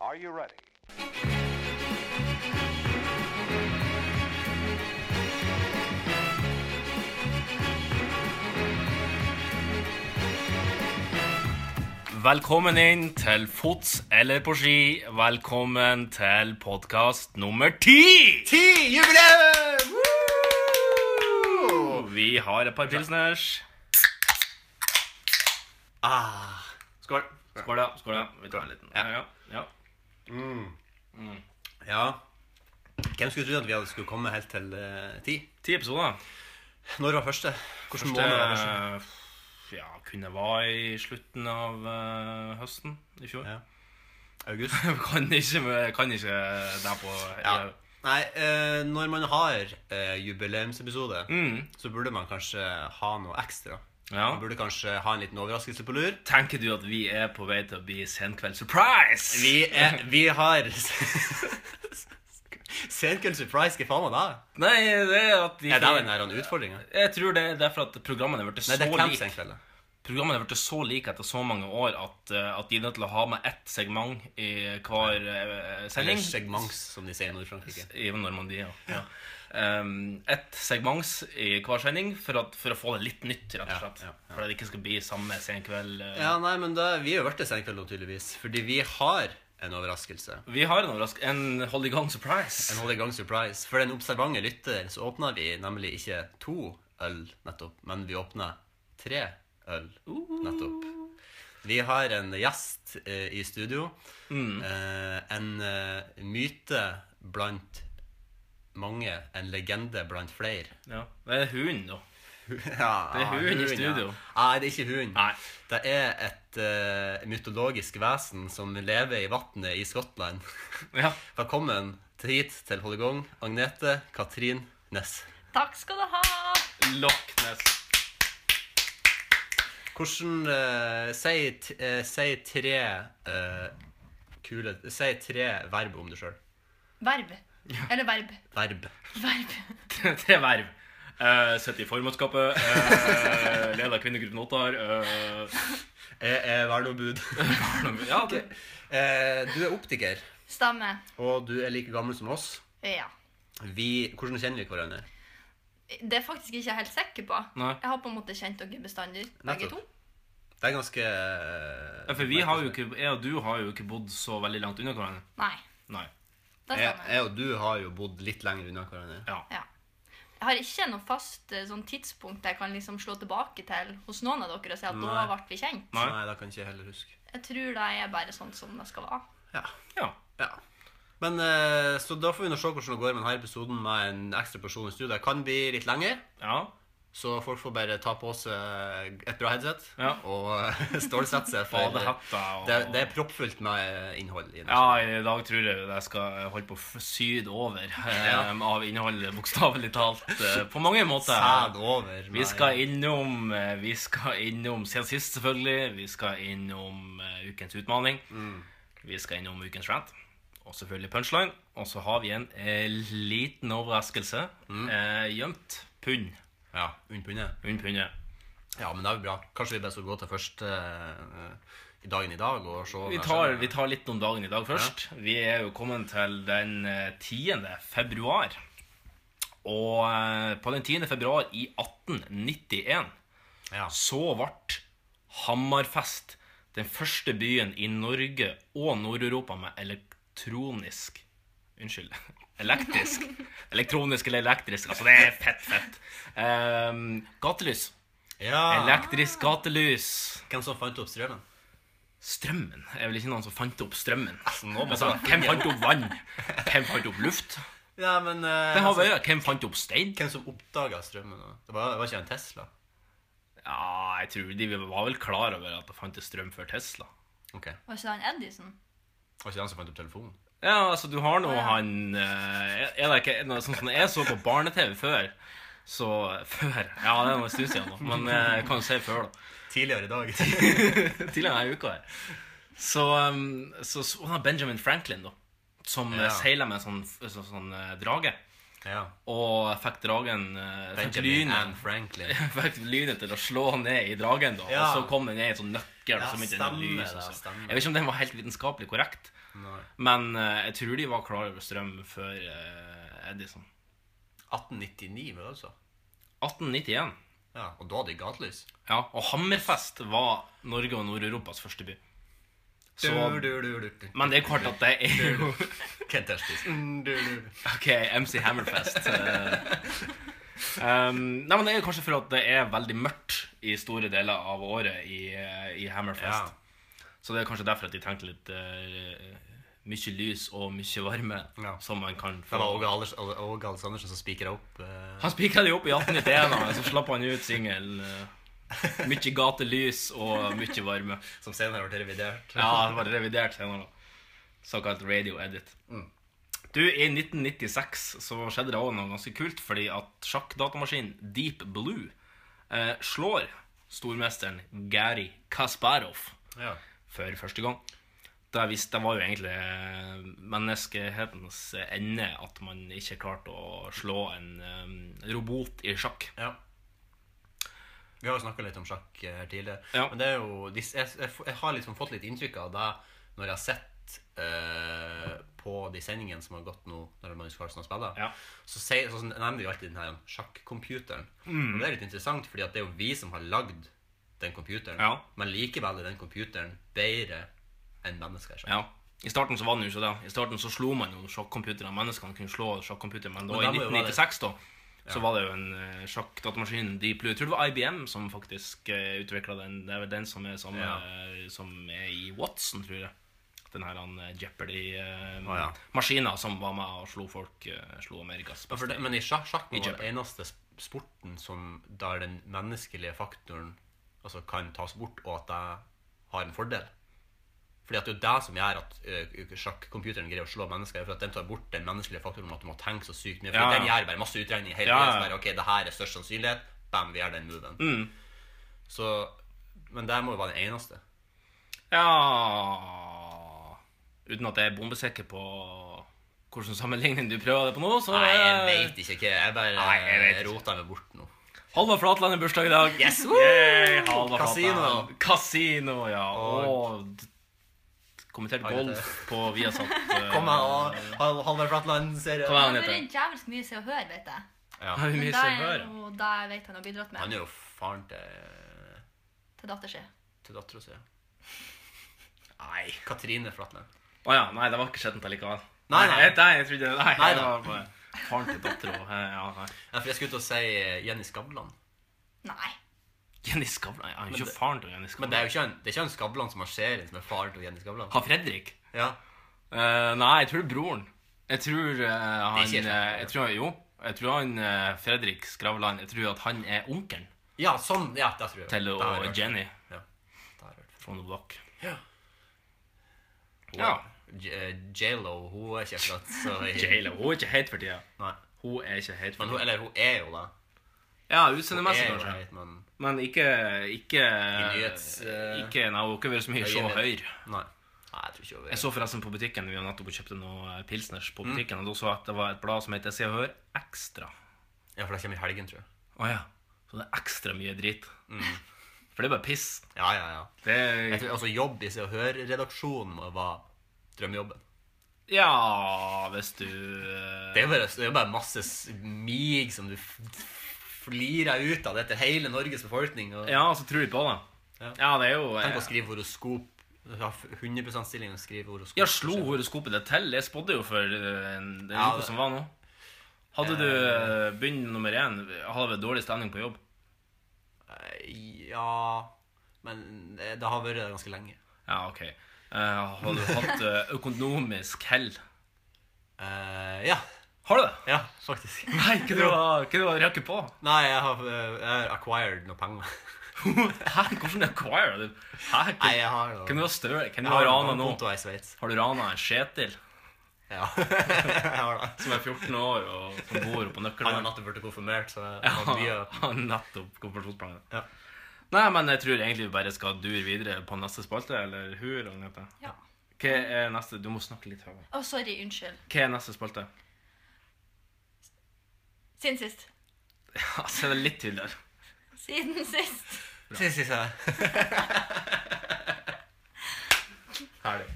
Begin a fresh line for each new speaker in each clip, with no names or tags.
Are you ready?
Velkommen inn til Fots eller på ski. Velkommen til podkast nummer ti!
Ti jubileum! Woo!
Vi har et par pilsners.
Ah. Skål.
Skål, da. skål da. Vi tar en liten. Ja, ja, ja.
Ja. Hvem skulle trodd at vi hadde skulle komme helt til eh, ti?
Ti episoder.
Når var første? Hvilken
Det
måned var første?
ja, kunne være i slutten av eh, høsten i fjor.
Ja. August?
Kan ikke, med- kan ikke det på
Ja. Nei, eh, når man har eh, jubileumsepisode,
Mm,
så burde man kanskje ha noe ekstra.
ja.
Man burde kanskje ha en liten overraskelse på lur.
Tenker du at vi er på vei til å bli Senkveld surprise?
Vi, er, vi har Senkveld surprise, hva faen var det?
Nei, det er at vi
Er det den der utfordringa?
Jeg tror det er derfor at programmene er blitt så
Nei, det er
like.
Camp Senkveld. da.
Programmene er blitt så like etter så mange år at, eh, at de er nødt til å ha med ett segment i hver eh,
Eller
sending.
segments, som de sier i Nord-Frankrike.
I Normandie, ja. ja. Um, ett segment i hver sending for, at, for å få det litt nytt, rett og
Ja,
slett.
ja, ja.
For at det ikke skal bli samme senkveld. eh.
Ja, nei, men da, vi er jo vært til senkveld nå, tydeligvis. Fordi vi har en overraskelse.
Vi har en overrask... En hold i gang surprise.
En hold i gang surprise. For den observante lytter så åpna vi nemlig ikke to øl nettopp, men vi åpna tre øl nettopp. Vi har en gjest eh, i studio.
Mm.
Eh, en eh, myte blant mange. En legende blant flere.
Ja. Det er hunden, da.
Ja,
Det er hund i
hund, ja.
studio.
Nei, det er ikke hund.
Nei.
Det er et eh, mytologisk vesen som lever i vannet i Skottland.
Ja.
Velkommen til hit til Hollegong, Agnete Katrin Ness.
Takk skal du ha!
Loch Ness.
Hvordan eh, Si t- eh, si tre eh, kule Si tre verb om deg sjøl.
Verb. Eller verb.
Verb.
Verb.
Tre verv. Uh, Sitter i formannskapet. eh, leder kvinnegruppen Ottar. eh,
Jeg er verneombud.
ja, det,
Eh, du er optiker,
Stemme.
og du er like gammel som oss.
Ja.
Vi, hvordan kjenner vi hverandre?
Det er faktisk ikke jeg helt sikker på.
Nei.
Jeg har på en måte kjent dere bestandig, begge
Nettopp.
to.
Det er ganske eh,
Ja, For vi har jo ikke, jeg og du har jo ikke bodd så veldig langt unna hverandre.
Nei.
Nei.
Det
Jeg,
stemmer.
jeg og du har jo bodd litt lenger unna hverandre.
Ja.
Ja. Jeg har ikke noe fast eh, sånn tidspunkt jeg kan liksom slå tilbake til hos noen av dere og si at
Nei.
da ble vi kjent.
Nei.
det kan ikke jeg heller huske.
Jeg tror det er bare sånn som det skal være.
Ja.
ja.
ja. Men eh, Så da får vi nå se hvordan det går med denne episoden med en ekstra person i studio. Det kan bli litt lenger,
Ja.
så folk får bare ta på seg eh, et bra headset
Ja.
og eh, stålsette seg. For det,
Badehetta og
det, er proppfullt med eh, innhold i den.
Ja, i dag tror jeg jeg skal holde på å f- syd over eh, av innholdet, bokstavelig talt. eh, På mange måter.
Sæd over.
Vi skal innom eh, Vi skal innom siden sist, selvfølgelig. Vi skal innom eh, ukens utmaning. Vi skal innom ukens rant. Og selvfølgelig punchline. Og så har vi en eh, liten overraskelse. Eh, gjemt pund.
Ja, Unnpunnet.
Under pundet.
Ja, men det er jo bra. Kanskje vi bare skal gå til først eh, i dagen i dag og se
Vi tar, vi tar litt om dagen i dag først. Vi er jo kommet til den eh, 10. februar. Og eh, på den 10. februar i 1891
Ja.
så ble Hammerfest den første byen i Norge og Nord-Europa med elektronisk Unnskyld. Elektrisk. Elektronisk eller elektrisk. Altså, det er fett, fett. Ehm, gatelys.
ja.
Elektrisk gatelys.
Hvem som fant opp strømmen?
Strømmen? Det er vel ikke noen som fant opp strømmen? Altså, hvem fant opp vann? Hvem fant opp luft?
Ja, men eh,
Hvem, har
altså,
veier? hvem fant opp stein?
Hvem som oppdaga strømmen? da? Det var, det var ikke en Tesla.
Ja, jeg tror De var vel klar over at det fantes strøm før Tesla.
Ok, Det
Var ikke det han Edison?
var ikke han som fant opp telefonen?
Ja, altså, du har nå
ja.
han eh, Er det ikke noe sånn som jeg så på barne-TV før? Så Før? Ja, det er nå en stund siden, nå, men eh, jeg kan jo si før, da.
Tidligere i dag.
tidligere denne uka her. Så, um, så, så han har Benjamin Franklin, da, som
Ja.
ja. seiler med en sånn, sånn, sånn eh, drage.
ja.
Og fikk dragen eh, fikk
Benjamin
lynet-
and Franklin.
fikk lynet til å slå ned i dragen, da.
Ja.
Og så kom den ned i en sånn ikke gjør det
Ja,
så mye
stemmer
energi,
det,
altså.
stemmer.
Jeg vet ikke om den var helt vitenskapelig korrekt,
Nei.
men eh, jeg tror de var klar over strøm før eh, Edison.
1899 var det altså.
1891.
Ja, og da hadde de gatelys.
Ja, og Hammerfest var Norge og Nord-Europas første by. Så,
Du, du, du, du, du.
men det er klart at det er jo
Kent Estis.
Mm, Ok, MC Hammerfest. eh. um, nei, men Det er kanskje for at det er veldig mørkt i store deler av året i, eh, i
Ja.
Hammerfest. Så det er kanskje derfor at de tenkte litt eh, mye lys og mye varme.
Ja.
Som man kan få
Det var Åge Alders- Åge Aleksandersen som spikra opp eh,
Han spikra det jo opp i 1891, og så slapp han ut singelen. eh, mye gatelys og mye varme.
som senere ble revidert.
Ja, det var revidert senere. Såkalt radio edit.
Mm.
Du, I 1996 så skjedde det også noe ganske kult, fordi at sjakkdatamaskinen Deep Blue eh, slår stormesteren Gary Kasparov
Ja.
for første gang. Det, visste, det var jo egentlig eh, menneskehetens ende at man ikke klarte å slå en eh, robot i sjakk.
Ja. Vi har jo snakka litt om sjakk eh, her tidligere.
Ja.
Men det er jo, de- jeg, jeg, jeg har liksom fått litt inntrykk av deg når jeg har sett eh, på de sendingene som har gått nå, når Magnus Carlsen har spilt,
Ja.
så, sier- så nevner de jo alltid den her sjakk-computeren.
Mm.
Og det er litt interessant, fordi at det er jo vi som har lagd den computeren.
Ja.
Men likevel er den computeren bedre enn mennesker. i sjakk.
Ja. I starten så var det jo ikke det. I starten så slo man jo sjakkcomputerne. Menneskene kunne slå sjakkcomputere, men da
Men da
i
må jo være det-
1996 da, så var det jo en uh, sjakkdatamaskin Deep Blue. Jeg tror det var IBM som faktisk uh, utvikla den. Det er vel den som er, samme,
Ja.
eh, som er i Watson, tror jeg. Den her han, eh,
Å, ja.
Jeopardy-maskina som var med og slo folk, eh, slo Amerikas
Men, for
beste.
det, men i sjakk, sjakk
I
er
Jeopardy.
den eneste sp- sporten som der den menneskelige faktoren altså, kan tas bort, og at jeg har en fordel. Fordi at det er jo det som gjør at ø, ø, sjakkcomputeren greier å slå mennesker. For at den tar bort den menneskelige faktoren om at du må tenke så sykt mye. For
Ja, ja.
den gjør bare masse utregninger hele
Ja,
tiden.
ja. Mm.
så Bare, ok, det her er størst sannsynlighet. Bam, vi gjør den moven. Så, men det må jo være den eneste.
Ja Uten at jeg er bombesikker på hvordan sammenligning du prøver det på nå, så
Nei, jeg
eh,
vet ikke hva. Jeg bare
Nei, jeg vet ikke.
roter meg bort nå.
Halvard Flatland er bursdag i dag.
Yes!
Yay, Halvard
Casino.
Flatland. Casino, ja. Og d- kommentert
Oi, dette-
golf på Viasat. eh,
Kom her, Halvard Flatland-serie.
Hva er han
Det er
heter?
en jævelsk mye Se og Hør, vet jeg.
Ja.
Har vi
Men
mye
da
som
er
hører?
jo da jeg vet han har bidratt
Han
med
er jo faren til,
til datter si.
til dattera si. Nei, Katrine Flatland.
Å ja. Nei, det var ikke skjettent allikevel.
Nei, nei.
Jeg, nei, jeg trodde Nei,
Nei,
det
da.
var bare faren til dattera. Ja, nei.
Ja, for jeg skulle til å si eh, Jenny Skavlan.
Nei.
Jenny Skavlan nei, Han er
Men
ikke
det-
faren til Jenny
Men det
Skavlan.
er jo ikke han, det er ikke han Skavlan som har serien som er faren til Jenny Skavlan.
Har Fredrik?
Ja.
Eh, nei, jeg tror det er broren. Jeg tror eh, han
ikke helt
eh, jeg
sant.
tror, Jo. Jeg tror han eh, Fredrik Skravlan Jeg tror at han er onkelen
ja, sånn. Ja, det tror jeg.
til
Det
og,
har jeg hørt.
Jenny
Ja. Det har jeg hørt.
fra The Block.
Hun-
Ja.
J- eh, J.Lo, hun er ikke akkurat så
Jayla, hun er ikke heit for tida.
Nei.
Hun er ikke heit for
Men hun,
tida.
eller hun er jo det.
Ja,
Hun
utseendemessig,
er jo
kanskje.
heit, men
Men ikke Ikke,
nyhets, eh,
ikke Nei, hun har ikke vært så mye så
øyemed.
høyr.
Nei. Nei, jeg tror ikke hun
Jeg
er
så forresten på butikken Vi har nettopp kjøpt noe eh, pilsners på butikken, og da så jeg at det var et blad som heter Se og Hør Ekstra.
Ja, for det kommer i helgen, tror jeg.
Å ja. Så det er ekstra mye drit. For det er bare piss.
Ja, ja, ja.
Det
Jeg
er,
tror, altså jobb i Se og Hør-redaksjonen må være drømmejobben.
ja, hvis du eh,
Det er jo bare, det er jo bare masse s- mig som du f- f- flirer ut av. Det er til hele Norges befolkning. Og,
Ja, så tror de på det.
Ja.
Ja, det er jo eh,
Tenk å skrive horoskop. Ha f- 100 stilling og skrive horoskop.
Ja, slo horoskopet det til? Jeg spådde jo for eh, en, den
Ja,
uka
det-
som var nå. Hadde du eh, begynt nummer én, hadde du dårlig stemning på jobb?
Eh, Ja Men det det har vært det ganske lenge.
Ja, ok. Eh, Har du hatt eh, økonomisk hell?
Eh, ja.
Har du det?
Ja, faktisk.
Nei, hva du har du har røket på?
Nei, jeg har, eh, jeg har acquired noe penger.
Hæ, hvordan acquire du? Hæ,
Nei,
hvem
jeg har noe.
hvem du har støl? Hvem
jeg
du har
har
rana
en
nå?
konto i Sveits.
Har du rana en Kjetil
Ja. jeg har det.
som er 14 år og som bor oppe på
Han har
Nøkkelvann?
nettopp blitt konfirmert, så jeg har
Han
mye
har nettopp konfirmasjonsplanen.
Ja.
Nei, men jeg tror egentlig vi bare skal dure videre på neste spalte, eller hur? Agnete?
Ja.
Hva er neste? Du må snakke litt høyere.
Å, sorry. Unnskyld.
Hva er neste spalte?
Siden sist.
Altså, det er litt tydeligere.
Siden sist.
Sist, sist, ja.
Herlig.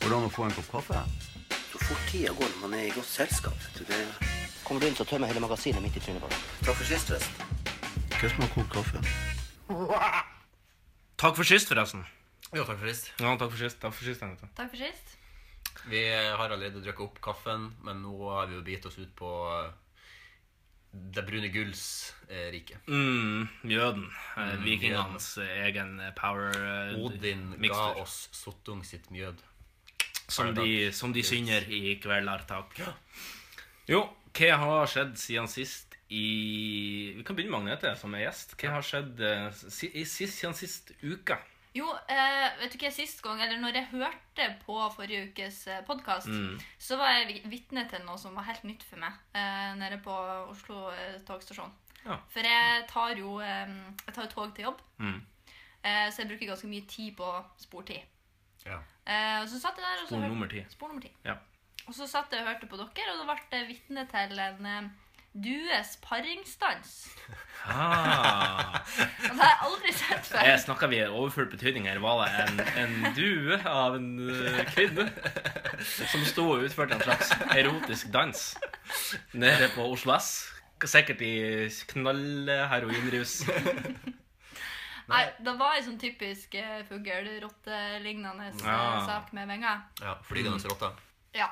Hvordan å få en kopp kaffe?
Så fort tida går når man er i godt selskap. vet du, det-
Kommer du inn, så tømmer jeg hele magasinet midt i trynet på deg.
Takk for sist, forresten.
Hva som har kokt kaffe?
Takk for sist, forresten.
Jo, takk for sist.
Ja, takk for sist. Takk for sist, Anette.
Takk for sist.
Vi har allerede drukket opp kaffen, men nå har vi jo bitt oss ut på eh, det brune gulls eh, rike.
Mm, jøden. Eh,
Mm,
Vikingenes eh, egen eh, power eh,
Odin ga
mixture.
oss Sottung sitt mjød.
Som de, som de synger i kvelertak. Jo, hva har skjedd siden sist i Vi kan begynne med Agnete, som er gjest. Hva har skjedd eh, si, i sist, siden sist uke?
Jo, eh, vet du hva, sist gang, eller når jeg hørte på forrige ukes podkast,
Mm.
så var jeg vi- vitne til noe som var helt nytt for meg eh, nede på Oslo eh, togstasjon.
Ja.
For jeg tar jo eh, jeg tar jo tog til jobb,
Mm.
eh, så jeg bruker ganske mye tid på sportid.
Ja.
Eh, og så satt jeg der og så
Spor
hørte-
nummer ti.
Spor nummer ti.
Ja.
Og så satt jeg og hørte på dere, og da ble jeg vitne til en eh, dues paringsdans.
Ah,
Og det har jeg aldri sett før.
jeg snakker vi i overfull betydning her. Var det en, en due av en eh, kvinne som sto og utførte en slags erotisk dans nede på Oslo S? Sikkert i knallheroinrus.
Nei, det var en sånn typisk eh, fugl-rotte-lignende eh,
Ja.
sak med vinger.
ja Flygende rotter.
Ja.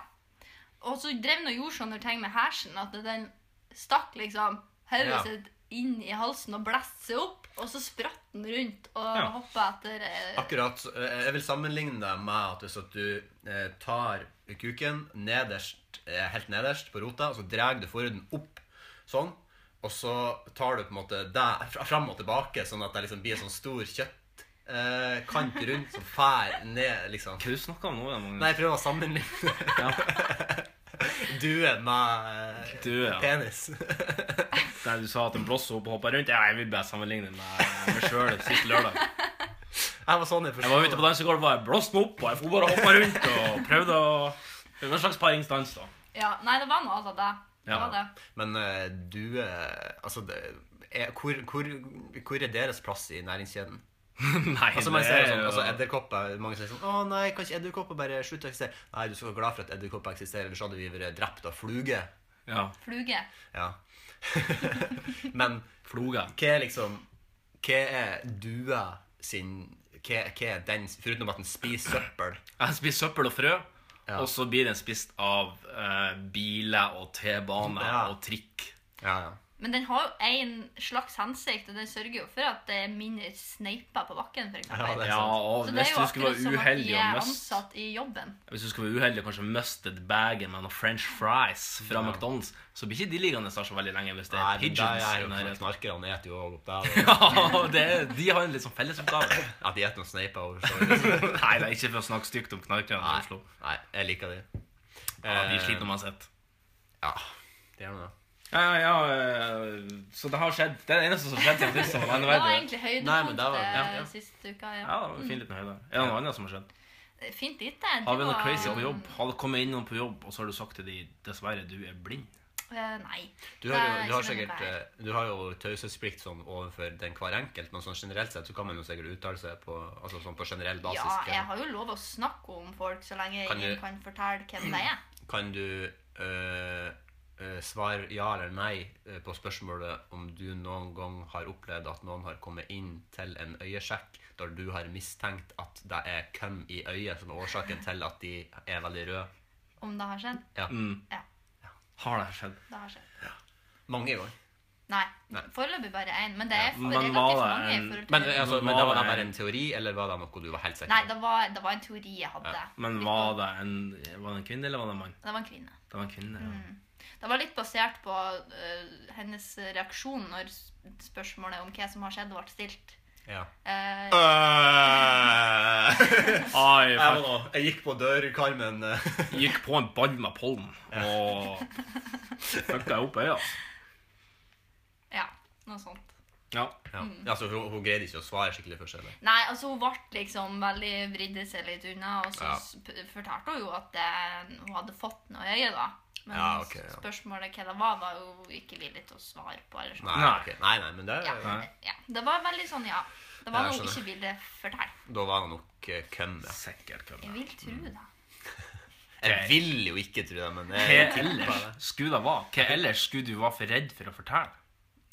Og så drev den og gjorde sånne ting med hersen at den stakk liksom hodet
Ja.
sitt inn i halsen og blæste seg opp, og så spratt den rundt og
Ja.
hoppet hoppa etter eh,
Akkurat. eh, Jeg vil sammenligne det med at hvis at du eh, tar kuken nederst, eh, helt nederst på rota, og så drar du forhuden opp sånn, og så tar du på en måte deg fra- fram og tilbake, sånn at det liksom blir en sånn stor kjøttkant eh, kant rundt som fær ned, liksom.
Hva du snakker om nå? da, Magnus?
Nei, jeg prøver å sammenligne
Ja.
due med eh,
Due, ja.
penis.
Nei, du sa at den blåser opp og hopper rundt. Ja, jeg vil bare sammenligne med meg sjøl sist lørdag.
Jeg var sånn jeg
Jeg var ute på dansegulvet, og jeg blåste meg opp, og jeg får bare hoppe rundt og prøvde å Det var en slags paringsdans, da.
Ja, nei, det var noe av det. Det
Ja.
var det.
Men eh, due Altså, det, er, hvor, hvor, hvor er deres plass i næringskjeden?
Nei,
Altså, man ser jo sånn,
jo-
altså edderkopper Mange sier sånn Å nei, kan ikke edderkopper bare slutte å eksistere? Nei, du skal være glad for at edderkopper eksisterer, ellers hadde vi vært drept av fluge.
Ja.
Fluge.
Ja. Men
Floga.
hva er liksom Hva er dua sin hva, hva er den Foruten at den spiser søppel.
Jeg spiser søppel og frø,
Ja.
og så blir den spist av eh, biler og T-bane
Ja.
og trikk.
Ja, ja.
Men den har jo en slags hensikt, og den sørger jo for at det er mindre sneiper på bakken, for
Ja,
eksempel.
det er
Ja,
sant.
og
Så det
hvis
er jo
du skulle
akkurat som
være
at
uheldig
de
og
er
mist
ansatt i jobben.
Hvis du skulle være uheldig og kanskje miste et bagen med noen french fries fra
Ja.
McDonald's, så blir ikke de liggende der så veldig lenge hvis det
Nei,
er
men der
pigeons
er
i
jo
nærheten.
Knarkerne spiser jo også opp der. og-
Ja, det, de har en litt sånn fellesoppgave.
At de spiser noen sneiper over så
Nei, det er ikke for å snakke stygt om knarkerne i
Nei,
Oslo.
nei, jeg liker de. Eh,
Ja, de sliter uansett.
Ja, det gjør noe.
Ja, ja, eh, så det har skjedd. Det er det eneste som har skjedd siden sist. som var
Det
nevneverdig.
var egentlig
Nei, men
høydepunktet
det var- ja, ja.
sist uka. Ja.
Ja, det var en fin liten høyde. Er det noe annet som har skjedd?
Fint lite. du
Har vi noe
var-
crazy på jobb? Har du kommet innom på jobb, og så har du sagt til de dessverre, du er blind?
Eh, nei.
Du har, jo,
Nei,
du har
ikke noe
sikkert
der.
eh, Du har jo taushetsplikt sånn overfor den hver enkelt, men sånn generelt sett så kan man jo sikkert uttale seg på, altså sånn på generell basis.
Ja,
hva-
jeg har jo lov å snakke om folk så lenge
Kan
ingen
du-
kan fortelle hvem det er.
Kan du eh, eh, svare ja eller nei eh, på spørsmålet om du noen gang har opplevd at noen har kommet inn til en øyesjekk der du har mistenkt at det er hvem i øyet som er årsaken til at de er veldig røde?
Om det har skjedd?
Ja.
Ja,
Har det skjedd?
det har skjedd.
Mange ganger.
Nei.
Nei.
Foreløpig bare én. Men det er for
men
relativt
var det
mange. i
en-
forhold til-
Men, altså, men da var det bare en teori, eller var det noe du var helt sikker
Nei, det var, det var en teori jeg hadde.
Men
Litt
var
på-
det en, var det en kvinne, eller var det en mann?
Det var en kvinne.
Det var en kvinne,
Mm.
ja.
Det var litt basert på øh, hennes reaksjon når s- spørsmålet om hva som har skjedd, ble stilt.
Ja.
Eh,
Ai,
Jeg,
fuck.
var- jeg gikk på dørkarmen. eh.
Gikk på en ball med pollen, og fucka opp øya.
ja, noe sånt.
Ja.
Ja.
Mm.
Altså, hun, hun greide ikke å svare skikkelig først. Eller?
Nei, altså hun ble liksom veldig vridde seg litt unna, og så
Ja.
s- p- fortalte hun jo at eh, hun hadde fått noe i øyet, da. Men
Ja, ok, ja.
spørsmålet hva det var, var jo ikke villig til å svare på. eller sånn.
Nei,
Nei.
ok. nei, nei, men det,
Ja,
Nei.
ja. Det var veldig sånn, ja. Det var
Ja, jeg
noe
skjønner.
hun ikke ville fortelle.
da var det nok eh, køm. Ja.
Sikkert kan det.
Jeg vil tro
Mm.
det.
Jeg vil jo ikke tro det, men
Hva
jeg tipper det.
ellers skulle det være? Hva ellers skulle du være for redd for å fortelle?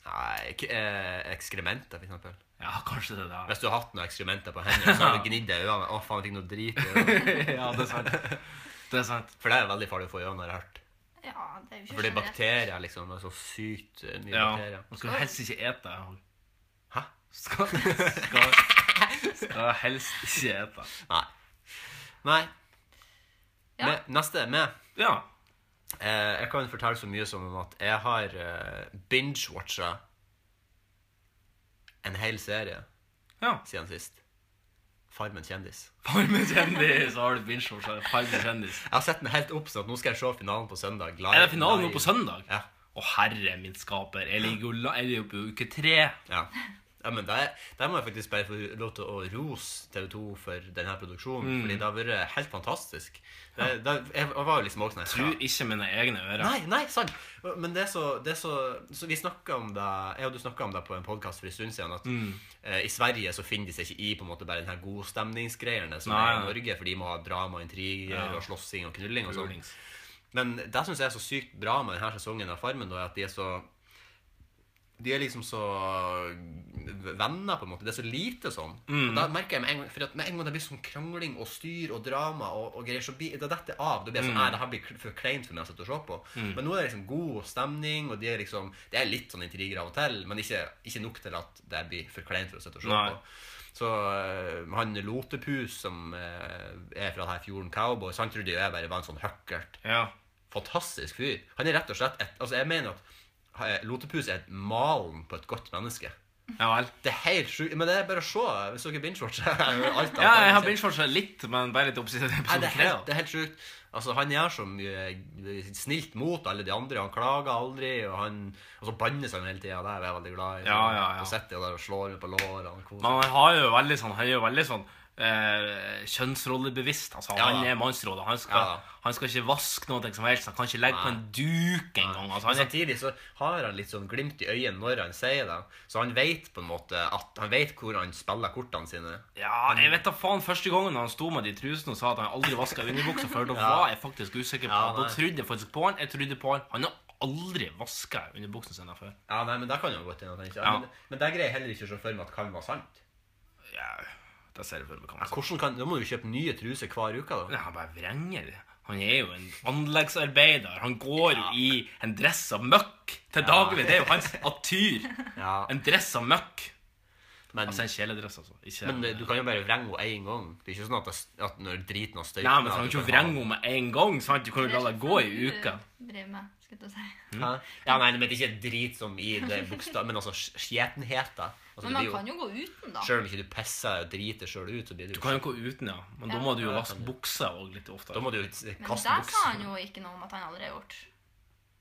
Nei, k- eh, ekskrementer, for eksempel.
Ja, kanskje det der.
Hvis du har hatt noen ekskrementer på hendene, så har du gnidd deg i øynene. Å, faen, jeg fikk noe drit i øynene.
ja, det er sant. Det er sant.
For det er veldig farlig å få i øynene, har jeg hørt.
Ja, det er jo ikke
For det er
generelt.
bakterier, liksom. Det er så sykt eh, mye
Ja.
bakterier.
Man skal helst ikke ete.
Hæ?
Skal, skal, skal helst ikke ete.
Nei. Nei.
Ja.
Me- neste er meg.
Ja.
Eh, jeg kan fortelle så mye som at jeg har eh, binge-watcha en hel serie
ja.
siden sist. Farmen kjendis.
Farmen kjendis, så har du binge-watcha Farmen kjendis.
Jeg har sett meg helt opp, sånn at nå skal jeg se finalen på søndag. Live-
Er det finalen nå
live.
på søndag?
Ja.
Å, herre min skaper. Jeg ligger jo la- jeg ligger jo på uke tre.
ja. ja men der, der må jeg faktisk bare få lov til å rose TV 2 for denne produksjonen.
Mm.
Fordi det har vært helt fantastisk. Det, det, jeg var jo liksom også sånn
Tror ikke mine egne ører.
Nei, nei, sant. Men det er så, det er så, så Vi snakket om det Jeg og du snakka om det på en podkast for en stund siden. At
Mm.
eh, i Sverige så finner de seg ikke i på en måte bare den her godstemningsgreiene som
Nei,
er i
nei.
Norge, for de må ha drama, intriger
Ja.
og slåssing og knulling og sånn.
Ulings.
Men det syns jeg er så sykt bra med denne sesongen av Farmen, da, er at de er så de er liksom så venner, på en måte. Det er så lite sånn. Og da merker jeg med en gang For at med en gang det blir sånn krangling og styr og drama og, og greier, så blir det detter av. Da blir jeg sånn, «Nei, det her blir kl- for kleint for meg å sitte og se på. Men nå er det liksom god stemning, og de er liksom Det er litt sånn intriger av og til, men ikke, ikke nok til at det blir for kleint for å sitte og se
Nei.
på. Så øh, han Lotepus, som øh, er fra denne fjorden Cowboy, han trodde jo jeg bare var en sånn høkkert
Ja.
fantastisk fyr. Han er rett og slett et Altså, jeg mener at eh, Lotepus er et malen på et godt menneske.
ja vel.
Det er helt sjukt. Men det er bare å se eh, hvis dere binge-watcher. alt av
Ja, jeg har
det.
binge-watcha litt, men bare litt opp siden
Nei, det
episode
er
tre.
helt, det er helt sjukt. Altså, han gjør så mye eh, snilt mot alle de andre. Han klager aldri, og han Og så bannes han hele tida. Det er jeg veldig glad i.
Ja, ja, ja.
Og sitter jo der og slår meg på lårene. og koser.
Men han har jo veldig sånn, han er jo veldig sånn eh, kjønnsrollebevisst. Altså,
Ja,
han
da.
er mannsrolle. Han, skal-
Ja, da.
han skal ikke vaske noe som helst. Han kan ikke legge på en duk engang. Altså,
Men
han er-
samtidig så har han litt sånn glimt i øyet når han sier det. Så han vet på en måte at Han vet hvor han spiller kortene sine.
ja, jeg vet da faen, Første gangen han sto med de trusene og sa at han aldri vaska underbuksa før, da
Ja.
var jeg faktisk usikker på
Ja,
han. Da
nei.
trodde jeg faktisk på han. Jeg trodde på han. Han har aldri vaska underbuksene sine før.
Ja, nei, men det kan jo godt hende. at han ikke-
Ja.
Men, men det greier jeg heller ikke å se for meg at kan være sant.
Ja, det ser jeg for meg. kan man si.
Hvordan kan, Da må du kjøpe nye truser hver uke, da.
Nei, Han bare vrenger. Han er jo en anleggsarbeider. Han går jo i en dress av møkk til daglig. Det er jo hans atyr.
Ja,
En dress av møkk.
men,
Altså en kjeledress, altså. Ikke
men
en,
du kan jo bare vrenge henne én gang. Det er ikke sånn at, det, at når driten har støyt
Nei, men du kan jo ikke vrenge henne med en gang. sant? Du kan jo la det gå i uka.
Driver med, skulle jeg til å si.
Hæ? Ja, nei, men det er ikke drit som i det bokstav... Men altså sk- skjetenheter. Altså,
Men man kan jo gå uten, da.
Selv om ikke du pisser og driter sjøl ut, så blir det
Du
jo
kan jo gå uten, ja. Men da
Ja.
må du jo
Ja, det
vaske
kan du.
buksa òg litt
Da
oftere.
må du jo
Men der
kaste
sa han
buksa.
jo ikke noe om at han aldri har gjort.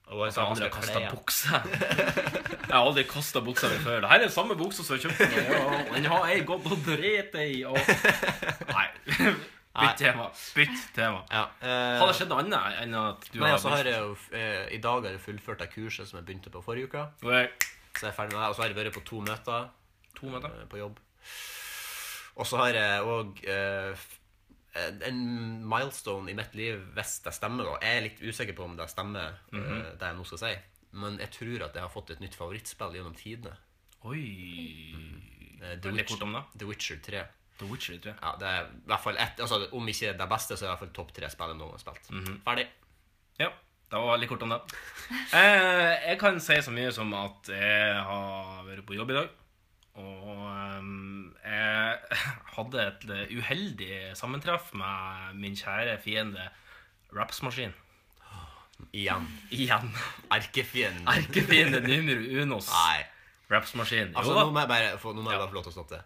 Og sånn han
Så
sa
jeg har aldri
han skal
kasta
kaste buksa.
bukse. Jeg har aldri kasta buksa mi før. Det her er samme buksa som jeg kjøpte. nå, ja, og Den har jeg gått og drept i. Og... Nei.
Nei.
Bytt tema. Bytt tema.
Ja. eh,
Har det skjedd noe annet enn at du
Nei, altså har jeg jo eh, I dag har jeg fullført det kurset som jeg begynte på forrige uke.
Nå er jeg
Så jeg er ferdig med det. Og så har jeg vært på to møter.
To meter.
eh, på jobb. Og så har jeg òg eh, en milestone i mitt liv, hvis det stemmer. da. Jeg er litt usikker på om det stemmer, eh, det jeg nå skal si. Men jeg tror at jeg har fått et nytt favorittspill gjennom tidene.
Oi.
Eh, The,
Veldig kort
Witcher,
om det.
The Witcher 3.
The Witcher, tror jeg.
Ja, det er i hvert fall ett, altså Om ikke det beste, så er det i hvert fall topp tre spill jeg noen gang har spilt. Ferdig.
Ja, det var veldig kort om det. Eh, jeg kan si så mye som at jeg har vært på jobb i dag. Og ehm, jeg hadde et eh, uheldig sammentreff med min kjære fiende Rapsmaskin.
Igjen.
Igjen.
Erkefienden.
Erkefiende numero unos.
Nei.
Rapsmaskin.
Altså,
Jo da.
nå må jeg bare få, nå må jeg bare få lov til å stoppe det.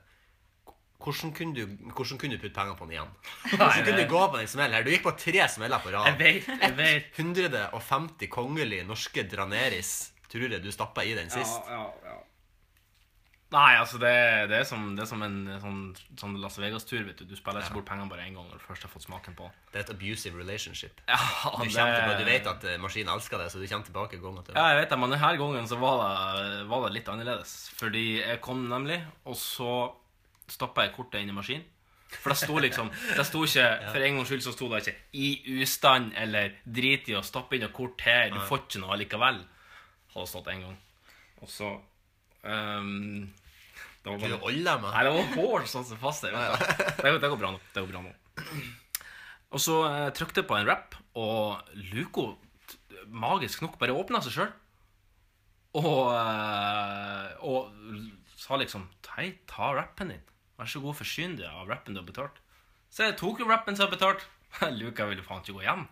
Hvordan kunne, du, hvordan kunne du putte penger på den igjen? Hvordan kunne
det-
du gå på den smellen her? Du gikk på tre smeller på
Jeg
rad.
vet, jeg vet.
150 kongelige norske draneris tror jeg du stappa i den sist.
ja, ja. Nei, altså, det, det, er som, det er som en eh, sånn, sånn Las Vegas-tur. vet Du Du spiller ikke bort pengene bare én gang når du først har fått smaken på
Det er et abusive relationship.
ja,
Du,
det.
kommer tilbake, du vet at eh, maskinen elsker deg, så du kommer tilbake gang etter
Ja, jeg vet det, men denne gangen så var det, var det litt annerledes. Fordi jeg kom nemlig, og så stappa jeg kortet inn i maskinen. For det sto liksom det sto ikke, For en gangs skyld så sto det ikke 'i ustand' eller 'drit i å stappe inn et kort her', du får ikke noe likevel. Hadde stått en gang. Og så ehm, det var
Du
bare-
holder meg.
Nei, det var hår som satt seg fast der. vet du. Det går, det går bra nå. Det går bra nå. Og så eh, trykte jeg på en rap, og Luco t- magisk nok bare åpna seg sjøl. Og, eh, og l- sa liksom Hei, ta rappen din. Vær så god, forsyn deg av rappen du har betalt. Så jeg tok jo rappen som jeg betalte. Luca ville faen ikke gå hjem.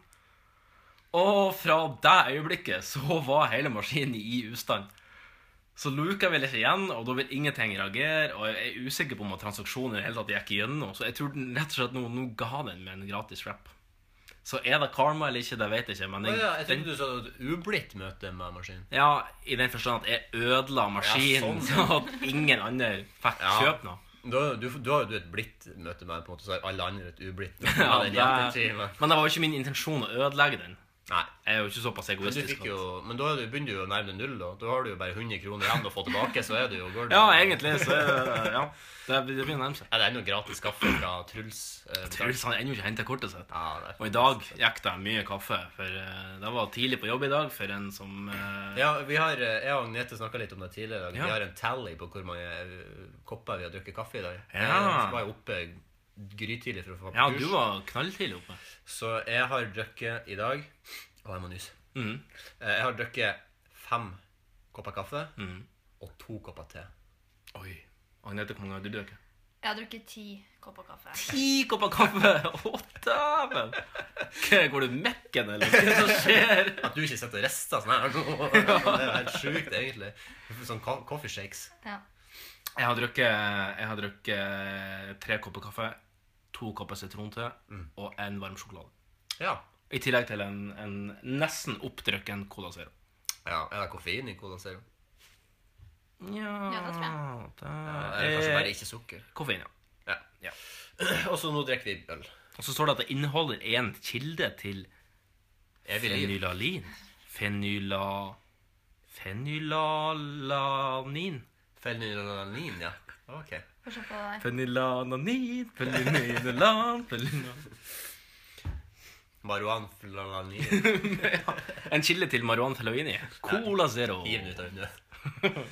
Og fra det øyeblikket så var hele maskinen i ustand. Så Luca vil ikke igjen, og da vil ingenting reagere. Og jeg er usikker på om at transaksjonen i det hele tatt gikk igjennom. Så jeg tror den rett og slett nå, nå ga den med en gratis rap. Så er det karma eller ikke, det vet jeg ikke. Men
Å
den,
ja, jeg
den,
trodde du sa du hadde et ublidt møte med maskinen.
ja, i den forstand at jeg ødela maskinen,
Ja, sånn,
så at ingen andre fikk
Ja.
kjøpe noe.
Da, du, da har jo du et blidt møte med den, på en måte, så har alle andre et ublidt.
Ja,
møte med den
det,
jentetimen.
men det var jo ikke min intensjon å ødelegge den.
Nei.
Jeg er jo ikke såpass
Men, du
egoistisk.
fikk jo,
at-
men da er du- begynner du jo å nærme deg null. Da. da har du jo bare 100 kroner igjen å få tilbake. Så er det jo går det,
Ja, egentlig, så er- ja. Det, det begynner å nærme seg.
Er det ennå gratis kaffe fra Truls? eh,
Truls har liksom ennå ikke henta kortet sitt.
Ja, det
Og
er.
i dag gikk det mye kaffe, for eh, det var tidlig på jobb i dag for en som eh,
ja, vi har, eh, jeg og Agnete snakka litt om det tidligere. i dag.
Ja.
Vi har en tally på hvor mange eh, kopper vi har drukket kaffe i dag.
Ja.
Jeg var jo oppe grytidlig for å få
Ja,
kurs.
du var knalltidlig oppe.
Så jeg har drukket i dag Å, jeg må nyse.
Mhm.
Eh, Jeg har drukket fem kopper kaffe
Mm.
og to kopper te.
Oi. Agnete, hvor mange har du drukket?
Jeg har drukket ti kopper kaffe.
Ti kopper kaffe! Å, dæven! Hva, Går du mekken, eller? Hva er det som skjer?
At du ikke sitter og rister sånn her nå, det er jo helt sjukt, egentlig. Sånn ka- coffee shakes.
Ja.
Jeg har drukket, jeg har drukket tre kopper kaffe, to kopper sitronte og en varm sjokolade.
Ja.
I tillegg til en, en nesten oppdrukken Cola Zero.
ja. Er det koffein i Cola Zero?
Ja,
det tror jeg.
det
Eller kanskje bare ikke sukker?
Koffein, ja.
eh, Ja.
Ja.
Og så nå drikker vi øl.
Og så står det at det inneholder en kilde til
Evig liv.
fenylalin. Fenyla... Fenylalanin.
Fenylalanin, ja. Ok.
Få se på deg.
Fenylalanin, fenylalan, fenylalan.
Marihuanflalanin.
En kilde til Marwan Fellaini. Cola Zero.
Hiv den ut av vinduet.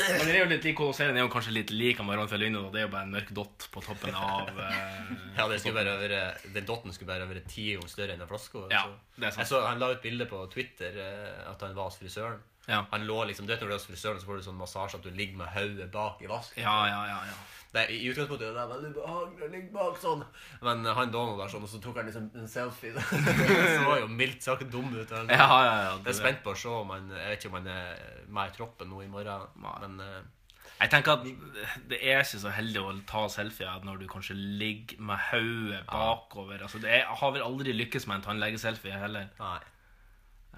Men den er jo litt lik Colosseum. Den er jo kanskje litt lik Amaran Fellino. Det er jo bare en mørk dott på toppen av eh,
Ja, det skulle bare være, den dotten skulle bare være ti ganger større enn en flaske.
Ja,
så-
det er sant.
Jeg så, han la ut bilde på Twitter eh, at han var hos frisøren.
Ja.
Han lå liksom, du vet Når du er hos frisøren, så får du sånn massasje at du ligger med hodet bak i vasken.
Ja, ja, ja. ja.
Det, er- I utgangspunktet er det veldig behagelig å ligge bak sånn. Men eh, han Donald der sånn, og så tok han liksom en selfie. så var jo mildt sagt dum ut. Han,
ja, ja, ja
Jeg
det,
er spent på å se om han Jeg vet ikke om han er med i troppen nå i morgen,
Nei.
men eh,
Jeg tenker at det er ikke så heldig å ta selfier når du kanskje ligger med hodet bakover. Altså, det er, jeg har vel aldri lykkes med en tannlegeselfie heller.
nei.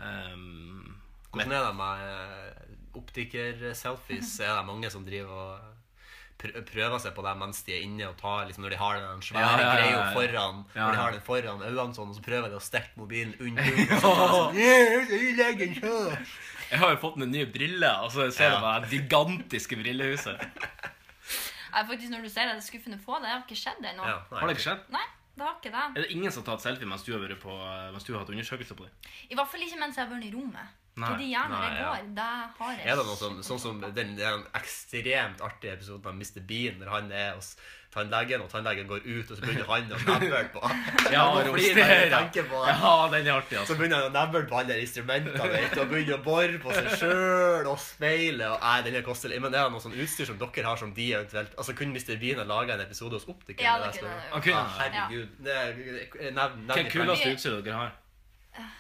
Ehm,
Hvordan er det med eh, optiker-selfies?
Mhm.
Er det mange som driver og pr- prøver seg på det mens de er inne og tar liksom Når de har den svære
Ja, ja, ja, ja.
greia foran
Ja,
Når de
ja.
har den foran øynene sånn, og så prøver de å stikke mobilen under og så er det sånn, «Yeah, så jeg legger den her».
jeg har jo fått meg nye briller. Altså, jeg ser
Ja.
det bare det gigantiske brillehuset.
Nei, faktisk, når du sier det, det er skuffende få. Det har ikke skjedd ennå.
Ja, nei,
Har det ikke skjedd?
Nei, det har ikke det.
Er det ingen som har tatt selfie mens du har, vært på, mens du har hatt undersøkelse på det?
I hvert fall ikke mens jeg har vært i rommet.
Nei,
Fordi gjerne
nei,
det
ja.
går. Det har jeg
Er det noe som, sånn som den, den ekstremt artige episoden av Mr. Bean, der han er hos tannlegen, og tannlegen går ut, og så begynner han å nebbe på
Ja,
Nå flirer jeg når jeg tenker på det.
ja, den er artig, altså.
Så begynner han å nevne på alle instrumentene vet, du, og begynner å bore på seg sjøl og speile. Og, nei, den er kostelig. Men er det noe sånn utstyr som dere har, som de eventuelt Altså, Kunne Mr. Bean ha laga en episode hos optiker?
Ja,
med
det
det
kunne
jeg
han
spør?
Ok.
Ja, herregud. Det er- Nevn
Hva er
nevn
det
i fem.
kuleste utstyret dere har?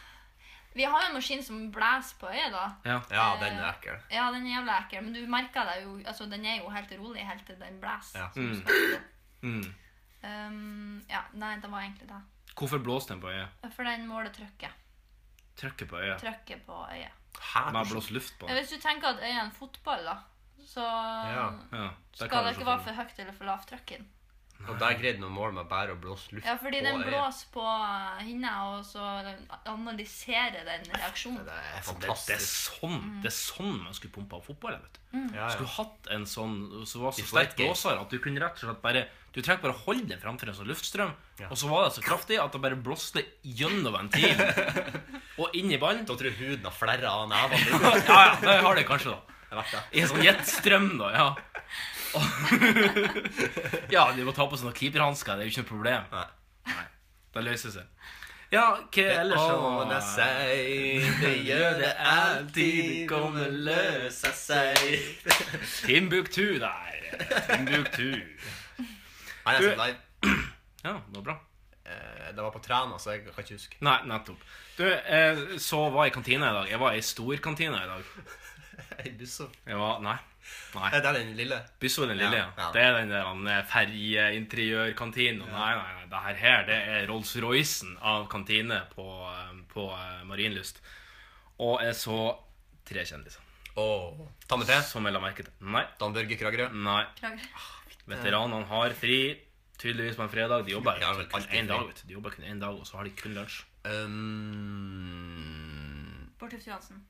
Vi har jo en maskin som blæser på øyet, da.
Ja.
Ja, den er ekkel.
Ja, den er jævla ekkel, men du merker deg jo Altså, den er jo helt rolig helt til den blæser.
Ja.
som du
Mm.
snakker om.
Mm.
Um, ja, nei, det var egentlig det.
Hvorfor blåste den på øyet?
For den måler trykket.
Trykket på øyet?
Trykket på øyet.
Hæ?
Man blåser luft på
Ja,
den.
hvis du tenker at øyet er en fotball, da, Så
Ja,
Ja.
der
skal
klarer
det
du
ikke
sjåføren.
være for høyt eller for lavt trykk i den.
Og der greide noen mål med bare å blåse luft
Ja, fordi den
øyet.
blåser på hinna, og så analyserer den reaksjonen.
Det er
Det, det, er
fantastisk.
sånn, det er sånn man skulle pumpa opp fotball. jeg Vet. du.
Ja, ja.
Skulle hatt en sånn som var så
Vi får
sterk
et game.
blåser at du kunne rett og slett bare Du trengte bare å holde den framfor en sånn luftstrøm,
Ja.
og så var det så kraftig at det bare blåste gjennom ventilen og inn i ballen.
Da tror jeg huden har flerra av nevene.
Ja, ja, det har det kanskje, da.
Jeg vet det.
I en sånn jetstrøm, da. Ja, Og- ja du må ta på sånne keeperhansker. Det er jo ikke noe problem.
Nei.
Det løser seg. Ja, hva ellers
Å, det seg, det gjør det alltid, det kommer løse seg.
Timbuktu der. Timbuktu.
Nei, jeg er så live.
Ja, det var bra.
Eh, Det var på Træna, så jeg kan ikke huske.
Nei, nettopp. Du, eh, så var jeg i kantina i dag. Jeg var i storkantina i dag.
Ei busso.
Jeg var, nei.
Er
nei.
Eh, det den lille?
Bysso den lille, ja.
Ja, ja.
Det er den der han, eh, ferjeinteriørkantina. Nei, nei, nei. Det her, her det er Rolls-Roycen av kantine på, eh, på eh, Marienlyst. Og jeg så tre kjendiser.
Åh. Tanne P.
Som jeg la merke til. Nei.
Dan Børge Kragerø.
Nei.
Beklager.
Veteranene har fri. Tydeligvis på en fredag. De jobber
De har vel
kun
alltid
én
fri.
dag, vet du. De jobber kun én dag, og så har de kun lunsj.
Um,
Bård Tufte Johansen.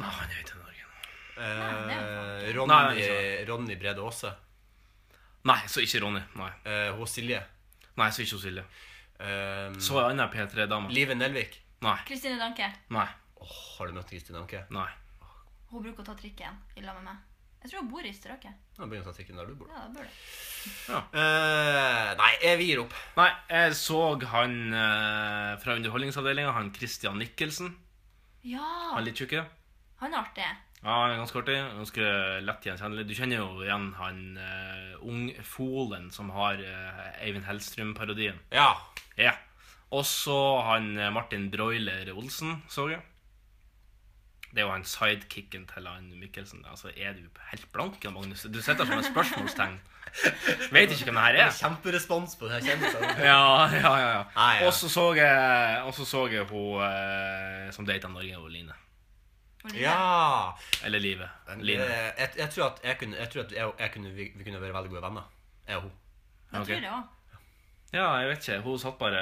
Nei, han er jo ikke i Norge nå.
det
eh,
Nei,
Ronny,
det
Ronny Brede Aase.
Nei, så ikke Ronny. Nei,
Eh, Hå Silje.
nei så ikke Silje.
Um,
Så ei anna P3-dame.
Live Nelvik.
Nei.
Kristine Danke.
Nei.
Åh, har du møtt Kristin Anke?
nei.
Hun bruker å ta trikken i lag med meg. Jeg tror hun bor i Strøket.
Nå begynner å ta trikken der du bor.
Ja, det bør det.
Eh, nei, jeg gir opp.
Nei, jeg så han eh, fra Underholdningsavdelinga, han Christian Nicholsen.
Ja!
Han litt tjukke.
Han er artig.
Ja, han er ganske artig. Ganske lett gjenkjennelig. Du kjenner jo igjen han eh, ungfolen som har eh, Eivind Hellstrøm-parodien.
Ja.
Ja. Og så han eh, Martin Broiler Olsen, så jeg. Det er jo han sidekicken til han Mikkelsen. Altså, Er du helt blank, Jan Magnus? Du sitter som et spørsmålstegn. Vet ikke hvem det her
Det
er.
er kjemperespons på denne kjendisen.
Ja, ja, ja. ja.
Nei, Ah, ja.
Og så så jeg, og så så jeg hun eh, som data Norge og Line.
Hvor lille.
ja.
Eller Live.
Men, eh,
Line.
jeg, jeg tror at, jeg kunne, jeg tror at jeg, jeg kunne, vi, vi kunne være veldig gode venner. Jeg og hun.
Jeg
ok.
tror det òg.
Ja, jeg vet ikke. Hun satt bare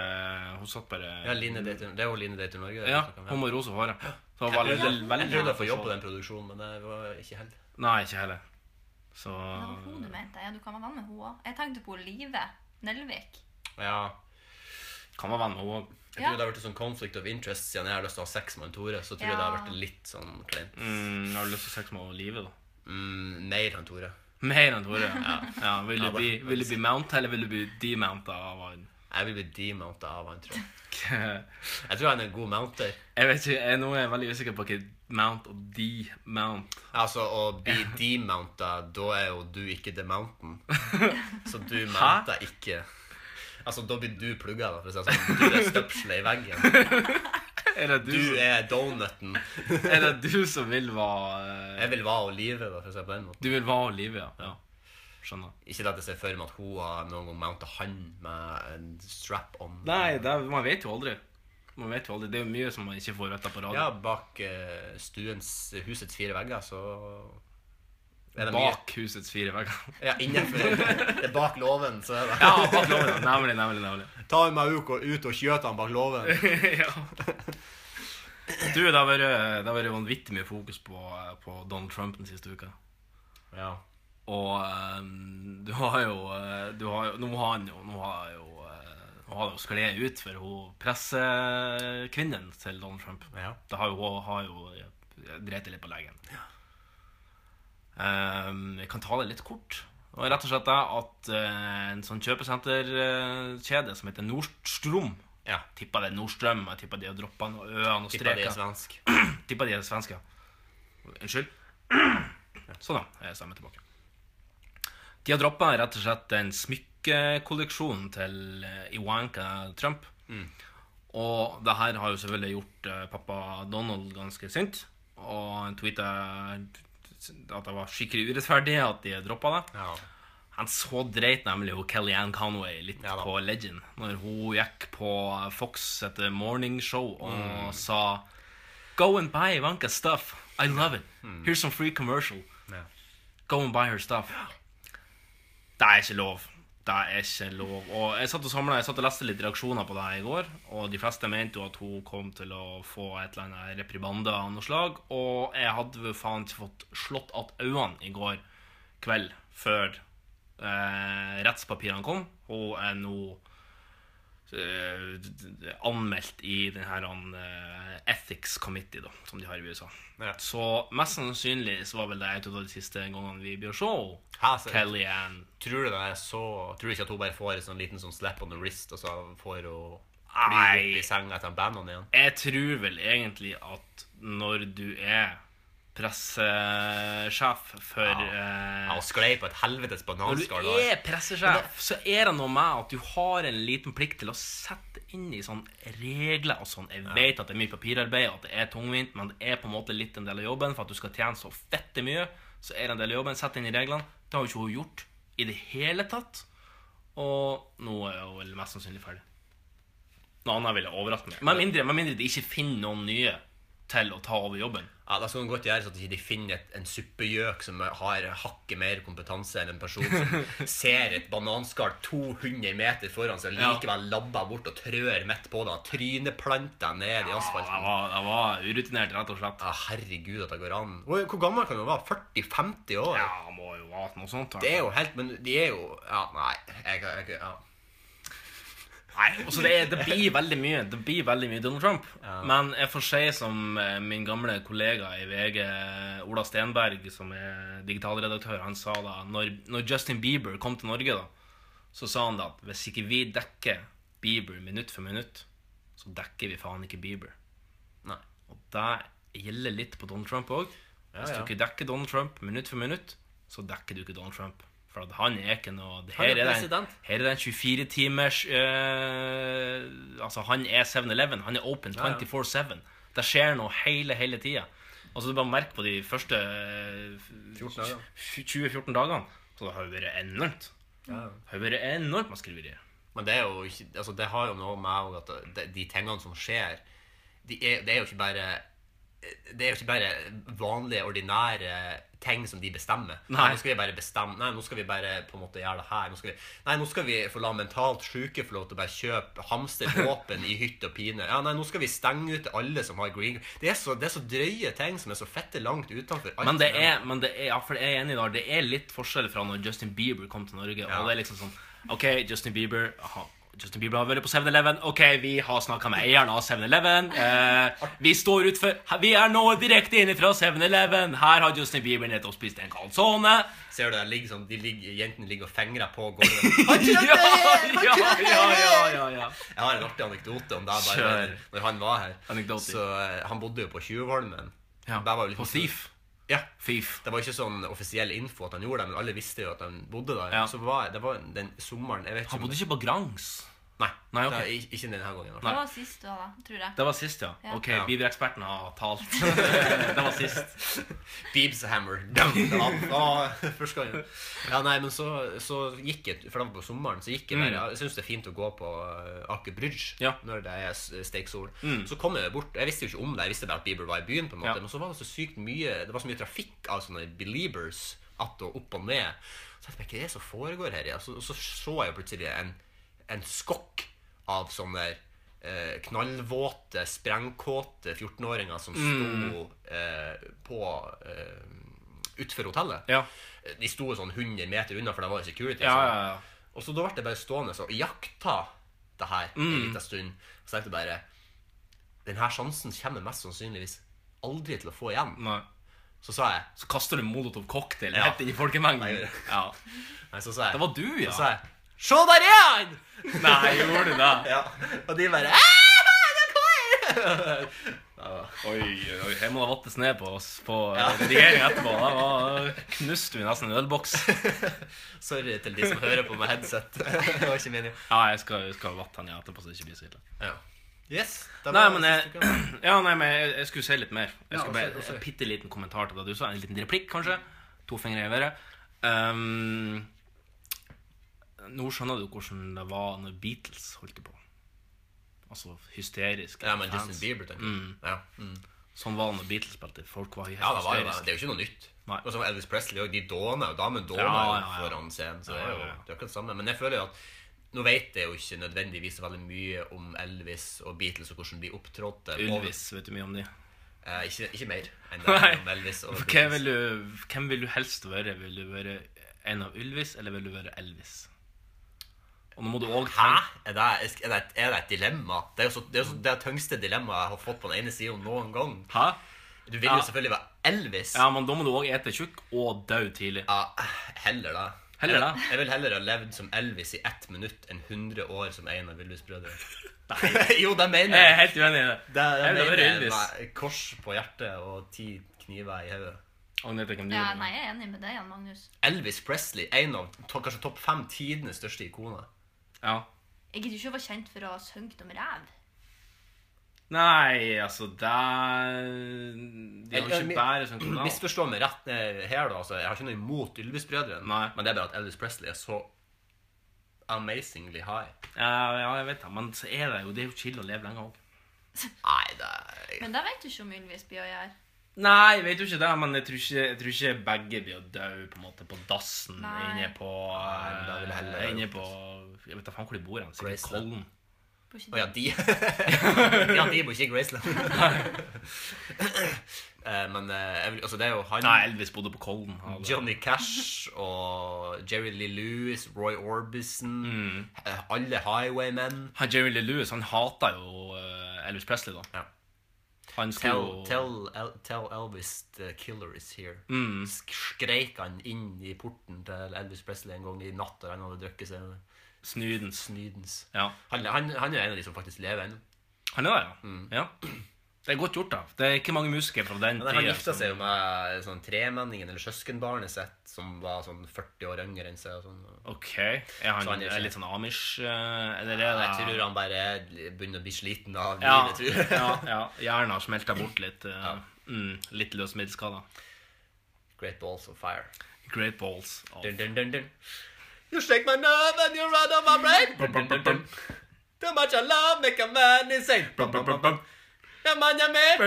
Hun satt bare
Ja, Line dater, det er jo Line Dater Norge.
Ja,
jeg
hun
snakker om.
med rosa hår. Så hun var veldig, veldig,
jeg trodde jeg
for
fikk jobb på
så-
den produksjonen, men det var ikke helt
Nei, ikke heller. Så
Det var hun du
Ah.
mente. Ja, du kan være venn med henne òg. Jeg tenkte på Live Nelvik.
Ja.
kan være venn med henne òg.
Jeg
Ja.
tror det har vært en sånn conflict of interest siden jeg har lyst til å ha sex med han Tore. Så tror jeg det har
Ja.
vært litt sånn kleint.
Mm, jeg har lyst til å sex med Live, da.
Mm, mer han Tore.
Mer enn Tore. Ja. Ja, vil,
Ja,
du
da.
bli, vil du bli mounta, eller vil du bli demounta av han?
Jeg vil bli demounta av han, tror jeg.
Jeg
Jeg tror han er en god mounter.
vet ikke, jeg, nå er jeg veldig usikker på hva mount og demount
Altså, å bli demounta, da er jo du ikke the mountain. Så du
Hæ?
mounta ikke. Altså, da blir du plugga, da, for å si det sånn. Du er støpselet i veggen.
Er det du,
Du er donuten.
som- er det du som vil være eh,
Jeg vil være Olive, da, for å si det på den måten.
Du vil være Olivia? Ja. Skjønner.
Ikke det at jeg ser for meg at hun har noen gang mounta han med en strap-on.
Nei, det, er- man vet jo aldri. Man vet jo aldri. Det er jo mye som man ikke får vite på radio.
Ja, bak eh, stuens, husets fire vegger, så er det mye-
Bak husets fire vegger.
Ja, innenfor. Det er bak låven, så er det
Ja, bak loven. Nemlig, nemlig, nemlig.
Ta meg ut og, ut og kjøt han bak låven.
ja. Du, det har vært, det har vært vanvittig mye fokus på, på Donald Trump den siste uka.
Ja.
Og ehm, du har jo, eh, du har jo Nå har han jo Nå har jo eh, nå har det jo skled ut for hun pressekvinnen til Donald Trump.
Ja.
Det har jo, hun har jo eh, dreit litt på legen. Ehm, jeg kan ta det litt kort. Og rett og slett det at eh, en sånn kjøpesenterkjede som heter Nordstrom
ja.
Tippa det er Nordstrøm, jeg tippa de har droppa noe øene og
Tipper det
streker.
er svensk.
Tippa de er svenske. Unnskyld. Sånn, da. Jeg stemmer tilbake. De har droppa rett og slett den smykkekolleksjonen til eh, Ivanka Trump.
Mm.
Og det her har jo selvfølgelig gjort eh, pappa Donald ganske sint. Og han tweeta at det var skikkelig urettferdig at de droppa det.
Ja.
Han så dreit nemlig hun Kellyanne Conway litt
Ja da.
på Legend når hun gikk på Fox etter morning show og
Mm.
sa Go and buy Ivanka stuff. I love it. Here's some free commercial.
Mm. Ja.
Go and buy her stuff. Det er ikke lov. Det er ikke lov. Og jeg satt og samlet, jeg satt og leste litt reaksjoner på det her i går, og de fleste mente jo at hun kom til å få et eller annet reprimande av noe slag, og jeg hadde vel faen ikke fått slått att øynene i går kveld før eh, rettspapirene kom. Hun er nå eh, d- d- anmeldt i den her eh, Ethics Committee, da, som de har i USA.
Ja.
Så mest sannsynlig så var vel det en av de siste gangene vi bør se henne.
Hæ, så-
Kellyanne
Tror du det er så Tror du ikke at hun bare får en sånn liten sånn slap on the wrist, og så får hun fly
Nei.
opp i senga etter bandene igjen?
Jeg tror vel egentlig at når du er pressesjef for
Ja,
eh,
og sklei på et helvetes
Når
bananskall.
du
da.
er pressesjef, så er det noe med at du har en liten plikt til å sette inn i sånne regler og sånn. Jeg vet at det er mye papirarbeid, og at det er tungvint, men det er på en måte litt en del av jobben. For at du skal tjene så fette mye, så er det en del av jobben. Sett inn i reglene. Det har jo ikke hun gjort i det hele tatt. Og nå er hun vel mest sannsynlig ferdig. Noe annet ville overraske meg. Med mindre, med mindre de ikke finner noen nye til å ta over jobben.
Ja, Da skal man godt gjøre så at de ikke finner et, en suppegjøk som har hakket mer kompetanse enn en person som ser et bananskall 200 meter foran seg, og
Ja.
likevel labber bort og trør midt på det, og tryneplanter ned i
Det
asfalten.
var, det var urutinert, rett og slett.
Ja, herregud at det går an. Hvor hvor gammel kan hun være? 40-50 år?
Ja, må jo ha noe sånt. da.
Det er jo helt Men de er jo Ja, nei. Jeg, jeg, jeg, ja.
Nei, altså det, er, det blir veldig mye Det blir veldig mye Donald Trump. Men jeg får si som eh, min gamle kollega i VG, Ola Stenberg, som er digitalredaktør, han sa da når, når Justin Bieber kom til Norge, da, så sa han da at hvis ikke vi dekker Bieber minutt for minutt, så dekker vi faen ikke Bieber.
Nei.
Og det gjelder litt på Donald Trump òg. Hvis
ja.
du ikke dekker Donald Trump minutt for minutt, så dekker du ikke Donald Trump. For at han er ikke noe det
Han er
her, er den,
president.
her er den 24 timers eh, Altså, han er 7-Eleven. Han er open 24-7. Det skjer noe hele, hele tida. Altså, du bare merker på de første eh,
14 dager.
20-14 dagene. Så det har jo vært enormt. Det har jo vært enormt med skriverier.
Men det er jo ikke Altså, det har jo noe med at de, de tingene som skjer, de er, det er jo ikke bare det er jo ikke bare vanlige, ordinære ting som de bestemmer.
Nei.
Nå skal vi bare bestemme Nei, nå skal vi bare på en måte gjøre det her. Nå skal vi, nei, nå skal vi få la mentalt syke få lov til å bare kjøpe hamstervåpen i hytt og pine. Ja, nei, nå skal vi stenge ut alle som har green Det er så, det er så drøye ting som er så fette langt utenfor alt
Men det
som
er, men det er, ja, for jeg er enig i det, det er litt forskjell fra når Justin Bieber kom til Norge.
Ja.
Og det er liksom sånn OK, Justin Bieber aha, Justin Bieber har vært på 7-Eleven. OK, vi har snakka med eieren av 7-Eleven. Eh, vi står utfor Vi er nå direkte inne fra 7-Eleven. Her har Justin Bieber nettopp spist en calzone.
Ser du det ligger sånn, de ligger, Jentene ligger og fingrer på gulvet.
Ja, ja, ja, ja, ja, ja.
Jeg har en artig anekdote om deg bare
Kjør.
når, når han var her.
Anekdote.
Så eh, Han bodde jo på Tjuvholmen.
ja.
Det var jo litt-
På Thief.
Ja.
Thief.
Det var ikke sånn offisiell info at han gjorde det, men alle visste jo at han bodde der.
Ja.
Så var, det var den sommeren jeg vet ikke
Han
om-
bodde ikke på Grangs.
Nei,
Nei, ok.
det er ikke- ikke denne gangen. i hvert fall.
Det var sist da, da, tror jeg.
Det var sist, ja.
Ja.
OK,
Ja.
Bieber-eksperten har talt. det var sist.
Beebs hammer. Dum, det var- det var Første gangen. Ja, nei, men så, så gikk jeg For det var på sommeren. Så gikk jeg
Mm.
der. Jeg syns det er fint å gå på eh, Aker Bridge
Ja.
når det er s- steiksol.
Mm.
Så kom jeg bort. Jeg visste jo ikke om det. Jeg visste bare at Bieber var i byen. på en måte
Ja.
Men så var det så sykt mye Det var så mye trafikk av sånne believers att og opp og ned. Så jeg tenkte, hva er det som foregår her? Ja? Så, så så jeg jo plutselig en, en skokk av sånne eh, knallvåte, sprengkåte 14-åringer som
Mm.
sto eh, på eh, utfor hotellet.
Ja.
De sto sånn 100 meter unna, for det var jo security.
Ja,
sånn.
ja, ja.
Og så da ble jeg bare stående og jakta det her
Mm.
en liten stund. Og så tenkte jeg bare Denne sjansen kommer mest sannsynligvis aldri til å få igjen.
Nei.
Så sa jeg
Så kaster du molotov cocktail
Ja.
rett inn i folkemengden.
Nei,
Ja.
Nei, så sa jeg
Det var du, ja.
Så sa jeg Se der er han!
Nei, gjorde du det?
Ja. Og de bare «Ah, han er kommet!»
Oi, oi, oi. Jeg må da vattes ned på oss på ja. redigeringa etterpå. Da var- knuste vi nesten en ølboks.
Sorry til de som hører på med headset. det var ikke meningen.
Ja, jeg skal, jeg skal vatte han i etterpå, så det ikke blir så ille.
Ja. Yes. det
Nei,
var
men
siste
jeg,
uka.
ja, nei, men jeg, jeg skulle si litt mer. Jeg
Ja,
skal
også-
bare
også-
En bitte liten kommentar til det du sa. En liten replikk, kanskje. To fingre i været. Ehm, nå skjønner du hvordan det var når Beatles holdt på. Altså hysterisk.
Ja, men
fans. Mm.
Justin Bieber, tenker jeg. Ja.
Sånn var det når Beatles spilte. Folk var helt
Ja, det, var, jo det
hysteriske.
det er jo ikke noe nytt.
Nei.
Og som Elvis Presley også, De dåna jo. Damen dåna
Ja, ja,
jo
ja.
foran scenen. Så det er jo
Ja, ja,
det
ja.
er akkurat det samme. Men jeg føler jo at nå vet jeg jo ikke nødvendigvis så veldig mye om Elvis og Beatles og hvordan de opptrådte.
Ylvis, vet du mye om de?
Eh, ikke, ikke mer enn det
Nei.
om Elvis og
Hva
Beatles.
vil du, hvem vil du helst være? Vil du være en av Ylvis, eller vil du være Elvis? Og nå må du òg
Hæ? Er det, er, det et, er det et dilemma? Det er jo så, det, er jo så, det er det tyngste dilemmaet jeg har fått på den ene siden noen gang.
Hæ?
Du vil
Ja.
jo selvfølgelig være Elvis.
Ja, men da må du òg ete tjukk og dø tidlig.
Ja, heller da.
Heller da.
Jeg, jeg vil heller ha levd som Elvis i ett minutt enn 100 år som en av Willys brødre. jo, det mener
Jeg er
jeg.
helt uenig i det.
Det, det
Eh, jeg vil
mener
være
jeg
Elvis.
med kors på hjertet og ti kniver i hodet.
Agnete, hvem du
Ja,
vil være?
nei, jeg er enig med deg, Jan Magnus.
Elvis Presley, en av to, kanskje topp fem tidenes største ikoner.
Ja.
Jeg gidder ikke å være kjent for å ha sunget om ræv.
Nei, altså der De har jo
Jeg- jeg-
ikke bare sånn kanal.
Misforstå meg rett eh, her, da. Altså, jeg har ikke noe imot Ylvis-brødrene,
Nei.
men det er bare at Elvis Presley er så amazingly high.
Ja, ja, jeg vet det, men så er det jo det er jo chill å leve lenge òg.
Nei, det er
Men det vet du ikke om Ylvis blir å gjøre.
Nei, jeg vet jo ikke det, men jeg tror ikke, jeg tror ikke begge blir å dø på en måte på dassen
Nei.
inne på
Nei, men da vil jeg heller-
eh, Inne på Jeg vet da faen hvor de bor hen. Sikkert
Graceland.
Kollen.
Blir ikke
Å ja,
det?
de Ja, de bor ikke i Graceland. Eh, Men eh, jeg vil, altså, det er jo han
Nei, Elvis bodde på Kollen. han-
Johnny Cash og Jerry Lee Lewis, Roy Orbison
Mm.
eh, Alle highwaymen.
Han Jerry Lee Lewis han hata jo eh, Elvis Presley, da.
Ja.
Han
Tell,
skulle jo
tell, El, tell Elvis the killer is here. Mm. Skreik han inn i porten til Elvis Presley en gang i natt da han hadde drukket seg
Snydens.
snydens.
Ja.
Han, han, han er jo en av de som faktisk lever ennå.
Han er det, ja.
Mm.
ja. Det er godt gjort, da. Det er ikke mange musikere fra den
Men han
tida
gifta seg jo med sånn tremenningen eller søskenbarnet sitt, som var sånn 40 år yngre enn seg. og sånn.
Ok, er han,
Så han er
er
ikke-
litt sånn Amish, eh, eller er det
Jeg tror han bare begynner å bli sliten av
ja,
livet, tror jeg.
ja, ja, hjernen har smelta bort litt. eh, mm, litt løs middelskader.
Great balls of fire.
Great balls. of-
Dun, dun, dun, dun. You shake my nerve and you run on my brain. Dun, dun, dun, dun. Too much I love make a man insane. Bum, bum, bum, bum. A man jeg med,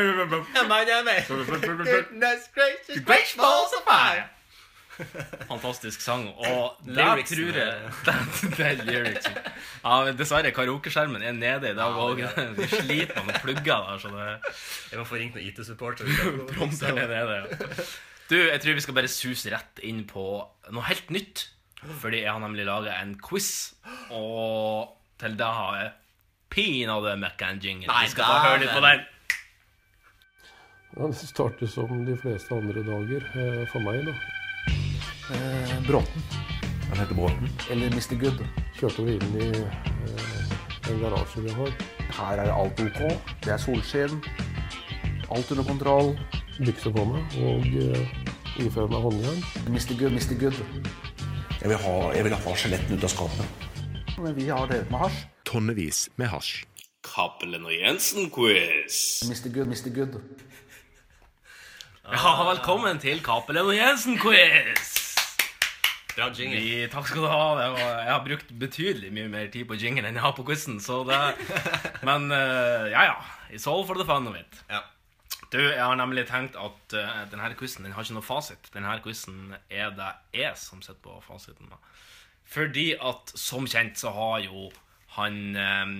a man jeg med. Goodness gracious, great balls of fire.
Fantastisk sang. Og der
Lyricsen
tror jeg
er-
det, det er lyricsen. Ja, men dessverre, karaokeskjermen er nede i dag òg.
det er
Vi sliter med noen plugger der, så det
Jeg må få ringt noen IT-supporter.
prompter er nede. ja. Du, jeg tror vi skal bare suse rett inn på noe helt nytt. Fordi jeg har nemlig laga en quiz, og til det har jeg pinadø mekka en jingle.
Nei,
Vi skal få høre litt på den.
Ja, det starter som de fleste andre dager, eh, for meg, da. Bråten.
Han heter Bråten.
Eh, eller Mr. Good.
Kjørte over inn i eh, en garasje vi har.
Her er alt ok. Det er solskinn. Alt under kontroll.
Bykse på meg og eh, iføre meg håndjern.
Mr. Good, Mr. Good.
Jeg vil ha, jeg vil ha skjeletten ut av skapet.
Men vi har drevet med hasj.
Tonnevis med hasj.
Cappelen og Jensen-quiz.
Mr. Good, Mr. Good.
Ja, Ah, velkommen til Cappelen og Jensen-quiz.
Bra jingle.
Vi- Takk skal du ha. Det var, jeg har brukt betydelig mye mer tid på jingle enn jeg har på quizen, så det Men eh, ja, ja. It's all for the fun of it.
Ja.
Du, jeg har nemlig tenkt at eh, denne quizen den har ikke noe fasit. Denne quizen er det jeg som sitter på fasiten. Da. Fordi at som kjent så har jo han eh,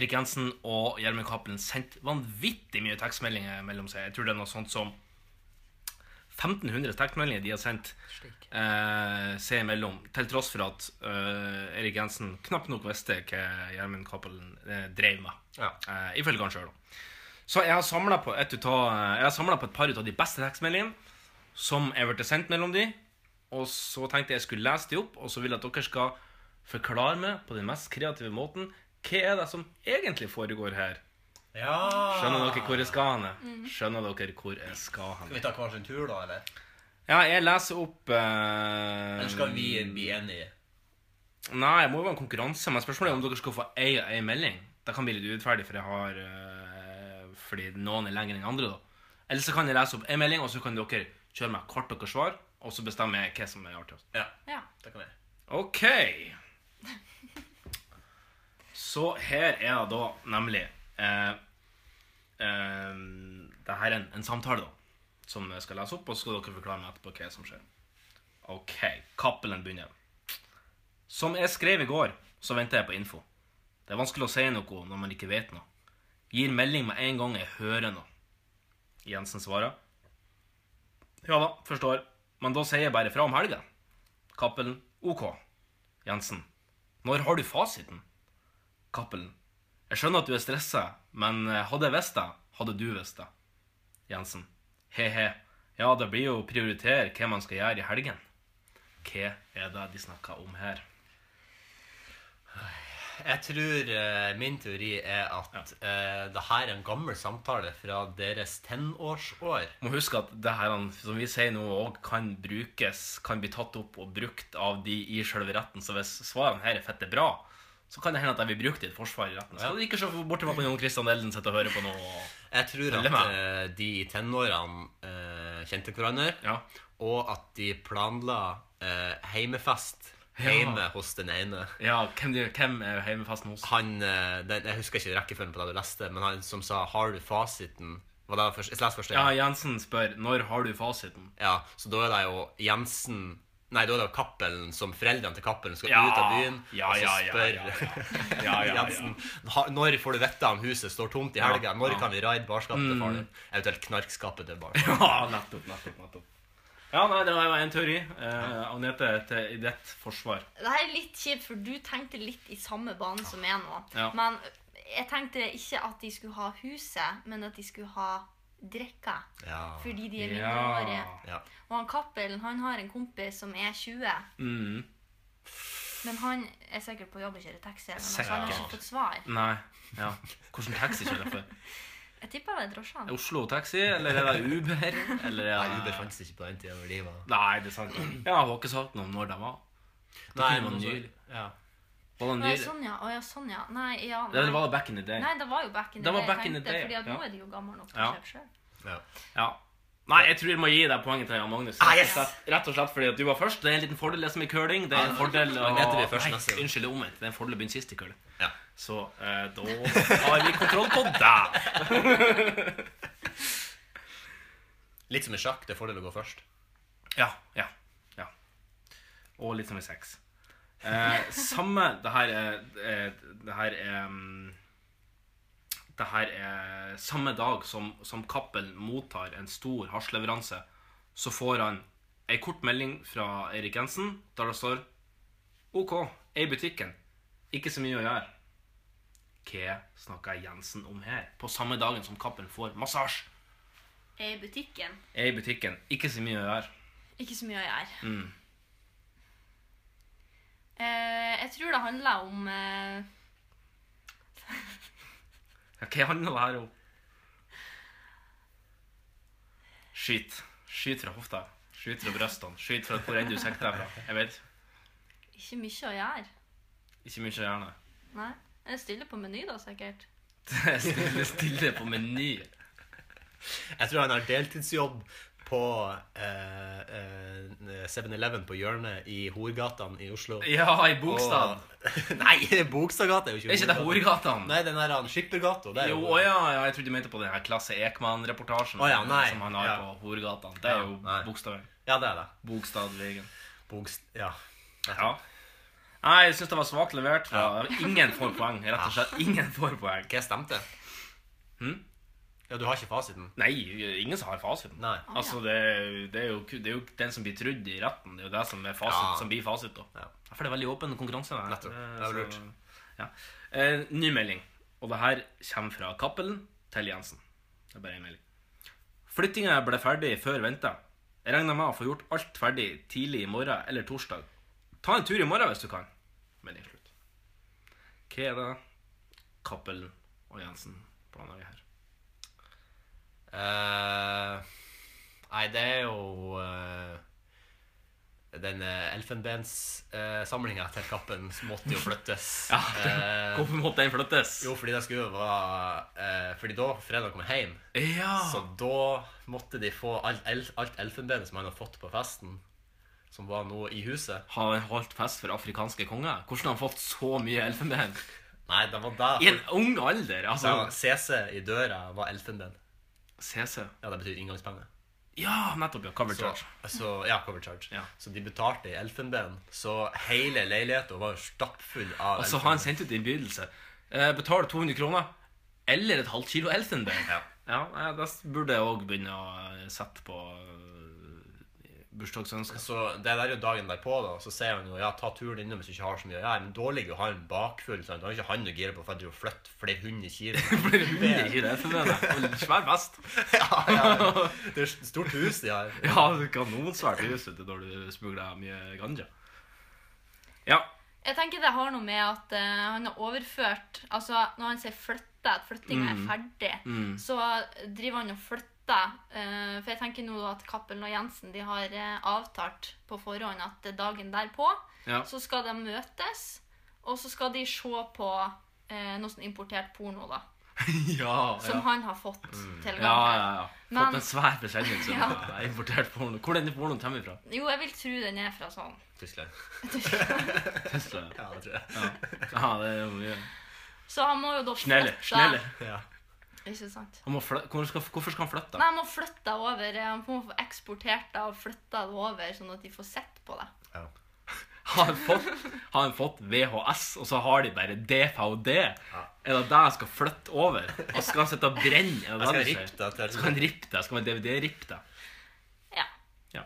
Erik Jensen og Gjermund Cappelen sendt vanvittig mye tekstmeldinger mellom seg. Jeg tror det er noe sånt som 1500 tekstmeldinger de har sendt eh, seg imellom. Til tross for at eh, Erik Jensen knapt nok visste hva Gjermund Cappelen eh, drev med.
Ja.
Eh, ifølge han sjøl, da. Så jeg har samla på, et utav- jeg har samlet på et par ut av de beste tekstmeldingene som er blitt sendt mellom de. Og så tenkte jeg jeg skulle lese de opp, og så vil jeg at dere skal forklare meg på den mest kreative måten hva er det som egentlig foregår her.
ja.
Skjønner dere hvor jeg skal hen? Skjønner dere hvor jeg skal hen?
Skal vi ta hver sin tur, da, eller?
Ja, jeg leser opp eh,
Eller skal vi bli enige?
Nei, jeg må jo være en konkurranse, men spørsmålet er om dere skal få ei og ei melding. Det kan bli litt urettferdig, for jeg har eh, Fordi noen er lenger enn andre, da. Eller så kan jeg lese opp ei melding, og så kan dere kjøre meg hvert deres svar. Og så bestemmer jeg hva som er artigst.
Ja,
Ja.
det kan vi.
OK. Så her er det da nemlig eh, eh, Det her er en, en samtale, da, som jeg skal lese opp, og så skal dere forklare meg etterpå hva som skjer. OK. Cappelen begynner. Som jeg skrev i går, så venter jeg på info. Det er vanskelig å si noe når man ikke vet noe. Gir melding med en gang jeg hører noe. Jensen svarer. Ja da, forstår. Men da sier jeg bare fra om helga. Cappelen. OK. Jensen. Når har du fasiten? Cappelen. Jeg skjønner at du er stressa, men eh, hadde jeg visst det, hadde du visst det. Jensen. He-he. Ja, det blir jo å prioritere hva man skal gjøre i helgen. Hva er det de snakker om her?
Jeg tror eh, min teori er at eh, det her er en gammel samtale fra deres tenårsår.
Må huske at det her som vi sier nå, òg kan brukes, kan bli tatt opp og brukt av de i sjølve retten. Så hvis svarene her er fette bra, så kan det hende at de blir brukt i et forsvar i retten. Så ja. ikke se bort til meg på Jon Christian Elden sitter og hører på noe.
Jeg tror at
Følger med.
eh, de i tenårene eh, kjente hverandre,
Ja.
og at de planla eh, heimefest hjemme hos den ene.
Ja, hvem, hvem er hjemmefesten hos?
Han, eh, den, Jeg husker ikke rekkefølgen på det du leste, men han som sa 'Har du fasiten?' Var det først, jeg leser først det.
Ja, Jensen spør når har du fasiten.
Ja, så da er det jo Jensen Nei, da er det jo Cappelen som foreldrene til Cappelen skal
Ja.
ut av byen.
Ja,
og så
ja, ja,
spør
ja, Ja, ja, ja.
Jensen "Ha- når får du vite om huset står tomt i helga.
Ja,
Når
ja.
kan vi raide barskapet til faren din? Eventuelt knarkskapet til barn.
Ja, nettopp, nettopp, nettopp. Ja, nei, det var en teori. Eh, Anette til i ditt forsvar.
Det her er litt kjipt, for du tenkte litt i samme bane som jeg nå.
Ja.
Men jeg tenkte ikke at de skulle ha huset, men at de skulle ha drikka.
Ja.
Fordi de er mindreårige.
Ja.
ja.
Og han Cappelen han har en kompis som er 20,
Mm.
men han er sikkert på jobb og kjører taxi. eller noe, Så han har
Sikkert.
ikke fått svar.
Nei. Ja. Hvordan taxi kjører jeg for?
Jeg tipper det er
Er
drosjene.
Oslo Taxi, eller er det Uber? Eller er
Nei,
det...
Uber fantes ikke på den tida. Nei,
Nei, det er sant. Ja, jeg har ikke sagt noe om når det var. kunne man
men
nylig.
også- ja.
Var det,
Nei,
nylig?
sånn ja. Å ja, sånn ja. Nei, ja.
Eller var det back in the day?
Nei, det var jo back in the
Det var
day.
back in the
tenkte jeg,
day,
Fordi at
ja.
nå er de jo gamle nok til
Ja.
å kjøpe sjøl.
Ja.
Ja. Nei, jeg tror jeg må gi deg poenget til Jan Magnus.
Ah, yes!
Rett- Rett og slett fordi at du var først. Det er en liten fordel, det som i curling. Det Ah, er en fordel å...
men etter det første
Nei,
neste gang.
unnskyld, det er omvendt. Det er en fordel å begynne sist i curling.
Ja.
Så eh, da har vi kontroll på deg.
Litt som i sjakk. Det er fordel å gå først.
Ja, ja, ja. Og litt som i sex. Eh, samme Det her er eh, Det her er mm, Det her er samme dag som, som Cappelen mottar en stor hasjleveranse, så får han ei kort melding fra Eirik Jensen der det står OK, jeg er i butikken. Ikke så mye å gjøre. Hva snakker Jensen om her? På samme dagen som Cappelen får massasje.
Jeg er i butikken.
Jeg er i butikken. Ikke så mye å gjøre.
Ikke så mye å gjøre. Eh, jeg tror det handler om eh,
Ja, Hva handler det her om? Skyt. Skyt fra hofta. Skyt fra brystene. Skyt fra hvor enn du sikter deg fra. Jeg vet.
ikke mye å gjøre.
Ikke mye gjerne.
Nei. Jeg stiller på Meny, da, sikkert.
Stille, stille på meny.
Jeg tror han har deltidsjobb på eh, eh, 7-Eleven på hjørnet i Horgatene i Oslo.
Ja, i Bogstad.
Og- Nei, Bogstadgata er jo ikke
Er ikke det Horgatan?
Nei, den der han Skippergata. det er
Jo, å ja, ja, jeg trodde du mente på den her Klasse Ekman-reportasjen
Å ja, nei.
som han har
Ja.
på Horgatan. Det er jo
Ja, nei.
bokstaven.
Ja, det er det.
Bogstadvegen.
Bogst... Ja.
Ja. Nei, jeg syns det var svakt levert. fra- Ingen får poeng. Rett og slett ingen får poeng.
Hva stemte?
Hm?
Ja, du har ikke fasiten?
Nei, ingen som har fasiten.
Nei.
Å,
Altså, det, er jo- det, er jo, ku- det er jo den som blir trudd i retten. Det er jo det som, er fasit,
Ja.
som blir fasit. da.
Ja.
Ja, For det er veldig åpen konkurranse. der.
Nettopp. Det er
Eh,
jo
så-
lurt.
Ja. Eh, ny melding. Og det her kommer fra Cappelen til Jensen. Det er bare en melding. Flyttinga ble ferdig før venta. Jeg regner med å få gjort alt ferdig tidlig i morgen eller torsdag. Ta en tur i morgen hvis du kan. Melding slutt. Hva er det Cappelen og Jensen planlegger her?
Eh, nei, det er jo eh, den eh, elfenbenssamlinga eh, til Kappen som måtte jo flyttes.
Ja,
Eh,
Hvorfor måtte den flyttes?
jo, fordi det skulle jo være eh, Fordi da Fredag kom hjem,
Ja.
Så da måtte de få alt, el- alt elfenbenet som han hadde fått på festen, som var nå i huset.
Har han holdt fest for afrikanske konger? Hvordan har han fått så mye elfenben?
Nei, det var da
I en ung alder! altså
da CC i døra var elfenben.
CC.
Ja, det betyr inngangspenge.
Ja, nettopp. ja, Cover
Så,
charge.
så, ja, cover charge.
Ja.
Så de betalte i elfenben. Så hele leiligheten var jo stappfull av
Og så har han sendt ut innbydelse. Eh, Betal 200 kroner eller et halvt kilo elfenben.
Ja.
Ja, eh, Da burde jeg òg begynne å eh, sette på eh, bursdagsønsker.
Så det der er jo dagen derpå, da. Så sier han jo ja, ta turen innom hvis du ikke har så mye å gjøre. Men da ligger jo han bakfull. Sant? Da er ikke han å gire på for å flytte flere hundre kilo.
Flere hundre kilo elfenben. og en Svær vest.
ja, ja. Det er et stort hus de har.
Ja, kanonsvært hus ute når du smugler mye ganja. Ja.
Jeg tenker det har noe med at eh, han har overført Altså, når han sier 'flytte', at flyttinga er ferdig, så driver han og flytter. eh, for jeg tenker nå at Cappelen og Jensen de har eh, avtalt på forhånd at det er dagen derpå
Ja.
så skal de møtes, og så skal de se på eh, noe sånn importert porno, da.
ja,
Som
ja. Mm.
han har fått
Ja,
tilgang til.
ja, ja. Fått
Men-
en svær bekjennelse.
Ja.
Ja. Importert porno. Hvor er denne pornoen kommer fra?
Jo, jeg vil tro den er fra sånn.
Tyskland.
Tyskland?
Ja, det tror jeg.
Ja, det er jo mye.
Så han må jo da
Snelle, snelle.
Ja.
Ikke sant?
Han må flytte. Hvor skal, hvorfor skal han flytte?
Nei, han må flytte det over. eh, Han må få eksportert det og flytta det over, sånn at de får sett på det.
Har han fått, har han fått VHS, og så har de bare DVD? Er det det jeg skal flytte over? Og skal han sitte og brenne? Er det det du
Jeg skal rippe
sier?
det til
Skal han rippe det? Skal han DVD-rippe det?
Ja.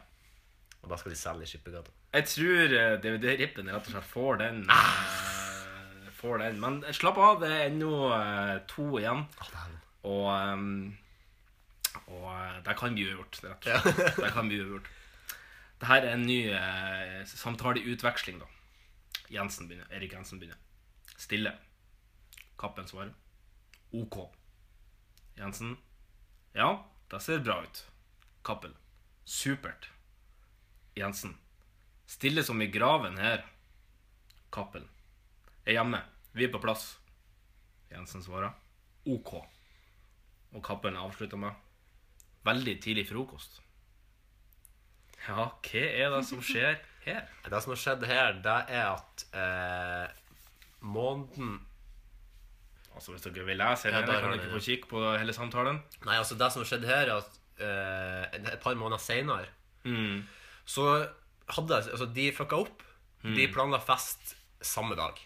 Og da skal de selge i Skippergata.
Jeg tror eh, DVD-rippen rett og slett får den. eh, Får den. Men slapp av, det er ennå eh, to igjen. Og, eh, og eh, det kan bli uavgjort, rett og slett. Det kan bli uavgjort. Dette er en ny eh, samtaleutveksling, da. Jensen begynner. Erik Jensen begynner. Stille. Kappen svarer. OK. Jensen. Ja, det ser bra ut. Kappel. Supert. Jensen. Stille som i graven her. Kappel. Jeg er hjemme. Vi er på plass. Jensen svarer. OK. Og Kappelen avslutter med. Veldig tidlig frokost. Ja, hva er det som skjer her?
Det som har skjedd her, det er at eh, måneden
Altså, Hvis dere vil lese
Ja,
den,
der
kan
har
dere
vi
få kikke på hele samtalen.
Nei, altså det som skjedde her er at eh, Et par måneder senere Mm. Så hadde altså, De fucka opp De planla fest samme dag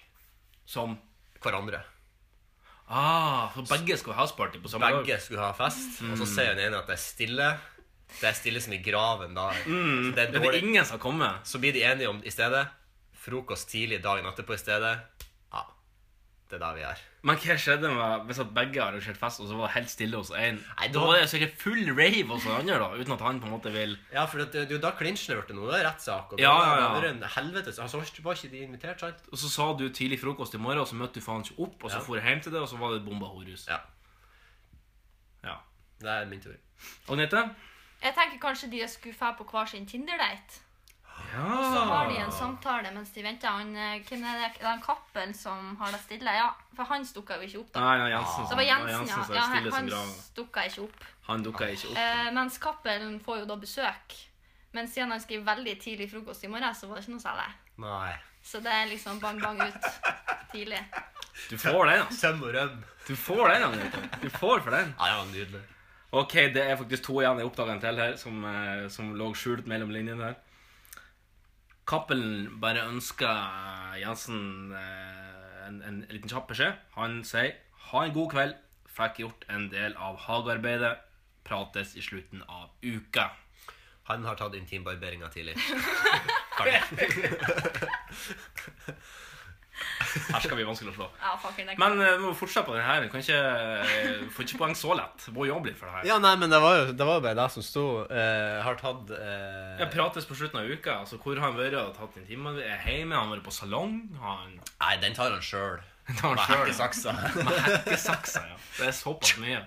Som
Hverandre
Ah, for begge skal ha houseparty på samme dag.
Begge skulle ha fest Og så sier den ene at det er stille Det er stille som i graven da så, Mm. det er
Det er det
dårlig.
ingen som har kommet.
så blir de enige om i stedet Frokost tidlig dagen etterpå i stedet Ja, det er der vi er
Men hva skjedde med hvis at begge har arrangert fest, og så var det helt stille hos én?
Nei,
Da
da-
var det sikkert full rave hos den andre, da, uten at han på en måte vil
Ja, for det, det er jo da klinsjen har vært noe Det er rettssak og det
Ja, ja,
er-
ja.
det er en Helvetes Altså, var ikke de invitert, sant?
Og så sa du tidlig frokost i morgen, og så møtte du faen ikke opp. Og så
Ja.
for jeg hjem til det, og så var det bomba horus.
Ja,
Ja.
det er min tur
Agnete?
Jeg tenker kanskje de skulle dra på hver sin Tinder-date. Så
Ja.
har de en samtale mens de venter. Han, eh, hvem er det? Det er han Kappelen som har det stille. Ja, for han stukka jo ikke opp, da.
Nei, nei, Ah, Jensen.
Det var Jensen, ja.
som
ja
er
han
stille som
han
graven.
stukka ikke opp.
Han dukka ikke opp.
Eh, mens Cappelen får jo da besøk. Men siden han skrev veldig tidlig frokost i morgen, så var det ikke noe særlig.
Nei
Så det er liksom bang, bang ut tidlig.
Du får den, altså.
Søm og røm
Du får den, Agnete. Du får for den.
Ja, ja, nydelig
Ok, det er faktisk to igjen jeg oppdaga en til her, som, eh, som lå skjult mellom linjene her. Cappelen bare ønsker Jensen eh, en, en liten kjapp beskjed. Han sier 'ha en god kveld', fikk gjort en del av hagearbeidet, prates i slutten av uka.
Han har tatt intimbarberinga tidlig.
Her skal vi vanskelig å slå.
Ja, fucker, det er
Men eh, vi må fortsette på den her. Vi Kan ikke eh, få ikke poeng så lett. Må jobbe litt for det her.
Ja, nei, men det var jo, det var jo bare det som sto. eh, har tatt eh,
Jeg prates på slutten av uka. altså Hvor har han vært? Har han tatt en time? Er han hjemme? Har han vært på salong? Har han
Nei, den tar han sjøl.
tar han selv?
Hakkesaksa.
Med hekkesaksa, ja. Det er såpass mye.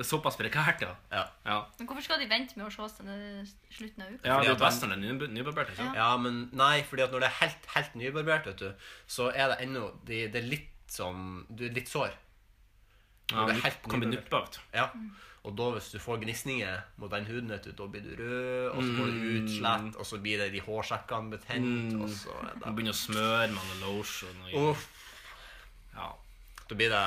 Det er såpass prekært, ja.
ja.
Ja,
Men hvorfor skal de vente med å se oss til det slutten av uka?
ja det er
at
jo western, det er nybe- nybarbert. ikke sant?
ja, men nei, fordi at når det er helt, helt nybarbert, vet du, så er det ennå de, Det er litt sånn Du er litt sår.
Ja,
det er
nupp-
helt
kan bli nuppa
nybarbert.
ut.
Ja. Og da, hvis du får gnisninger mot den huden, vet du, da blir du rød, og så går det ut slett, og så blir det de hårsekkene betent, og så er
Man
det
begynner å smøre med noe lotion og noe.
Uff.
Ja.
Da blir det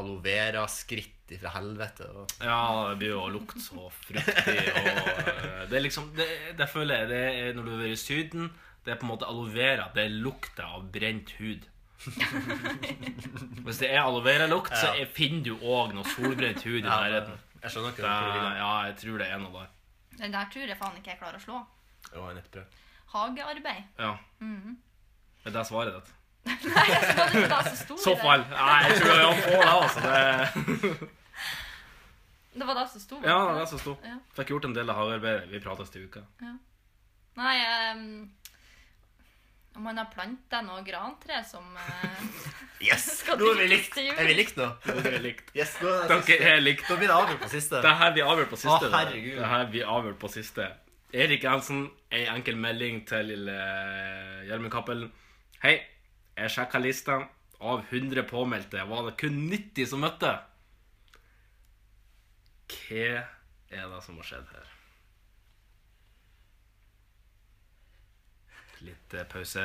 aloe vera-skritt lukt ifra helvete. Og
Ja, det blir jo lukt så fruktig. Og, eh, det er liksom, det, det føler jeg det er når du er i Syden. Det er på en måte aloe vera. Det er lukta av brent hud. Hvis det er aloe vera-lukt, så er, finner du òg noe solbrent hud i nærheten.
jeg skjønner ikke
Det,
hvor du vil hen.
ja, jeg tror det er noe der.
Den der tror jeg faen ikke jeg klarer å slå.
Det var en nettbrød.
Hagearbeid.
Ja.
Mhm.
Er det svaret ditt?
Nei, jeg skal ikke ta så stor i
Så
det.
fall. Nei, jeg tror han får det, altså. Det,
Det var da som sto.
ja, det er så stort.
Ja.
Fikk gjort en del av hagearbeidet. Vi prates til uka.
Nei, ehm, om man har planta noe grantre som eh,
Yes!
Skal
Nå er vi
du
likt.
til jul?
Er vi likt nå?
Det er likt.
Yes, nå er det
Dere
siste.
er likt.
Da blir det avgjort på siste.
Det er her vi avgjør på siste.
Å, herregud.
det er her vi avgjør på siste. Erik Hansen, ei enkel melding til eh, Gjermund Cappelen. Hei, jeg sjekka lista. Av 100 påmeldte var det kun 90 som møtte. Hva er det som har skjedd her? Litt eh, pause,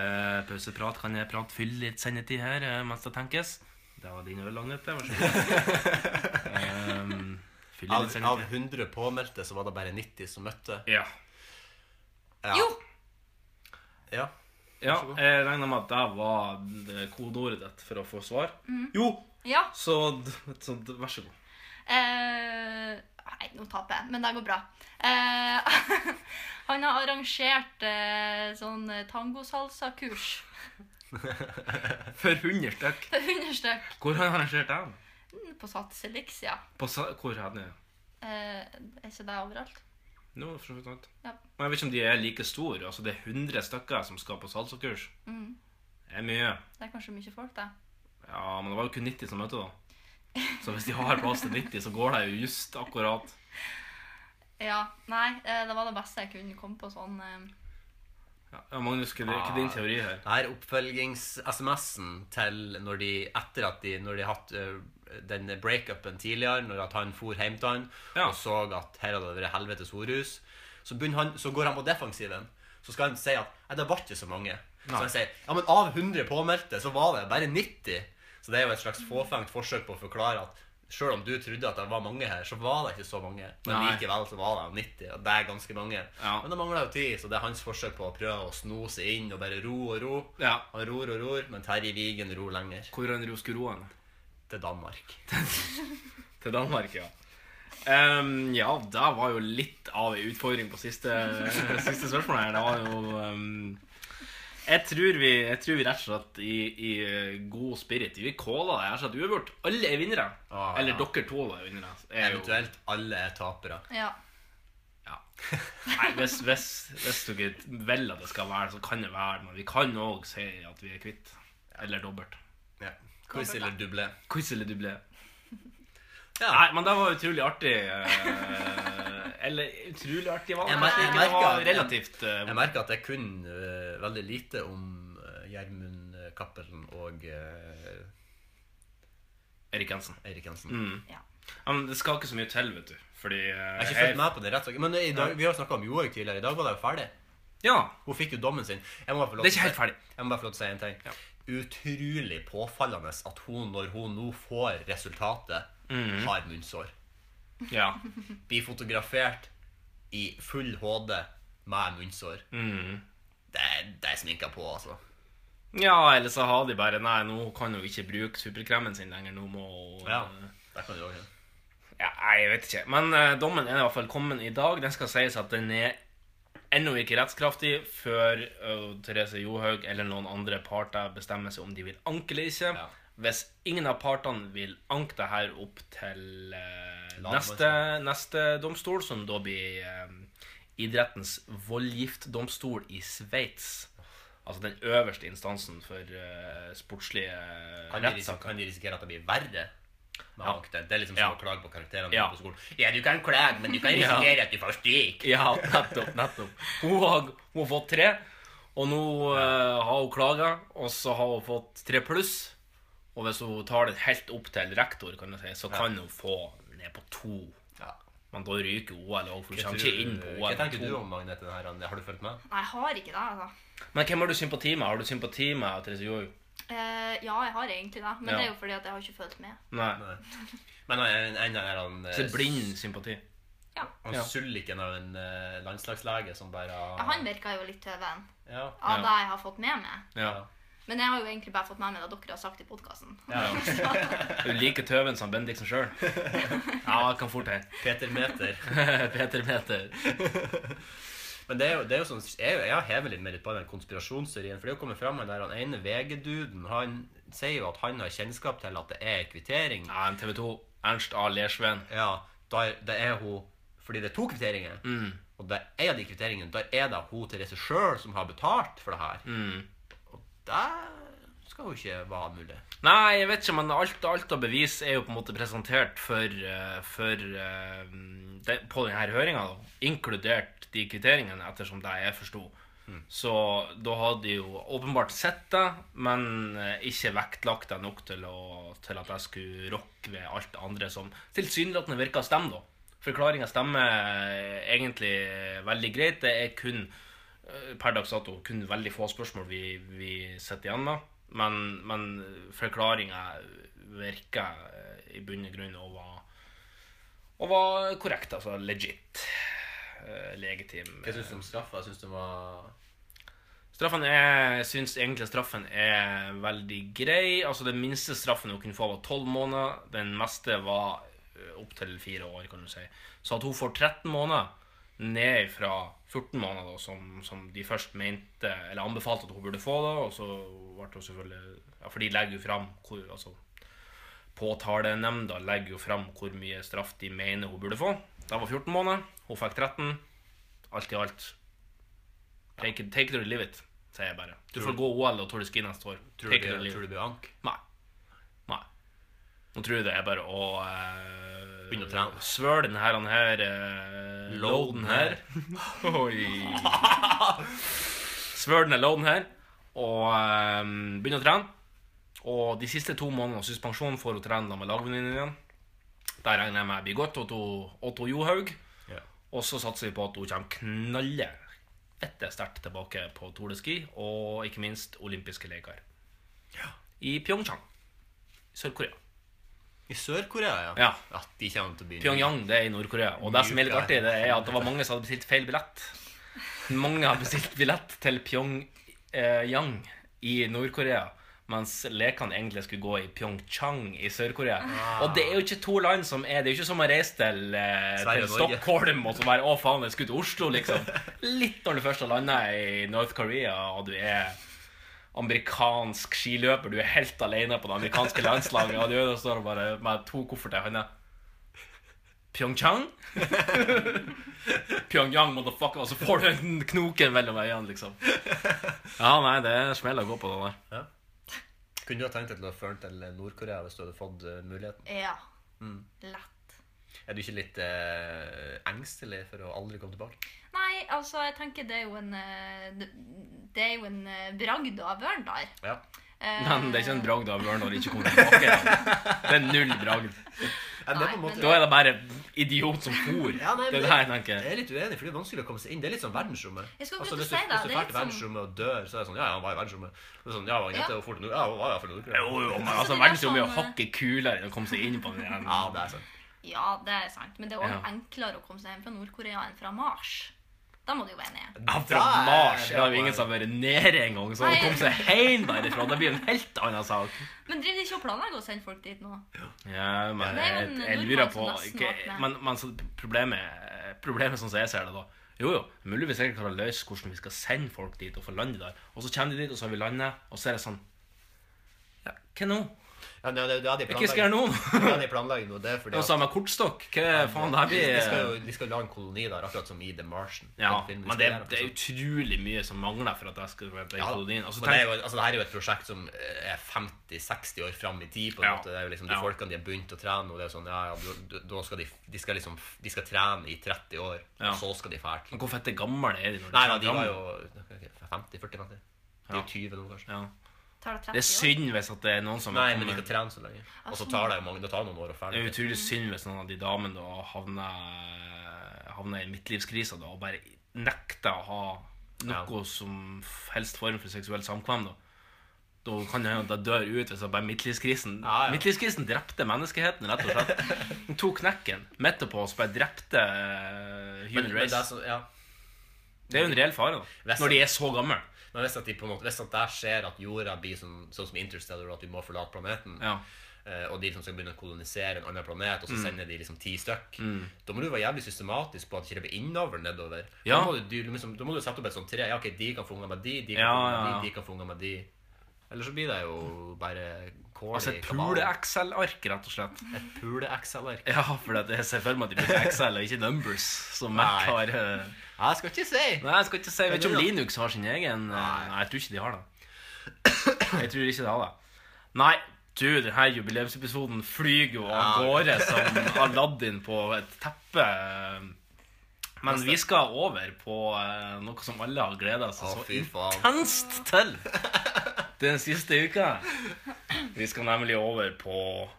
pauseprat. Kan jeg prate fylle litt sendetid her eh, mens det tenkes? Det var din øl, Agnete. Vær så god. Um, fylle
Av,
litt sendetid.
av 100 påmeldte så var det bare 90 som møtte.
Ja.
Ja.
Jo!
Ja.
ja jeg regner med at det var det kodeordet ditt for å få svar. Jo!
Ja.
Så, d- så d- vær så god.
Eh, nei, nå taper jeg, men det går bra. Eh, han har arrangert eh, sånn tangosalsa-kurs
For 100 stykk.
for 100 stykk
Hvor har han arrangert den?
på Sats Elixia.
På sa- hvor er den?
Eh, er ikke det overalt?
Nå, for så vidt sant.
Ja.
Men jeg vet ikke om de er like store. Altså, det er 100 stykker som skal på salsakurs.
Mhm.
Det er mye.
Det er kanskje mye folk, det.
Ja, men det var jo kun 90 som møtte, da. Så hvis de har plass til 90, så går det jo just akkurat.
Ja, nei, eh, det var det beste jeg kunne komme på sånn eh,
Ja, Magnus, hva er hva er din teori her?
Det her er oppfølgings-SMS-en til når de etter at de når de hatt eh, den breakupen tidligere, når at han for hjem til han
Ja.
og så at her hadde det vært helvetes horhus, så, begynner han, så går han på defensiven. Så skal han si at Nei, det ble ikke så mange. Så han sier ja, men av 100 påmeldte så var det bare 90. Så det er jo et slags fåfengt forsøk på å forklare at Sjøl om du trodde at det var mange her, så var det ikke så mange. Men
Nei.
likevel så var det 90, og det er ganske mange.
Ja.
Men det mangler jo tid, så det er hans forsøk på å prøve å sno seg inn og bare ro og ro.
Ja.
Han ror og ror, men Terje Vigen ror lenger.
Hvor er Roskeroen?
Til Danmark.
Til Danmark, ja. Ehm, ja, det var jo litt av en utfordring på siste, siste spørsmål her. Det var jo ehm, jeg, tror vi, jeg tror vi rett og slett i, i eh, god spirit Vi kåla det. Jeg har sett uavgjort. Alle er vinnere.
Ah,
Eller
ja.
dere to er vinnere. Er jo,
Eventuelt alle er tapere.
Ja.
ja. Nei, hvis, hvis, hvis dere vil at det skal være, så kan det være. Men vi kan òg si at vi er kvitt. Eller dobbelt.
Ja. Quiz eller duble.
Quiz eller dublé.
Ja.
Nei, men det var utrolig artig. eh, Eller utrolig artig var det.
Jeg mer- jeg
det var
merker-
relativt eh,
Jeg merker at jeg kunne eh, veldig lite om eh, Gjermund eh, Cappelen og eh,
Erik Jensen.
Eirik Jensen.
Mm.
ja.
Ja, men det skal ikke så mye til, vet du. Fordi eh,
Jeg har ikke fulgt med på det rett og slett. Men eh, i dag, vi har jo snakka om Johaug tidligere. I dag var det jo ferdig.
Ja,
Hun fikk jo dommen sin. Jeg må bare få lov
det er ikke
til å
helt
si-
ferdig.
Jeg må bare få lov til å si en ting. Utrolig påfallende at hun, når hun nå får resultatet,
Mm.
har munnsår.
Ja.
blir fotografert i full HD med munnsår.
Mm.
Det, er- det er sminka på, altså.
ja, eller så har de bare Nei, nå kan hun ikke bruke superkremen sin lenger. Nå må hun
Ja,
eh,
det kan du også gjøre.
Ja, nei, jeg vet ikke. Men eh, dommen er i hvert fall kommet i dag. Den skal sies at den er ennå ikke rettskraftig før eh, Therese Johaug eller noen andre parter bestemmer seg om de vil anke eller ikke.
Ja.
Hvis ingen av partene vil anke det her opp til eh, neste,
Lagmannsretten.
neste domstol, som da blir eh, idrettens voldgiftdomstol i Sveits. Altså den øverste instansen for eh, sportslige
Kan, de ris-
rettssaker.
kan de risikere at det blir verre? med
Ja.
anke? Det er liksom som
Ja.
å klage på karakterene
Ja.
på skolen. Ja, du kan klage, men du kan
Ja.
risikere at du får stryk.
Ja, nettopp. nettopp Hun har, hun har fått tre, og nå eh, har hun klaga. Og så har hun fått tre pluss. Og hvis hun tar det helt opp til rektor, kan jeg si, så kan hun få ned på to.
Ja.
Men da ryker OL òg, for hun
Hva
kommer
tror-
ikke inn på
Hva
OL. med
tenker du
to.
om Magnete? den her? Har du fulgt med?
Nei, jeg har ikke det, altså.
Men hvem har du sympati med? Har du sympati med Therese Johaug?
Eh, ja, jeg har egentlig det. Men
Ja.
det er jo fordi at jeg har ikke fulgt med.
Nei.
Men han er en, en, av de
Så
her,
det er blind sympati.
han,
Ja.
han sulliken av en eh, landslagslege som bare
Ja, han virka jo litt tøven
ja.
av
Ja.
det jeg har fått med meg.
Ja.
Men jeg har jo egentlig bare fått med meg det dere har sagt i podkasten.
Du liker tøven som Bendiksen sjøl. Ja, det kan fort hende.
Peter Meter.
Peter Peter.
Men det er jo, det er jo sånn, jeg, jeg har hevet litt mer litt på den konspirasjonsteorien. For det har kommet fram han der han ene VG-duden Han sier jo at han har kjennskap til at det er kvittering.
Ja, en TV 2. Ernst A. Lersven.
Ja, der, det er hun Fordi det er to kvitteringer.
Mm.
Og det er en av de kvitteringene Der er det hun Therese sjøl som har betalt for det her.
Mm.
Og det skal jo ikke være mulig.
Nei, jeg vet ikke, men alt, alt av bevis er jo på en måte presentert for, eh, for eh, det, på denne høringa, inkludert de kvitteringene, ettersom det jeg forsto. Så da hadde de jo åpenbart sett det, men eh, ikke vektlagt det nok til, å, til at jeg skulle rokke ved alt det andre som tilsynelatende virka å stemme, da. Forklaringa stemmer eh, egentlig veldig greit. Det er kun eh, per dags dato kun veldig få spørsmål vi, vi sitter igjen med. Men, men forklaringa virker eh, i bunn og grunn å være- å være korrekt, altså legit. eh, Legitim.
Hva syns du om straffa? Jeg synes den var
Straffen er, jeg synes egentlig straffen er veldig grei. Altså Den minste straffen hun kunne få, var tolv måneder. Den meste var opptil fire år, kan du si. Så at hun får 13 måneder ned fra 14 måneder, da, som, som de først mente Eller anbefalte at hun burde få, da, og så ble hun selvfølgelig ja, For de legger jo fram hvor, altså, Påtalenemnda legger jo fram hvor mye straff de mener hun burde få. Det var 14 måneder. Hun fikk 13. Alt i alt Take it, take it or leave it, sier jeg bare. Du får gå OL og Tour de Ski neste år.
Tror du,
take it or
det-
leave
tror
it.
du det blir ank?
Nei. Nei. Nå tror jeg det er bare å eh,
Begynne å trene.
Svøle den her, den her eh, Loaden her. Oi. Svøle den her loaden her, og eh, begynne å trene. Og de siste to månedene av suspensjon får hun trene da med lagvenninnen igjen. Der regner jeg med blir godt. Otto, Otto Johaug.
Ja.
Og så satser vi på at hun kommer knalle etter sterkt tilbake på Tour de Ski, og ikke minst olympiske leker. I Pyeongchang. Sør-Korea.
I Sør-Korea, ja.
Ja.
de kommer til å bli
Pyongyang, det er i Nord-Korea. Og det som er litt
Mjuka.
artig, det er at det var mange som hadde bestilt feil billett. Mange har bestilt billett til Pyongyang i Nord-Korea, mens lekene egentlig skulle gå i Pyeongchang i Sør-Korea.
Ah.
Og det er jo ikke to land som er Det er jo ikke som å reise til, eh, til
Sverige og Norge.
Stockholm og så bare Å, faen, jeg skulle til Oslo, liksom. Litt når du først har landa i North Korea, og du er amerikansk skiløper, du er helt alene på det amerikanske landslaget, og du står bare med to kofferter i hånda. Pyeongchang? Pyongyang, motherfucker, og så får du en knoken mellom øynene, liksom. Ja, nei, det er smell å gå på det der.
Kunne du ha tenkt deg til å føre den til Nord-Korea hvis du hadde fått eh, muligheten?
Ja.
Mm.
Lett.
Er du ikke litt eh, engstelig for å aldri komme tilbake?
Nei, altså, jeg tenker det er jo en eh, Det det er jo en eh, bragd av Ørndal.
Ja.
Eh,
Men det er ikke en bragd av Ørn når de ikke kommer tilbake. da. Det er null bragd.
Ja, det er på en
Nei,
måte...
men-
Da er det bare idiot som for.
Ja, nei, men
Det er det jeg tenker.
Jeg er litt uenig, for det er vanskelig å komme seg inn. Det er litt sånn verdensrommet.
Jeg skulle
Altså,
akkurat
hvis du,
si det,
hvis du drar
det er litt sånn-
til verdensrommet og dør, så er det sånn Ja, ja, han var i verdensrommet. Det er sånn, ja, han
Ja.
ja. jo fort, ja, han var iallfall Nord-Korea.
Jo, jo, men altså, verdensrommet er jo hakket kulere enn å komme seg inn på den
Ja,
igjen.
det er sant.
Eh, Ja, det er sant. Men det er også
Ja.
enklere å komme seg hjem fra Nord-Korea enn fra Mars. Da må du jo være enig.
Ja, fra Mars det er jo ingen som har vært nede engang, så å komme seg hjem derifra det blir en helt annen sak.
Men driver de ikke og planlegger å sende folk dit nå?
Ja, men
det er jo
jeg,
en
jeg lurer
nordmann som
på
nesten
ikke,
våkner.
Men, men så problemet, problemet sånn som jeg ser det, da Jo, jo, mulig vi sikkert klarer å løse hvordan vi skal sende folk dit og få landet der. Og så kommer de dit, og så har vi landet, og så er det sånn Ja, hva nå?
Ja, det, det, det er de
Hva skal jeg gjøre nå?
Det er de planlegger nå, det er fordi
Og så har vi kortstokk. Hva faen, det her
de, de skal
blir
jo de skal jo lage en koloni der, akkurat som i The Martian.
ja,
Den filmen de
men
skal
det,
gjøre,
det er
sånn.
utrolig mye som mangler for at jeg skal være i
Ja, da.
kolonien. Altså,
Men det, er
tenk,
jo, altså, det her er jo et prosjekt som eh, er 50-60 år fram i tid. på en
Ja.
måte. Det er jo liksom De
Ja.
folkene de har begynt å trene, og det er jo sånn, ja, ja, du- du- da skal de, de skal liksom, de skal trene i 30 år,
Ja.
så skal de fælt.
hvor fette gamle er de når de
Nei,
er
nei, de var
gamle?
jo 50-40-50. De er jo 20 nå, kanskje.
Ja.
Tar det 30
Det er synd hvis at det er noen som
Nei,
har
men de
kommet-
skal trene så lenge. Og så tar det jo mange, det tar noen år
Det
å
er jo
ferdig.
utrolig synd hvis noen av de damene da havner, havner i midtlivskrisa da, og bare nekter å ha noe som helst form for seksuelt samkvem. da. Da kan jeg, da dør jeg ut hvis jeg bare midtlivskrisen
Ja, ja.
Midtlivskrisen drepte menneskeheten, rett og slett. Den tok knekken midt på oss, bare drepte
Men,
eh, human
men, det
race.
er så, ja.
Det er jo en reell fare, da.
sånn- Hvis-
Når de er så gamle.
Men hvis at, de på en måte, hvis at der skjer at jorda blir sånn, sånn som Interstellar, og at vi må forlate planeten,
Ja.
eh, og de liksom skal begynne å kolonisere en annen planet,
Mm.
og så sender de liksom ti stykk, da må du være jævlig systematisk på at det ikke blir innover nedover.
Ja.
Da, må du, du, liksom, da må du sette opp et sånt tre. Ja, ok, de kan få unger med de, de kan
Ja,
få unger med
ja, ja.
de, de kan få unger med de. Eller så blir det jo bare kål
Altså et
i kabalen.
pule-Excel-ark, rett og slett.
Et pule-Excel-ark.
Ja, for det jeg ser for meg at de bruker Excel og ikke Numbers, som Mac
Nei.
har. eh,
Jeg skal ikke si!
Nei, jeg skal ikke si. Jeg vet ikke om
Eller da-
Linux har sin egen eh, Nei, jeg tror ikke de har det. Jeg tror ikke de har det. Nei, du, denne jubileumsepisoden flyr jo av gårde som Aladdin på et teppe. Men vi skal over på eh, noe som alle har gleda
Å,
seg så
fy faen.
intenst til den siste uka. Vi skal nemlig over på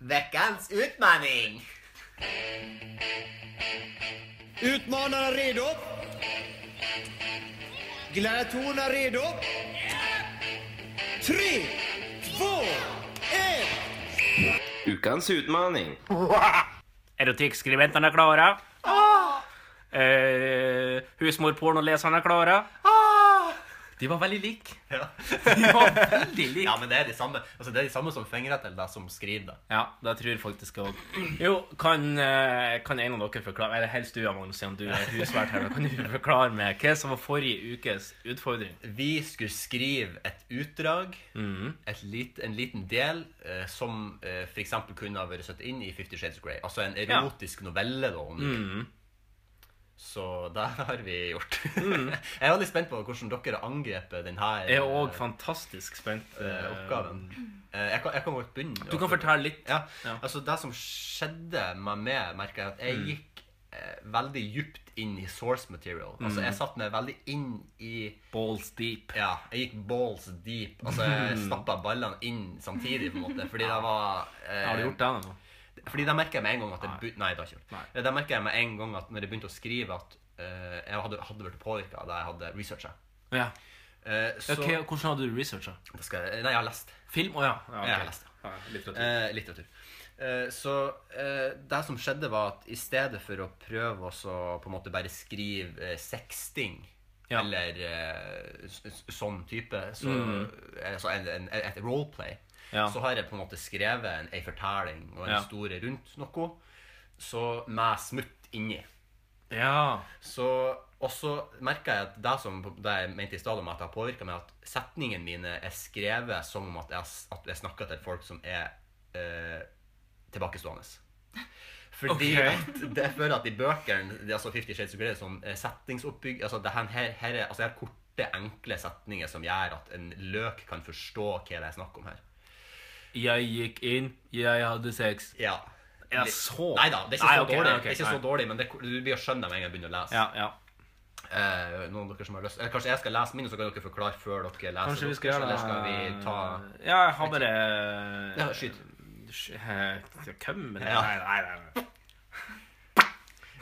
Vekkens utmanning!
Utmanaren redo? Gladiatorerna redo? Tre, två, ett!
Ukens utmaning.
Erotikkskribentene er klare. Eh, Husmorpornoleserne er klare. De var veldig like.
Ja.
De var veldig like.
ja, men det er de samme, altså, det er de samme som fingrer til deg som skriver det.
Ja, det tror jeg faktisk òg. Jo, kan, eh, kan en av dere forklare Eller helst du, ja, Magnus, siden du er husvert her. da Kan du forklare meg hva som var forrige ukes utfordring?
Vi skulle skrive et utdrag,
Mm.
et lit, en liten del, eh, som eh, for eksempel kunne ha vært satt inn i Fifty Shades of Grey. Altså en erotisk novelle, da. Om du vil.
Mm.
Så det har vi gjort. Jeg er veldig spent på hvordan dere har angrepet denne
Mm. Jeg er òg fantastisk spent. eh,
oppgaven. Eh, jeg kan, jeg kan godt begynne.
Du kan fortelle litt.
Ja, altså Det som skjedde med meg, merka jeg at jeg
Mm.
gikk eh, veldig djupt inn i source material.
Mm.
Altså Jeg satt meg veldig inn i
Balls deep.
Ja, jeg gikk balls deep. Altså Jeg
Mm.
stappa ballene inn samtidig, på en måte. Fordi det var eh,
Har du gjort det nå?
Fordi da merka jeg med en gang at jeg
Nei.
begynte Nei, det har jeg ikke
Nei.
gjort. Da merket jeg med en gang at når jeg begynte å skrive, at eh, jeg hadde, hadde blitt påvirka av det jeg hadde researcha.
Ja.
Eh, så
Ok, hvordan hadde du researcha?
Da skal jeg, Nei, jeg har lest.
Film? Å ja. ja. ok.
Jeg har lest det.
Ja, litteratur.
Eh, litteratur. Eh, så eh, det som skjedde, var at i stedet for å prøve også å på en måte bare skrive eh, sexting
Ja.
eller eh, s- s- sånn type, så, eh, så en, en, et roleplay,
Mm. Ja.
så har jeg på en måte skrevet en, en fortelling og en
Ja.
historie rundt noe, så med smutt inni.
Ja.
Så, og så merka jeg at det som det jeg mente i stad om at det har påvirka meg, at setningene mine er skrevet som om at jeg, at jeg snakker til folk som er eh, tilbakestående. Fordi
Ok.
at det jeg føler at i bøkene det er altså 50 Shades of Grey, sånn eh, settingsoppbygg altså det her, her, her er, altså jeg har korte, enkle setninger som gjør at en løk kan forstå hva det er snakk om her.
Jeg gikk inn, jeg hadde sex.
Ja.
Er det så
Nei da, det er ikke,
Nei,
så,
ok,
dårlig.
nei, ok,
det er ikke
nei.
så dårlig. Men det, du blir å skjønne det med en gang jeg begynner å lese.
Ja, ja.
Eh, noen av dere som har lyst Eller kanskje jeg skal lese min, og så kan dere forklare før dere leser.
Kanskje vi skal gjøre
deres,
det
Eller skal vi ta
Ja, jeg har bare
Ja, skyt.
Sk- eh, Hvem er det?
Ja.
Nei, nei,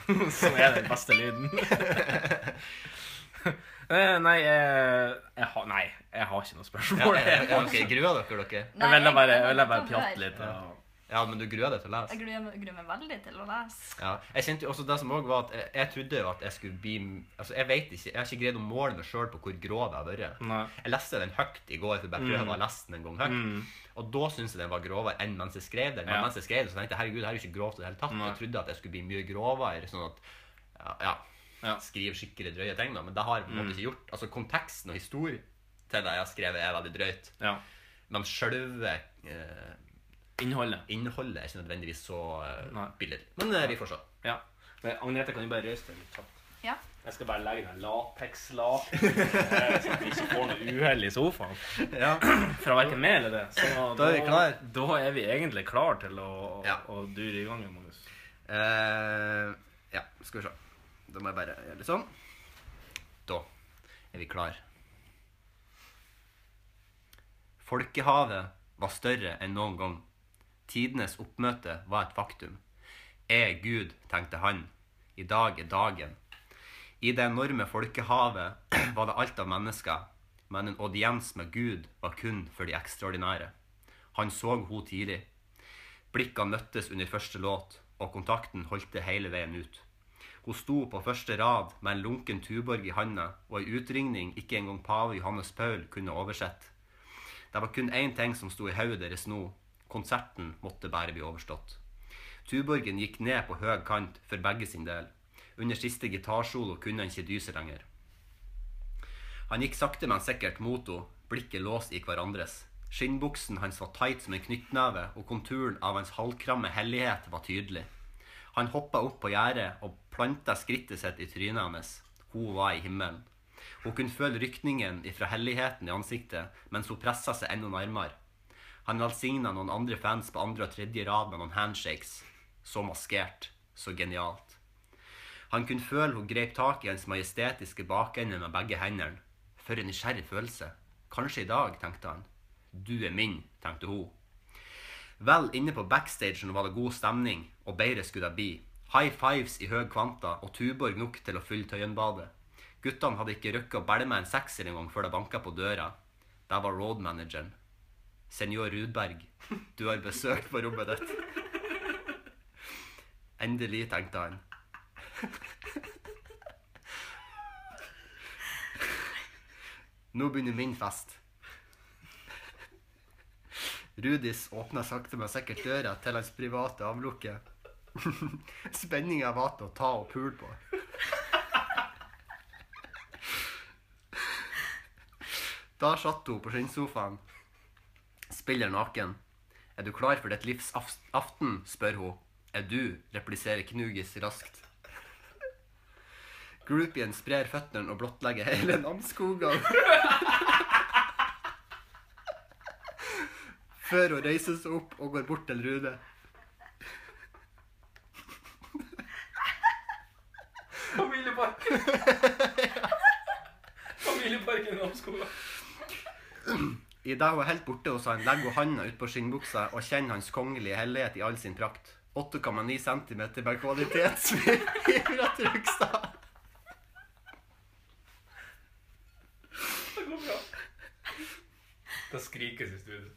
nei. nei. Som er den beste lyden. Eh, nei, eh, jeg har Nei, jeg har ikke noe
ja,
spørsmål.
ja, ja, ok, Gruer dere dere?
Jeg ville bare, jeg ville bare
kan
pjatte
høre.
litt. og-
Ja, men du gruer deg til å lese?
Jeg gruer meg, gruer meg veldig til å lese.
Ja. Jeg kjente jo også det som også var at jeg, jeg trodde jo at jeg skulle bli Altså, jeg vet ikke Jeg har ikke greid å måle meg sjøl på hvor grov jeg har vært.
Nei. Mm.
Jeg leste den høyt i går, for jeg bare prøvde å lese den en gang høyt. Og da syntes jeg den var grovere enn mens jeg skrev den. Men
Ja.
mens jeg skrev den, så tenkte jeg herregud, det her er jo ikke grovt i det hele tatt.
Nei.
Jeg trodde at jeg skulle bli mye grovere, sånn at ja, ja,
Ja. Mm.
skrive skikkelig drøye ting, da. Men det har jeg på en måte ikke gjort. Altså, konteksten og historien til det jeg har skrevet, er veldig drøyt.
Ja.
Men sjølve eh,
Innholdet.
innholdet er ikke nødvendigvis så eh,
Nei.
billedlig. Men eh, vi får se.
Ja. Men Agnete, kan du bare røyse deg litt kjapt?
Ja.
Jeg skal bare legge den lapekslaken, eh, så vi ikke får noe uhell i sofaen.
Ja.
fra hverken meg eller det. Så da,
Da er vi klar.
da er vi egentlig klar til å,
Ja.
å dure i gang. Magnus.
Eh, ja, skal vi se. Da må jeg bare gjøre litt sånn. Da er vi klar. Folkehavet var større enn noen gang. Tidenes oppmøte var et faktum. Jeg er Gud, tenkte han. I dag er dagen. I det enorme folkehavet var det alt av mennesker. men en audiens med Gud var kun for de ekstraordinære. Han så hun tidlig. Blikkene møttes under første låt, og kontakten holdt det hele veien ut. Hun sto på første rad med en lunken Tuborg i handa og ei utringning ikke engang pave Johannes Paul kunne oversette. Det var kun én ting som sto i hodet deres nå. Konserten måtte bare bli overstått. Tuborgen gikk ned på høy kant for begge sin del. Under siste gitarsolo kunne han ikke dy seg lenger. Han gikk sakte, men sikkert mot henne, blikket låst i hverandres. Skinnbuksen hans var tight som en knyttneve, og konturen av hans halvkramme hellighet var tydelig. Han hoppa opp på gjerdet og planta skrittet sitt i trynet hennes. Hun var i himmelen. Hun kunne føle rykningen ifra helligheten i ansiktet mens hun pressa seg enda nærmere. Han velsigna noen andre fans på andre og tredje rad med noen handshakes. Så maskert. Så genialt. Han kunne føle hun greip tak i hans majestetiske bakende med begge hendene. For en nysgjerrig følelse. Kanskje i dag, tenkte han. Du er min, tenkte hun. Vel inne på backstagen var det god stemning, og bedre skulle det bli. High fives i høy kvanta og Tuborg nok til å fylle Tøyenbadet. Guttene hadde ikke rukket å bælme en sekser engang før det banka på døra. Der var roadmanageren. Senor Rudberg, du har besøk på rommet ditt. Endelig, tenkte han. Nå begynner min fest. Rudis åpna sakte, men sikkert døra til hans private avlukke. Spenninga var til å ta og pule på. Da satt hun på skinnsofaen, spiller naken. Er du klar for ditt livs af- aften? spør hun. Er du? repliserer Knugis raskt. Groupien sprer føttene og blottlegger hele namskogen. Før hun reiser seg opp og går bort til Rude.
Familieparken. Familieparken i Namsskoga.
Idet hun er helt borte hos han, legger hun handa utpå skinnbuksa og kjenner hans kongelige hellighet i all sin prakt. 8,9 cm med kvalitet fra Trugstad.
Det går bra. Det skrikes i studio.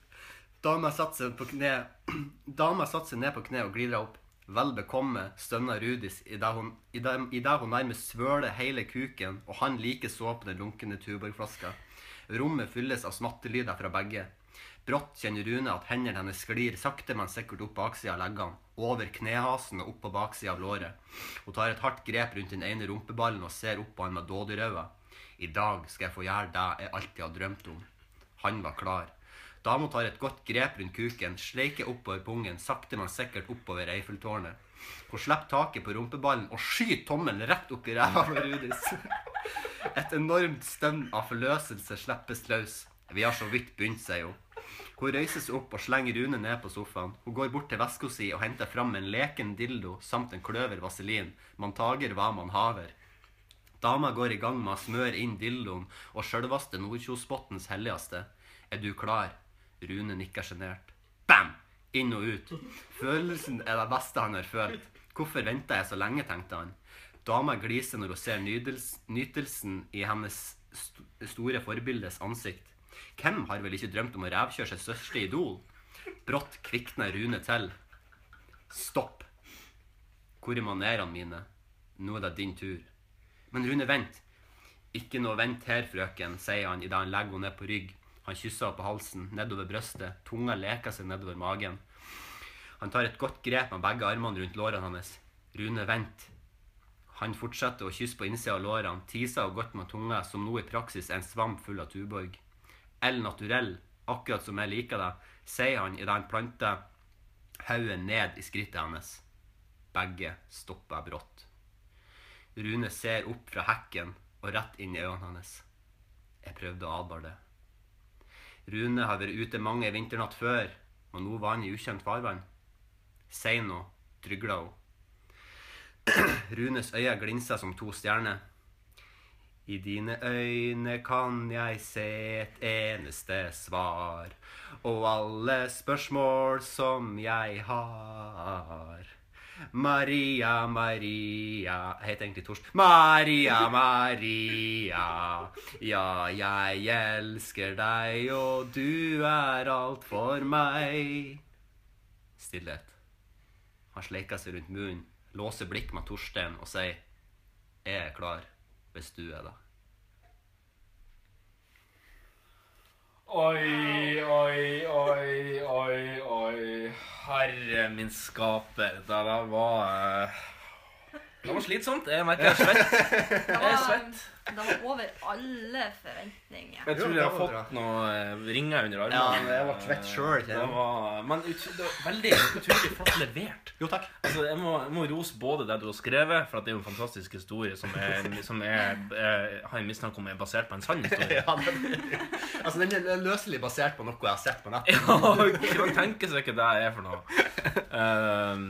Dama satte seg på kne Dama satte seg ned på kne og glidra opp. Vel bekomme, stønna Rudis idet hun, i det- i det hun nærmest svøler hele kuken, og han like så på den lunkne tuborgflaska. Rommet fylles av smattelyder fra begge. Brått kjenner Rune at hendene hennes sklir sakte, men sikkert opp baksida av leggene, over knehasen og opp på baksida av låret. Hun tar et hardt grep rundt den ene rumpeballen og ser opp på han med dådyrøyne. I dag skal jeg få gjøre det jeg alltid har drømt om. Han var klar. Dama tar et godt grep rundt kuken, sleiker oppover pungen, sakte, men sikkert oppover Eiffeltårnet. Hun slipper taket på rumpeballen og skyter tommelen rett opp i ræva på Rudis. Et enormt stønn av forløselse slippes løs. Vi har så vidt begynt, sier hun. Hun reiser seg opp og slenger Rune ned på sofaen. Hun går bort til veska si og henter fram en leken dildo samt en kløver vaselin. Man tager hva man haver. Dama går i gang med å smøre inn dildoen og sjølvaste Nordkjosbotns helligste. Er du klar? Rune nikker sjenert. Bam! Inn og ut. Følelsen er det beste han har følt. Hvorfor venta jeg så lenge, tenkte han. Dama gliser når hun ser nydels, nytelsen i hennes st store forbildes ansikt. Hvem har vel ikke drømt om å revkjøre sitt største idol? Brått kvikner Rune til. Stopp. Hvor er manerene mine? Nå er det din tur. Men Rune, vent. Ikke noe vent her, frøken, sier han idet han legger henne ned på rygg. Han kysser henne på halsen, nedover brøstet, tunga leker seg nedover magen. Han tar et godt grep med begge armene rundt lårene hans. Rune, vent. Han fortsetter å kysse på innsida av lårene, tiser henne godt med tunga, som nå i praksis er en svamp full av tuborg. El naturell, akkurat som jeg liker det, sier han idet han planter hodet ned i skrittet hennes. Begge stopper brått. Rune ser opp fra hekken og rett inn i øynene hennes. Jeg prøvde å advare det. Rune har vært ute mange vinternatt før, og nå var han i ukjent farvann. Si noe, trygla hun. Runes øyne glinsa som to stjerner. I dine øyne kan jeg se et eneste svar, og alle spørsmål som jeg har. Maria, Maria Jeg heter egentlig Torsten. Maria, Maria. Ja, jeg elsker deg, og du er alt for meg. Stillhet. Han sleiker seg rundt munnen, låser blikk med Torstein og sier Jeg er klar, hvis du er det.
Oi, oi, oi, oi, oi. Herre min skaper. Det der var eh, Det var slitsomt. Jeg merker jeg er svett.
Det
Jeg er
var,
svett.
det var over alle forventninger.
Jeg tror jeg har fått noen eh, ringer under armene.
Ja, men jeg ble svett selv, jeg.
Det var, men ut, det var veldig utrolig flott levert.
Jo, takk.
Altså, jeg, må, jeg må rose både det du har skrevet, for at det er jo en fantastisk historie som jeg, som jeg, eh, har en mistanke om er basert på en sann historie.
Ja, den, altså, den er løselig basert på noe jeg har sett på nettet.
Ja, man tenker seg ikke det er for noe. Ehm,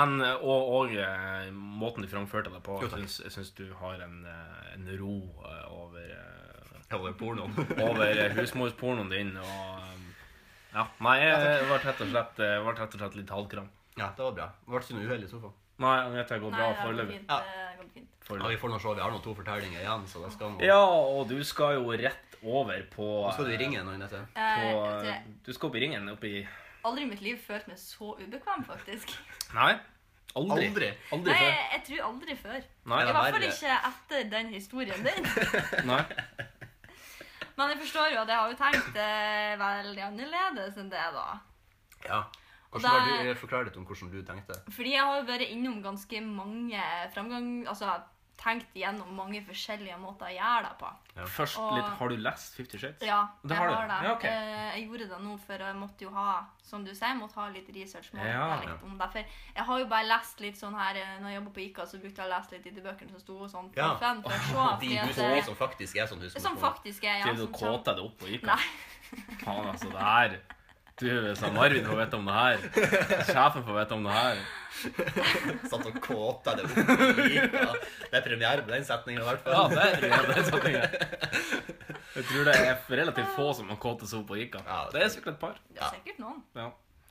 men eh, og, og eh, måten du framførte det på.
Jo,
Jeg
takk.
syns, jeg syns du har en, eh, en ro eh, over, eh,
Eller pornoen.
over eh, husmorspornoen din. Og, eh, ja, nei, jeg ble rett og slett, eh, ble rett og slett litt halvkram.
Ja, det var bra. Det ble ikke noe uhell i sofaen.
Nei, jeg vet det går
Nei,
bra
det har gått
foreløpig.
fint. Det har gått fint.
Ja,
Foreløpig.
vi får nå se. Vi har nå to fortellinger igjen, så da skal nå
Ja, og du skal jo rett over på
Nå skal du ringe noen etter.
Eh,
På,
vet
eh,
du,
du skal opp i ringen oppe i
aldri i mitt liv følt meg så ubekvem, faktisk.
Nei. Aldri.
Aldri.
Aldri
Nei,
før.
jeg, jeg tror aldri før.
Nei,
I
det
hvert fall
verre.
ikke etter den historien din.
Nei.
Men jeg forstår jo at jeg har jo tenkt eh, veldig annerledes enn det, da.
Ja.
Og
Hvordan
da-
har du forklart litt om hvordan du tenkte?
Fordi jeg har jo vært innom ganske mange framgang... Altså, tenkt igjennom mange forskjellige måter å gjøre det på.
Først
Og-
litt Har du lest Fifty Shades?
Ja,
Det
jeg
har du.
har det.
Ja, ok.
Eh, Jeg gjorde det nå, for jeg måtte jo ha som du sier, jeg måtte ha litt research. Måtte
Ja.
ja. litt om det. For jeg har jo bare lest litt sånn her eh, Når jeg jobba på ICA, så brukte jeg å lese litt i de bøkene som sto og sånn.
Ja.
for fun, for å
De
se, fordi at,
husmødre
eh,
som faktisk er sånn
Som
husmorporno.
faktisk er ja,
Til du
som
kåta deg opp og gikk
Nei.
Faen, altså, det her Du, sa Marvin får vite om det her. Sjefen får vite om det her.
Satt og kåta det opp i gikk, og Det er premiere på den setningen i hvert
Ja, det
fall.
er det. er sånn ting jeg- Jeg tror det er relativt få som har kåtet seg opp og gikk.
Ja,
Det er sikkert et par.
Det er sikkert noen.
Ja.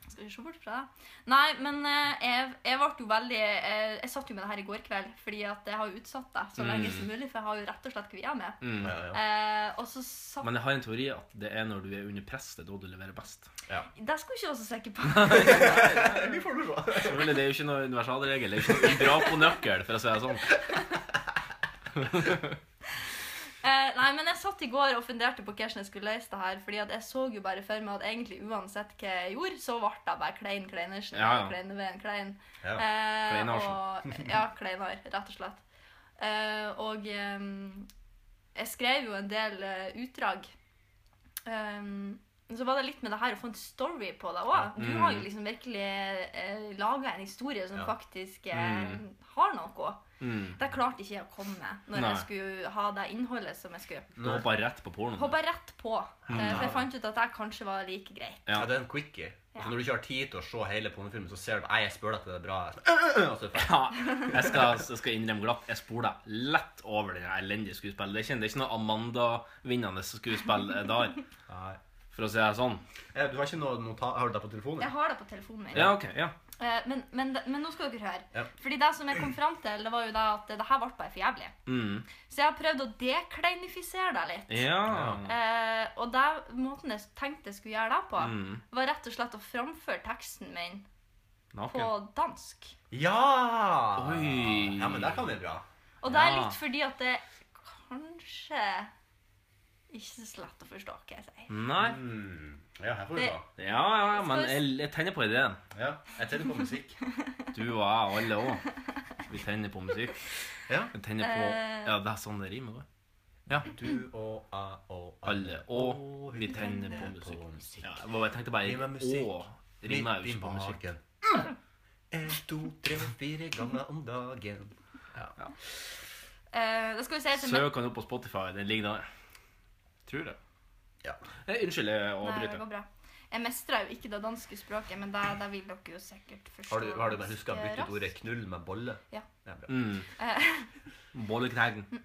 Skal vi se bort fra det. Nei, men eh, jeg, jeg ble jo veldig eh, Jeg satt jo med det her i går kveld, fordi at jeg har jo utsatt det så lenge
Mm.
som mulig, for jeg har jo rett og slett kvia meg.
Ja, ja.
Eh, og så satt
Men jeg har en teori at det er når du er under press, det er da du leverer best.
Det skulle ikke jeg også sikker på.
Vi får nå se.
Selvfølgelig, Det er jo ikke noe universalregel. Det er ikke noe bra på nøkkel, for å si det sånn.
Eh, nei, men jeg satt i går og funderte på hvordan jeg skulle løse det her. fordi at jeg så jo bare for meg at egentlig uansett hva jeg gjorde, så ble det bare Klein Kleinersen.
Ja, ja.
Kleine Veen Klein.
Ja.
Eh,
Kleinarsen.
og- Ja, Kleinar, rett og slett. Eh, og ehm, jeg skrev jo en del eh, utdrag. Ehm, men så var det litt med det her å få en story på det òg. Du har jo liksom virkelig eh, laga en historie som
Ja.
faktisk eh, har noe. Det klarte ikke jeg å komme med når
Nei.
jeg skulle ha det innholdet som jeg skulle.
Du hopper rett på pornoen.
Hoppa rett på, eh, for jeg fant ut at det kanskje var like greit.
Ja, det er en quickie. Altså, når du ikke har tid til å se hele pornofilmen, så ser du Nei, jeg spør deg til det er bra. Og så er det ferdig.
Ja, jeg skal, jeg skal innrømme glatt. Jeg spoler lett over det her elendige skuespillet. Det er ikke, det er ikke noe Amanda-vinnende skuespill eh, der,
Nei.
for å si det sånn.
Eh, Du har ikke noe nota... Har du det på telefonen?
Jeg har det på telefonen min.
Ja, ok, ja.
Eh, men, men, men nå skal dere høre.
Ja.
Fordi det som jeg kom fram til, det var jo det at det her ble bare for jævlig. Så jeg har prøvd å dekleinifisere det litt.
Ja.
Eh, og det, måten jeg tenkte jeg skulle gjøre det på,
Mm.
var rett og slett å framføre teksten min på
Naken.
dansk.
Ja!
Oi.
Ja, men det kan bli bra.
Og det er
Ja.
litt fordi at det kanskje ikke så lett å forstå hva jeg sier.
Mm.
Nei.
Ja, her får vi ta.
Ja, ja, men jeg, jeg tenner på ideen.
Ja, jeg tenner på musikk.
Du og jeg, alle òg. Vi tenner på musikk.
Ja.
Vi tenner på
Eh.
Ja, det er sånn det rimer, da. Ja.
Du og jeg og
Alle og vi tenner på musikk. Ja, jeg bare- jeg tenkte bare
Rimer musikk.
Å rimer jo ikke på musikk.
En, to, tre, fire ganger om dagen.
Eh, det skal vi si til
Søk han opp på Spotify. Den ligger der. Tror det.
Ja.
Eh, Unnskyld, jeg
Nei, det
avbryter.
går bra. Jeg mestrer jo ikke det danske språket, men det, det vil dere jo sikkert forstå.
Har du, har du bare huska å bytte
ganske
ut ordet 'knull' med 'bolle'?
Ja.
Det er bra.
Bollekneggen.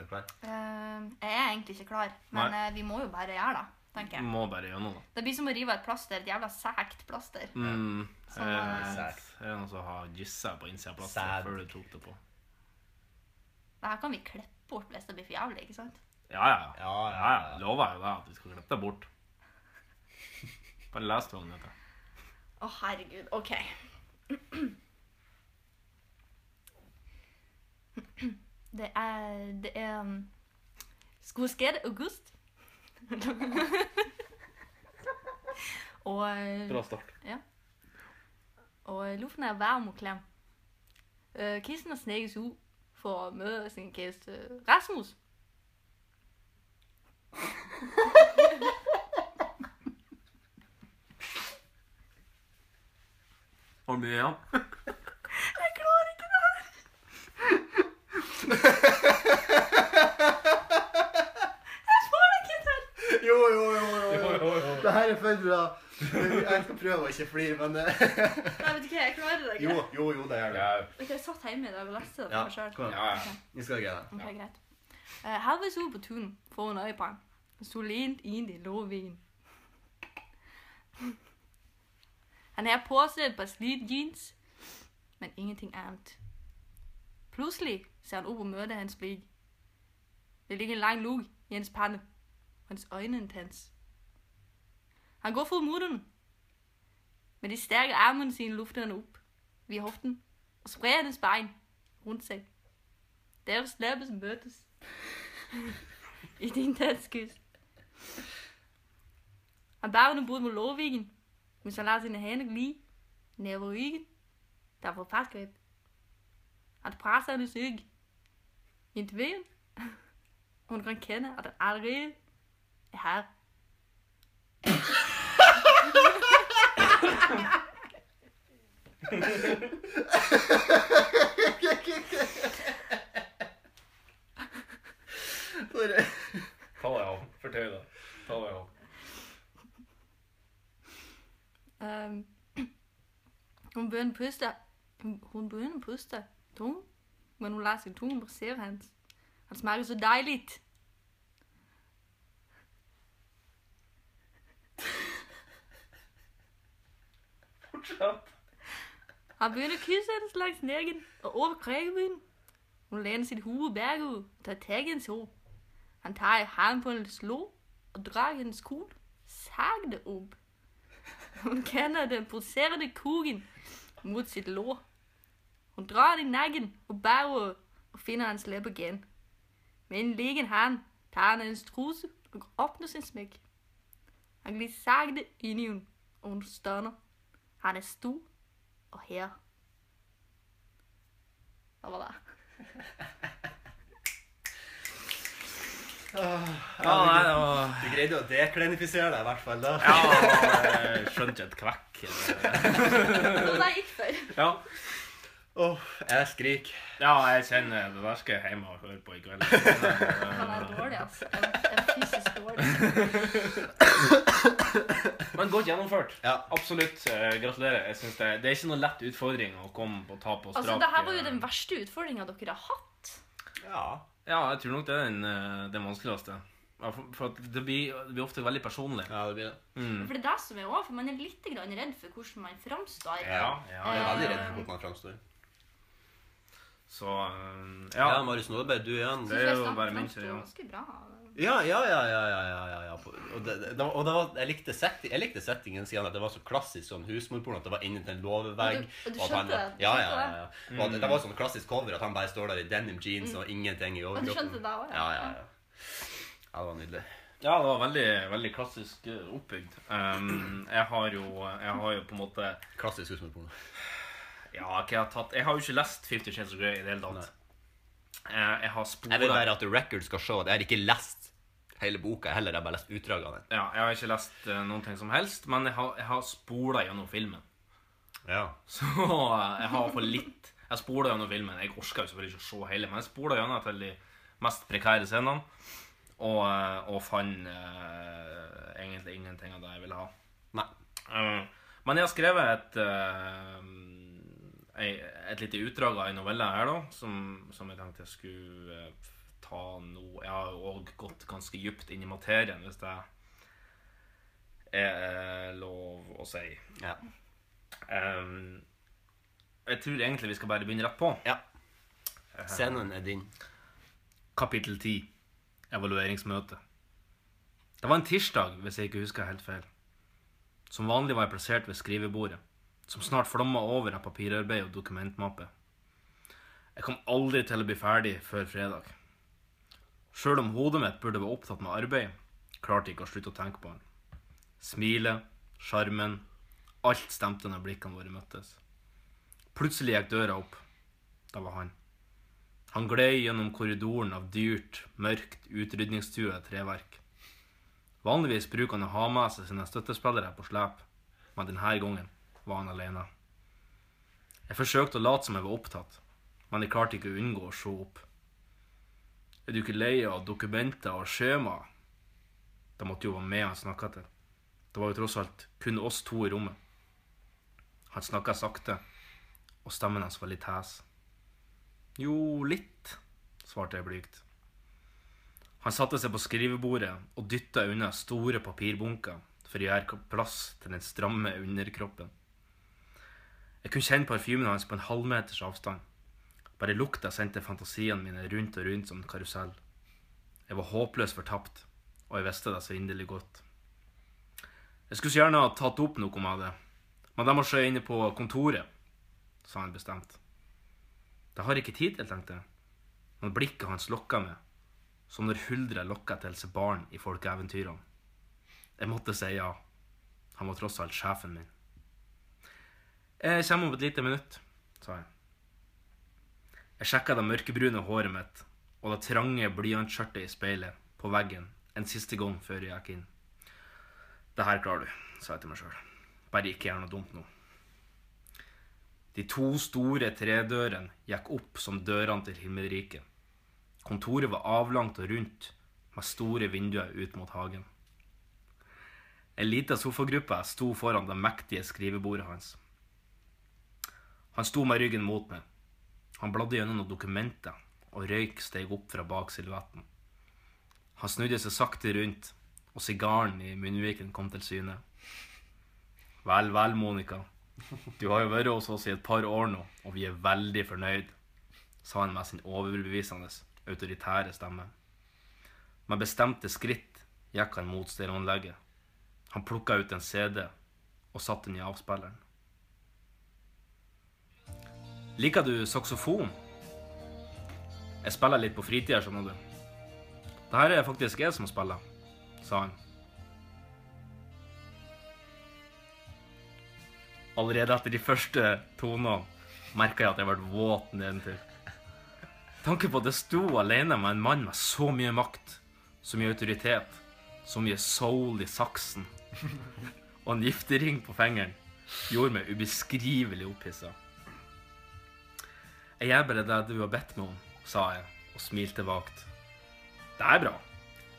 Er du klar?
Eh, jeg er egentlig ikke klar, men
Nei.
eh, vi må jo bare gjøre det. tenker
Mm.
jeg.
Må bare gjennom, da.
Det blir som å rive av et plaster. Et jævla sækt plaster.
Mm. eh,
Sånn, eh,
det er noen som har gyssa på innsida av
Sad.
plasteret før du tok det på.
Det her kan vi klippe bort hvis det blir for jævlig, ikke sant?
Ja, ja. ja,
Ja,
ja, ja. Lova jo deg at vi skal klippe det bort. Bare les det, Agnete.
Å, herregud. OK. Det er Det er um, skoskred august. og Bra
start.
Ja. Og eh, luften er varm og klam. Øh, Kisten er snækket ud for at møde sin gæst øh, Rasmus.
Har du mye igjen?
Jeg klarer ikke det her. Jeg får det ikke til.
Jo, jo, jo. jo, jo. Det her er for bra. Jeg skal prøve å ikke flire, men eh,
Nei, vet du hva, jeg klarer det
Jo,
ikke.
jo, jo, det gjør det.
Vet du, jeg satt hjemme i dag og leste det
Ja,
for meg selv.
kom igjen.
Ja,
Vi skal greie det.
Ok, greit. Uh, halvveis ude på turen foran øyebarn. Solent egentlig lå vin. Han har på seg et par slitt jeans, men ingenting annet. Plutselig ser han opp og møter hans blikk. Det ligger en lang lug i hans panne, og hans øyne er intens. Han går for mutteren, men de stærke armene sine lufter han opp via hoften og spreder hans bein rundt seg. Deres læber møtes i et intenst kys. Han bærer henne bort mod Lovvigen, mens han lader sine hænder glide ned over ryggen, der får fastgreb. Han presser hendes rygg indtil vejen. Hun kan kende, at den allerede er her.
Sorry.
Ta deg av. Fortøy deg. Ta deg av.
Øhm, hun begynder at puste. Hun, hun begynder at puste tungt, men hun lader sin tunge passere hans. Han smager så dejligt. Han begynder at kysse hende langs nækken og over krækkebyen. Hun læner sit hue bag ud og tager tag i hendes hår. Han tager i haren på hendes lå og drar hendes kul sagte op. Hun kender den pulserende kugen mod sit lår. Hun drar den i nakken og bagover og finder hans læbe igen. Med en liggen hand tager han hendes truse og åbner sin smæk. Han glider sagte ind i hende, og hun stønner. Han er stor og herre. Hvad var det?
Ja, nei, det var
Du greide å deklenifisere deg i hvert fall. da.
Ja, jeg skjønte et kvekk.
Det var ikke før.
Ja.
Åh, jeg skriker.
ja, jeg kjenner det der skal jeg hjem og høre på i kveld.
Han er dårlig, altså. Han er fysisk dårlig.
Men godt gjennomført.
Ja.
Absolutt. eh, gratulerer. Jeg synes det, det er ikke noe lett utfordring å komme på tap og strak.
Altså, det her var jo
eh,
den verste utfordringen dere har hatt.
Ja.
Ja, jeg tror nok det er den, eh, den vanskeligste. Ja, For, for at det, blir, det blir ofte veldig personlig.
ja, det blir det.
For det er det som er overfor. Man er litt grann redd for hvordan man framstår.
ja,
Jeg er
ja.
veldig redd for hvordan man framstår.
Så eh,
Ja,
ja.
Marius Nåberg, du igjen.
det er jo bare min tur, ja.
Ganske bra.
Ja, ja, ja, ja, ja, ja, ja, ja. Og, det, det, og det var, jeg, likte setti- jeg likte settingen siden at det var så klassisk sånn husmorporno. At det var inni en låvevegg. og
Og du- og du
at han
skjønte
var-
det? Du
Ja,
skjønte
ja, ja, ja. Og at det var sånn klassisk cover at han bare står der i denim jeans og ingenting i
Mm. du
overkroppen.
skjønte det også,
ja.
ja.
Ja, ja, ja. Det var nydelig.
Ja, det var veldig, veldig klassisk eh, oppbygd. Um, jeg, har jo, jeg har jo på en måte
Klassisk husmorporno.
Ja, hva jeg har tatt Jeg har jo ikke lest Fifty Shades of Grey i det hele tatt. Eh, Jeg har
Jeg vil
sporet
bare at The Record skal se at jeg har ikke lest hele boka heller. Jeg har bare lest utdrag av den.
Ja, jeg har ikke lest eh, noen ting som helst, men jeg har, jeg har spola gjennom filmen.
Ja.
Så eh, jeg har for litt Jeg spola gjennom filmen. Jeg orka jo selvfølgelig ikke å se hele, men jeg spola gjennom til de mest prekære scenene. Og, eh, og fant eh, egentlig ingenting av det jeg ville ha.
Nei.
Eh, men jeg har skrevet et eh, ei- et lite utdrag av en novelle her, da, som, som jeg tenkte jeg skulle eh, ta nå. Jeg har jo òg gått ganske dypt inn i materien, hvis det er lov å si.
Ja.
Ehm, jeg tror egentlig vi skal bare begynne rett på.
Ja. Scenen er din.
Kapittel 10. Evalueringsmøte. Det var en tirsdag, hvis jeg ikke husker helt feil. Som vanlig var jeg plassert ved skrivebordet, som snart flomma over av papirarbeid og dokumentmappe. Jeg kom aldri til å bli ferdig før fredag. Sjøl om hodet mitt burde være opptatt med arbeid, klarte jeg ikke å slutte å tenke på han. Smilet, sjarmen, alt stemte når blikkene våre møttes. Plutselig gikk døra opp. Da var han. Han gled gjennom korridoren av dyrt, mørkt, utrydningstrua treverk. Vanligvis bruker han å ha med seg sine støttespillere på slep, men denne gangen var han alene. Jeg forsøkte å late som jeg var opptatt, men jeg klarte ikke å unngå å se opp. Er du ikke lei av dokumenter og skjemaer? Det måtte jo være meg han snakka til. Det var jo tross alt kun oss to i rommet. Han snakka sakte, og stemmen hans var litt hes. Jo, litt, svarte jeg blygt. Han satte seg på skrivebordet og dytta unna store papirbunker for å gjøre plass til den stramme underkroppen. Jeg kunne kjenne parfymen hans på en halvmeters avstand. Bare lukta sendte fantasiene mine rundt og rundt som en karusell. Jeg var håpløst fortapt, og jeg visste det så inderlig godt. Jeg skulle så gjerne ha tatt opp noe med det, men det må skje inne på kontoret, sa han bestemt. Det har jeg ikke tid til, tenkte jeg. Men blikket hans lokka meg, som når huldra lokka til seg barn i folkeeventyrene. Jeg måtte si ja. Han var tross alt sjefen min. Jeg kommer om et lite minutt, sa jeg. Jeg sjekka det mørkebrune håret mitt og det trange blyantskjørtet i speilet på veggen en siste gang før jeg gikk inn. Det her klarer du, sa jeg til meg sjøl. Bare ikke gjør noe dumt nå. De to store tredørene gikk opp som dørene til himmelriket. Kontoret var avlangt og rundt, med store vinduer ut mot hagen. En liten sofagruppe sto foran det mektige skrivebordet hans. Han sto med ryggen mot meg. Han bladde gjennom noen dokumenter, og røyk steg opp fra bak silhuetten. Han snudde seg sakte rundt, og sigaren i munnviken kom til syne. Vel, vel, Monica, du har jo vært hos oss i et par år nå, og vi er veldig fornøyd, sa han med sin overbevisende, autoritære stemme. Med bestemte skritt gikk han mot stereoanlegget. Han plukka ut en CD og satte den i avspilleren. Liker du saksofon? Jeg spiller litt på fritida, skjønner du. Det her er faktisk jeg som spiller, sa han. Allerede etter de første tonene merka jeg at jeg ble våt nedentil. Tanken på at jeg sto alene med en mann med så mye makt, så mye autoritet, så mye soul i saksen og en giftering på fingeren, gjorde meg ubeskrivelig opphissa. Jeg gjør bare det du har bedt meg om, sa jeg og smilte vagt. Det er bra.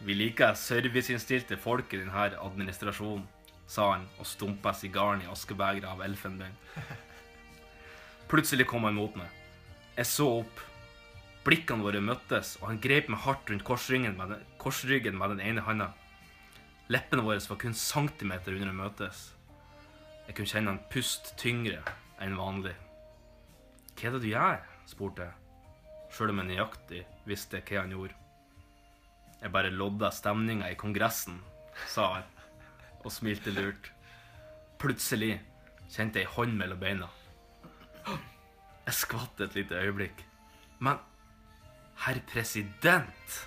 Vi liker serviceinnstilte folk i denne administrasjonen sa han og stumpa sigaren i askebegeret av elfenbein. Plutselig kom han mot meg. Jeg så opp. Blikkene våre møttes, og han grep meg hardt rundt korsryggen med den, korsryggen med den ene handa. Leppene våre var kun centimeter under å møtes. Jeg kunne kjenne han pust tyngre enn vanlig. Hva er det du gjør? spurte jeg, sjøl om jeg nøyaktig visste hva han gjorde. Jeg bare lodda stemninga i Kongressen, sa han og smilte lurt. Plutselig kjente jeg ei hånd mellom beina. Jeg skvatt et lite øyeblikk. Men herr president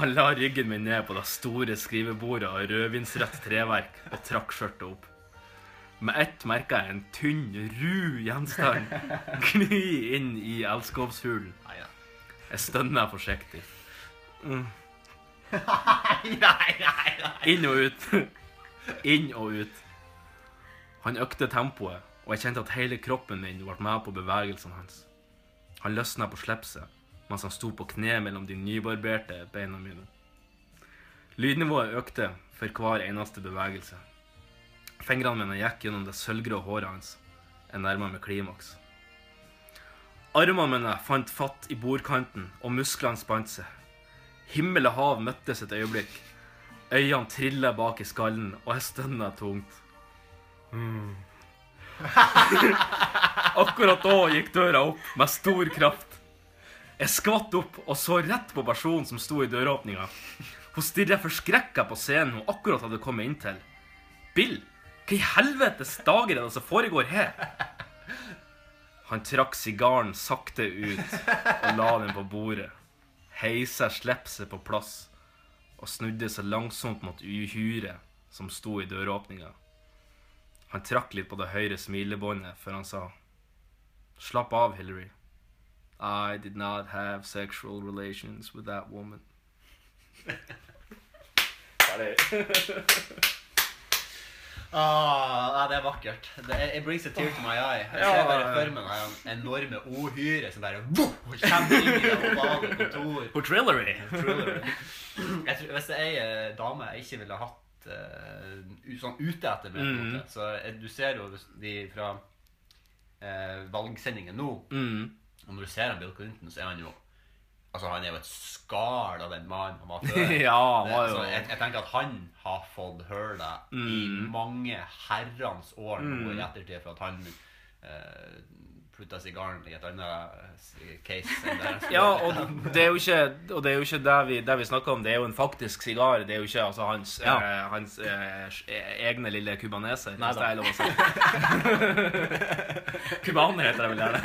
Han la ryggen min ned på det store skrivebordet av rødvinsrødt treverk og trakk skjørtet opp. Med ett merka jeg en tynn, ru gjenstand gni inn i elskovshulen. Jeg stønna forsiktig. Mm. Inn og ut. Inn og ut. Han økte tempoet, og jeg kjente at hele kroppen min ble med på bevegelsene hans. Han løsna på slipset mens han sto på kne mellom de nybarberte beina mine. Lydnivået økte for hver eneste bevegelse. Fingrene mine gikk gjennom det sølvgrå håret hans. Jeg nærma meg klimaks. Armene mine fant fatt i bordkanten, og musklene spant seg. Himmel og hav møttes et øyeblikk. Øynene triller bak i skallen, og jeg stønner tungt. Mm. Akkurat da gikk døra opp med stor kraft. Jeg skvatt opp og så rett på personen som sto i døråpninga. Hun stirret forskrekka på scenen hun akkurat hadde kommet inn til. Bill, hva i helvetes dager er det som foregår her? Han trakk sigaren sakte ut og la den på bordet. Heisa slipset på plass og snudde seg langsomt mot uhyret som sto i døråpninga. Han trakk litt på det høyre smilebåndet før han sa Slapp av, Hillary. I did not have sexual relations with that woman.
Ah, ja, det er vakkert. Det er, it brings a tear to my eye. Jeg ser bare for meg den enorme ohyret som bare voff, kommer inn i det ovale kontor.
Portrillery.
Thriller. Jeg tror, hvis det er ei dame jeg ikke ville hatt eh, u- sånn ute etter meg, på en
Mm.
måte. så eh, du ser jo de fra eh, valgsendingen nå Og når du ser han Bill Clinton, så er han jo Altså, han er jo et skall av den mannen han var før.
Ja, han
Det-
var jo-
altså, jeg, jeg tenker at han har fått høre det i
Mm.
mange herrens år nå
Mm.
i ettertid for at han uh, putta sigaren i et annet eh, case. enn der han skulle.
Ja, og det er jo ikke, og det, er jo ikke det, vi, det vi snakker om. Det er jo en faktisk sigar. Det er jo ikke altså, hans,
Ja.
eh, hans eh, s- eh, egne lille cubaneser.
Nei
Hvis
da.
det er lov å si. Cubaner heter det vel gjerne.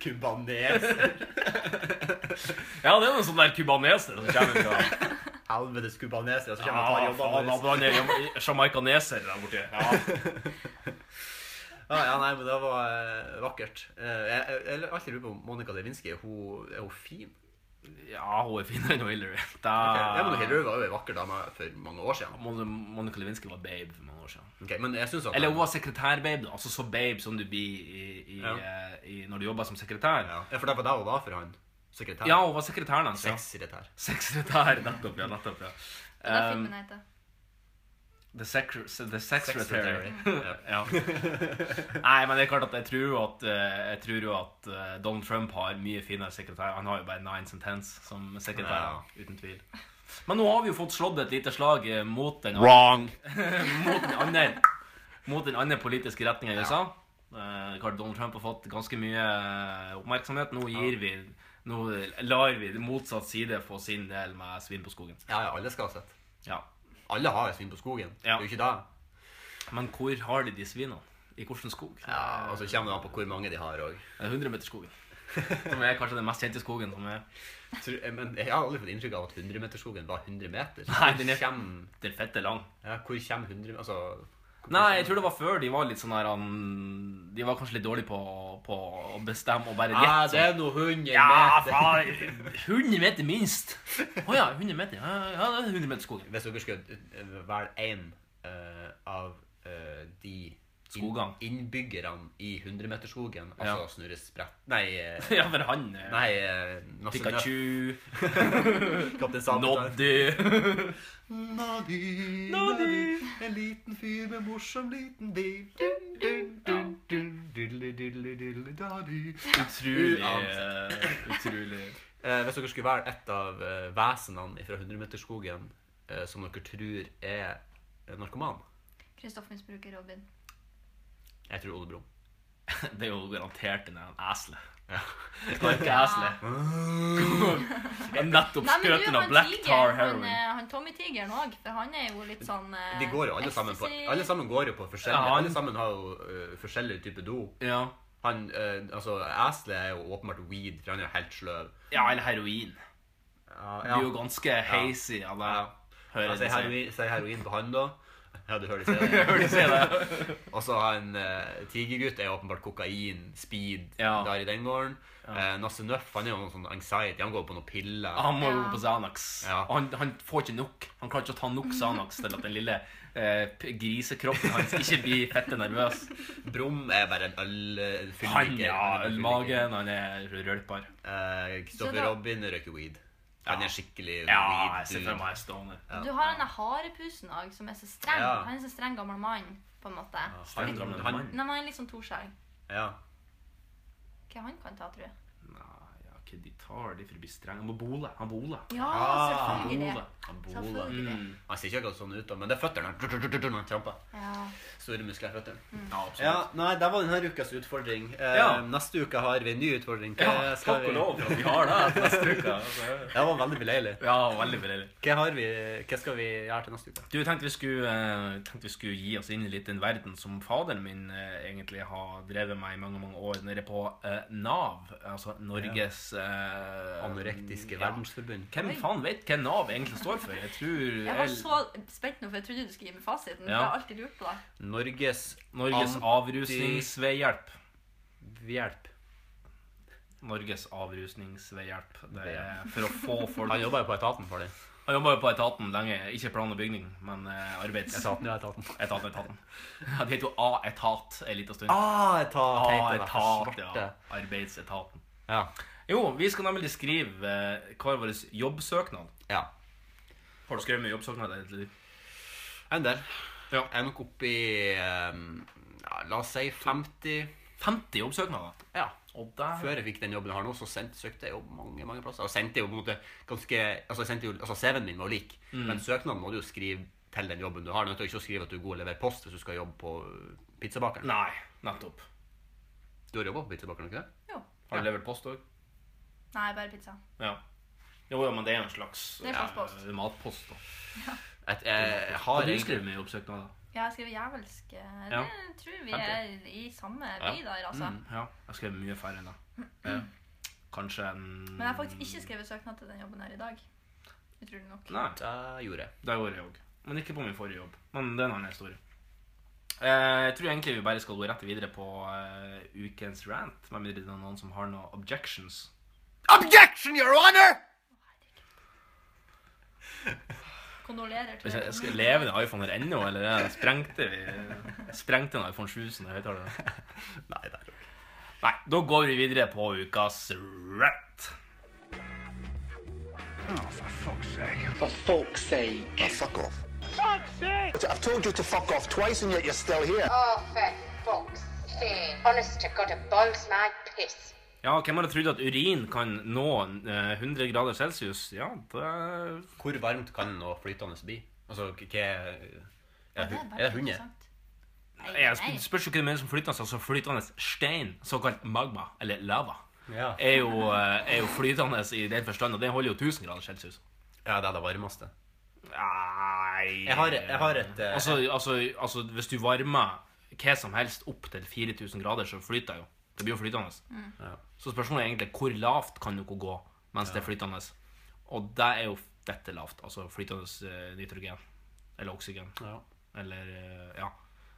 Kubaneser.
ja, det er noen sånne der cubaneser som kommer fra
Helvetes kubaneser. Og så kommer
Ja,
han og tar
faen, altså.
jobbene
han er jama- jamaicaneser der borte. Ja.
Ja, ja, nei, men det var eh, vakkert. Eh, jeg, jeg, jeg alltid lurer på om Monica Lewinsky er hun, er hun fin.
ja, hun er finere enn Hillary. Da...
Ok, Ja, men Hillary var jo en vakker dame for mange år siden.
Mon- Monica Lewinsky var babe for mange år siden.
Ok, men jeg synes at
Eller hun var sekretærbabe, da. Altså så babe som du blir i, i,
Ja.
eh, i, når du jobber som sekretær.
Ja, for det var der hun var for han. Sekretær.
Ja, hun var sekretæren hans. Ja.
Sexsekretær.
Sekretær, nettopp. ja, nettopp, ja.
Det er
Um,
filmen heter.
the, secre the Secretary.
Secretary.
ja. Nei, men det er klart at jeg tror jo at, eh, jeg tror jo at eh, Donald Trump har mye finere sekretær. Han har jo bare nines and tens som sekretær. Uten tvil. Men nå har vi jo fått slått et lite slag eh, mot den
Wrong.
mot den andre Mot den andre politiske retningen i USA. Eh, klart Donald Trump har fått ganske mye eh, oppmerksomhet. Nå gir vi Nå lar vi motsatt side få sin del med svin på skogen.
Ja, ja, alle skal ha sett.
Ja.
Alle har et svin på skogen.
Ja.
Det er jo ikke det.
Men hvor har de de svinene? I hvilken skog? Det
Ja, og så kommer det an på hvor mange de har òg.
er 100-meterskogen. Som er kanskje den mest kjente skogen som er
eh, Men jeg har aldri fått inntrykk av at 100-meterskogen var 100 meter.
Nei, den er-
Hvor kommer-
den fette lang.
ja, hvor kommer 100 Altså hvor-
Nei, jeg tror det var før de var litt sånn her han- De var kanskje litt dårlige på, på å bestemme og bare
Ja,
gjette.
ah, det er noe
sånn-
100
Ja,
meter.
Ah, faen! 100 meter minst. Å ja, 100 meter. Ja, ja, ja, det er 100 meter skog.
Hvis dere skulle eh, velge én av eh, de inn-
Skogene.
innbyggerne i 100-meterskogen, altså
Ja.
Snurre Sprett Nei, eh,
Ja, for han eh,
nei eh, Nasse
Pikachu,
Nøff, Kaptein Sabeltann.
Noddy
Nadi,
Nadi.
en liten fyr med morsom liten bil. Dun, dun, dun, dun, dille, dille, dille, dadi.
Utrolig
Uant.
eh, Utrolig.
Eh, hvis dere skulle velge et av eh, vesenene fra 100-meterskogen eh, som dere tror er eh, narkoman
Kristoffmisbruker Robin.
Jeg tror Ole Brumm.
Det er jo garantert en eller annen esle.
Ja.
Knarkeesle. Nettopp
Nei, men
skrøten av
du, han
black tar
tigeren, han,
heroin.
eh, han Tommy Tigeren òg, for han er jo litt sånn eh,
De går jo alle sammen på
ecstasy.
Alle sammen går jo på forskjellige
Ja, han-
Alle sammen har jo eh, forskjellige typer do.
Ja.
Han, eh, altså, Asle er jo åpenbart weed, for han er jo helt sløv.
ja, eller heroin.
Ja,
Du er jo ganske hazy av det.
Ja.
Hører
Altså,
de
jeg
sier.
heroin, sier heroin på han, da. Ja, du hører de sier det.
Hører de sier det.
Og så han eh, tigergutt er jo åpenbart kokain, speed,
Ja.
der i den gården. Eh, Nasse Nøff han er jo noe sånn anxiety. Han går på noen piller.
Han må jo gå på Xanax.
Ja.
Og Han, han får ikke nok. Han klarer ikke å ta nok Xanax til at den lille eh, p- grisekroppen hans ikke blir fette nervøs.
Brum er bare en øl... eh, fylliker.
Han ja,
er en fylliker.
ølmagen, han er rølpar.
Eh,
Så
Kristoffer
da-
Robin røyker weed. Han er skikkelig
Ja, jeg ser
weed-dude.
for meg Stoner.
Du har denne harepusen òg, som er så streng.
Ja.
Han er så streng gammel mann, på en måte.
Han,
Streng gammel
han,
mann.
Nei, men han er litt sånn Torskjell.
ja.
Hva han kan ta, tror jeg.
Nei, ja, hva de tar de for å bli streng? Han må bole. Han bole.
Ja,
Ah,
selvfølgelig.
Bola.
Han bola.
Selvfølgelig.
Mm.
Han ser ikke akkurat sånn ut, da, men det er føttene. han- Han tramper.
Ja. Mm.
Store muskler i føttene.
Ja, absolutt.
Ja, nei, det var denne ukas utfordring. Eh,
Ja.
Neste uke har vi en ny utfordring.
Ja, takk og lov for at Eh, vi har det etter neste uke. altså.
Det var veldig beleilig.
Ja, veldig beleilig.
Hva, har vi, hva skal vi gjøre til neste uke?
Du, jeg tenkte vi skulle, eh, tenkte vi skulle gi oss inn i litt den verden som faderen min eh, egentlig har drevet meg i mange mange år, nede på eh, Nav. Altså Norges eh,
Anorektiske
ja.
verdensforbund.
Hvem faen vet hva Nav egentlig står for? Jeg tror eh,
Jeg var så spent nå, for jeg trodde du skulle gi meg
Ja.
fasiten. Jeg har alltid lurt på det.
Norges
Norges avrusningsveihjelp.
hjelp.
Norges avrusningsveihjelp. Det er for å få folk
Han jobber jo på etaten for det.
Han jobba jo på etaten lenge. Ikke plan og bygning, men eh, arbeids...
Etaten, ja, etaten.
Etaten, etaten. Ja, det heter jo A-etat en liten stund.
Ah, etat, heter det, for
A-etat, ja.
svarte.
Arbeidsetaten.
Ja.
Jo, vi skal nemlig skrive eh, hver vår jobbsøknad.
ja.
Har du skrevet med jobbsøknad? Eller?
En del.
Ja.
Jeg er nok oppe i ehm, ja, La oss si 50
50 jobbsøknader?
Ja.
Og der
Før jeg fikk den jobben jeg har nå, så sendte, søkte jeg jobb mange mange plasser. Og sendte jo på en måte ganske Altså, jeg sendte jo, altså CV-en min var lik, men søknaden må du jo skrive til den jobben du har. Du er nødt til å ikke å skrive at du er god til å levere post hvis du skal jobbe på øh, pizzabakeren.
Nei, nettopp.
Du har jobba på pizzabakeren, ikke det?
Jo.
Har du levert post òg?
Nei, bare pizza.
Ja. Jo, ja, men det er en slags
Det er slags post.
eh, matpost. da.
Et, eh, jeg, har
Har du
egentlig-
skrevet med jobbsøknader?
Ja, jeg skriver jævelsk. eh,
Ja.
Det tror vi er i samme by der, altså.
Ja. Jeg skrev mye færre enn det. Kanskje en
Men jeg har faktisk ikke skrevet søknad til den jobben her i dag. Utrolig nok.
Nei,
Det gjorde jeg.
det gjorde jeg òg. Men ikke på min forrige jobb. Men det er en annen historie. Eh, Jeg tror egentlig vi bare skal gå rett videre på eh, ukens rant. Med mindre det er noen som har noen objections.
Objection, your honor!
Kondolerer til
Hvis jeg skal leve den iPhone her ennå, eller er det- sprengte vi Sprengte en iPhone 7 sin høyttaler?
Nei, det er jo
Nei, da går vi videre på ukas rant.
For folk's sake. fuck off. I've told you to fuck off twice and yet you're still here.
Oh, for fuck's sake. Honest to God, it boils my piss.
Ja, hvem hadde trodd at urin kan nå eh, 100 grader celsius? Ja, det
Hvor varmt kan noe flytende bli? Altså, hva Er det,
Ja, er altså. bare
er det hunder?
interessant. Nei,
Jeg
nei.
spør, spørs jo hva det mener som flytende, altså flytende stein, såkalt magma, eller lava,
Ja.
er jo, eh, er jo flytende i den forstand, og det holder jo 1000 grader Celsius.
ja, det er det varmeste.
Nei.
Jeg har, jeg har et eh,
Altså, altså, altså, hvis du varmer hva som helst opp til 4000 grader, så flyter jo. Det blir jo flytende.
Ja.
Så spørsmålet er egentlig, hvor lavt kan dere gå mens det er flytende? Og det er jo dette lavt, altså flytende eh, nitrogen, eller oksygen.
ja.
Eller eh, Ja.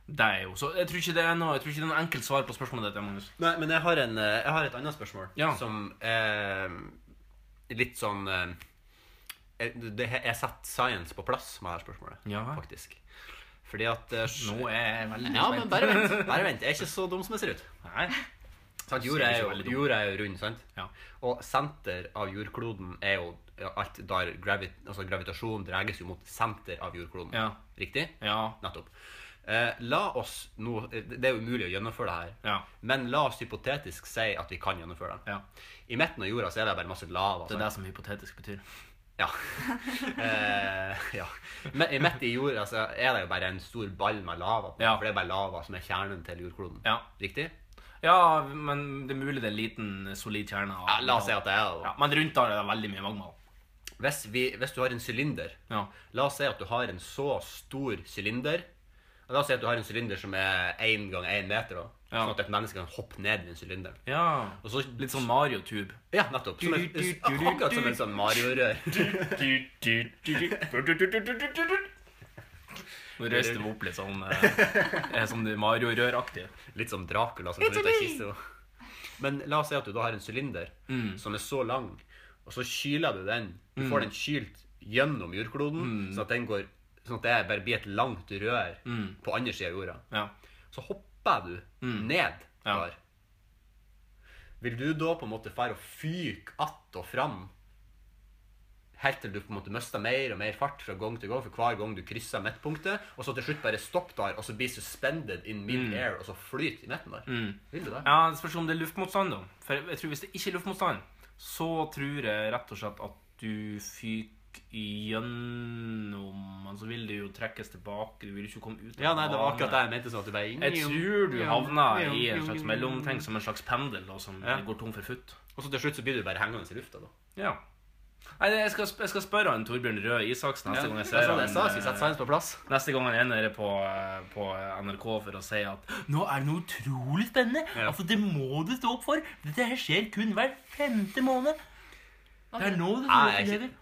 Det er jo Så jeg tror ikke det er noe Jeg tror ikke det er noe enkelt svar på spørsmålet ditt, Magnus.
Nei, men jeg har, en, eh, jeg har et annet spørsmål
Ja.
som er litt sånn eh, jeg, det, jeg setter science på plass med dette spørsmålet,
Ja.
faktisk. Fordi at eh, sj-
Nå er jeg veldig
Ja, men bare vent. bare vent. Jeg er ikke så dum som jeg ser ut.
Nei.
Sant? Jorda er
Ser ikke så
jo,
veldig dum.
jorda er jo rund, sant?
Ja.
Og senter av jordkloden er jo alt der gravi, altså gravitasjon dreges jo mot senter av jordkloden.
Ja.
Riktig?
Ja.
Nettopp. Eh, la oss nå eh, Det er jo umulig å gjennomføre det her.
Ja.
Men la oss hypotetisk si at vi kan gjennomføre det.
ja.
I midten av jorda så er det bare masse lava.
Det er
sant?
det som hypotetisk betyr.
Ja. eh, ja. Men i midt i jorda så er det jo bare en stor ball med lava. På,
Ja.
For det er bare lava som er kjernen til jordkloden.
Ja.
Riktig?
Ja, men det er mulig det er en liten solid kjerne av
Ja, la oss si at det er jo
ja, Men rundt der er det veldig mye magma.
hvis, vi, hvis du har en sylinder
Ja.
La oss si at du har en så stor sylinder og La oss si at du har en sylinder som er 1 gang 1 meter. Da,
Ja.
Sånn at et menneske kan hoppe ned i den sylinderen.
ja.
Og så
Litt sånn Mario-tube.
Ja, nettopp. Som en, akkurat som en sånn Mario-rør.
Nå røyste vi opp litt sånn eh, eh, som det Mario-røraktig.
Litt som Dracula som kommer ut av kista. Men la oss si at du da har en sylinder
Mm.
som er så lang, og så kyler du den. Du får den kylt gjennom jordkloden,
Mm.
sånn at den går Sånn at det bare blir et langt rør
Mm.
på andre sida av jorda.
Ja.
Så hopper du ned
Ja.
der. Vil du da på en måte fære og fyke att og fram helt til du på en måte mister mer og mer fart fra gang til gang for hver gang du krysser midtpunktet, og så til slutt bare stopp der, og så bli suspended in mid-air, og så flyt i midten der? Vil du det?
Ja, Det spørs om det er luftmotstand, da. For jeg tror hvis det ikke er luftmotstand, så tror jeg rett og slett at du fyker gjennom Men så vil det jo trekkes tilbake. Du vil ikke komme ut. av
Ja, nei, det
banen.
var akkurat det jeg mente. sånn at du bare
Jeg tror du havna i en slags mellomting, som en slags pendel da, som
Ja.
går tom for futt.
Og så til slutt så blir du bare hengende i lufta, da.
Ja. Nei, jeg skal, jeg skal spørre han Torbjørn Røe Isaksen neste
Ja,
gang jeg
jeg
ser eh,
sa det, sånn jeg sa, skal vi sette science på plass?
Neste gang han er nede på, eh, på NRK for å si at Nå er det noe utrolig spennende! Altså, det må du stå opp for! Dette her skjer kun hver femte måned! Det er nå du
Nei, jeg er
lever!
ikke-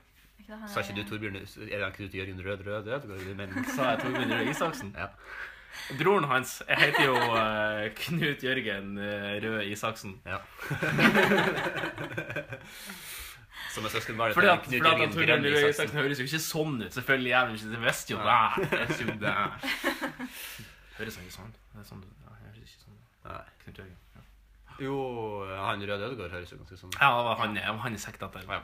Sa ikke du Torbjørn Er det han Knut Jørgen Rød Rød Rød? Hva er det du mener?
Sa jeg Torbjørn Røe Isaksen?
Ja.
Broren hans heter jo eh, Knut Jørgen eh, Røe Isaksen.
Ja. Som er søskenbarnet
Fordi
til
at,
Knut
fordi at
Jørgen
Torbjørn
Grønn
Røe
Isaksen.
Isaksen høres jo ikke sånn ut. Selvfølgelig gjør han ikke det. Det visste jo det. Jeg visste jo det. Høres han ikke sånn? Det er sånn ja, jeg høres ikke sånn. Knut Jørgen. Ja.
Jo, han Rød Ødegård høres jo ganske sånn
Ja, det var han, ja, han er sekta til.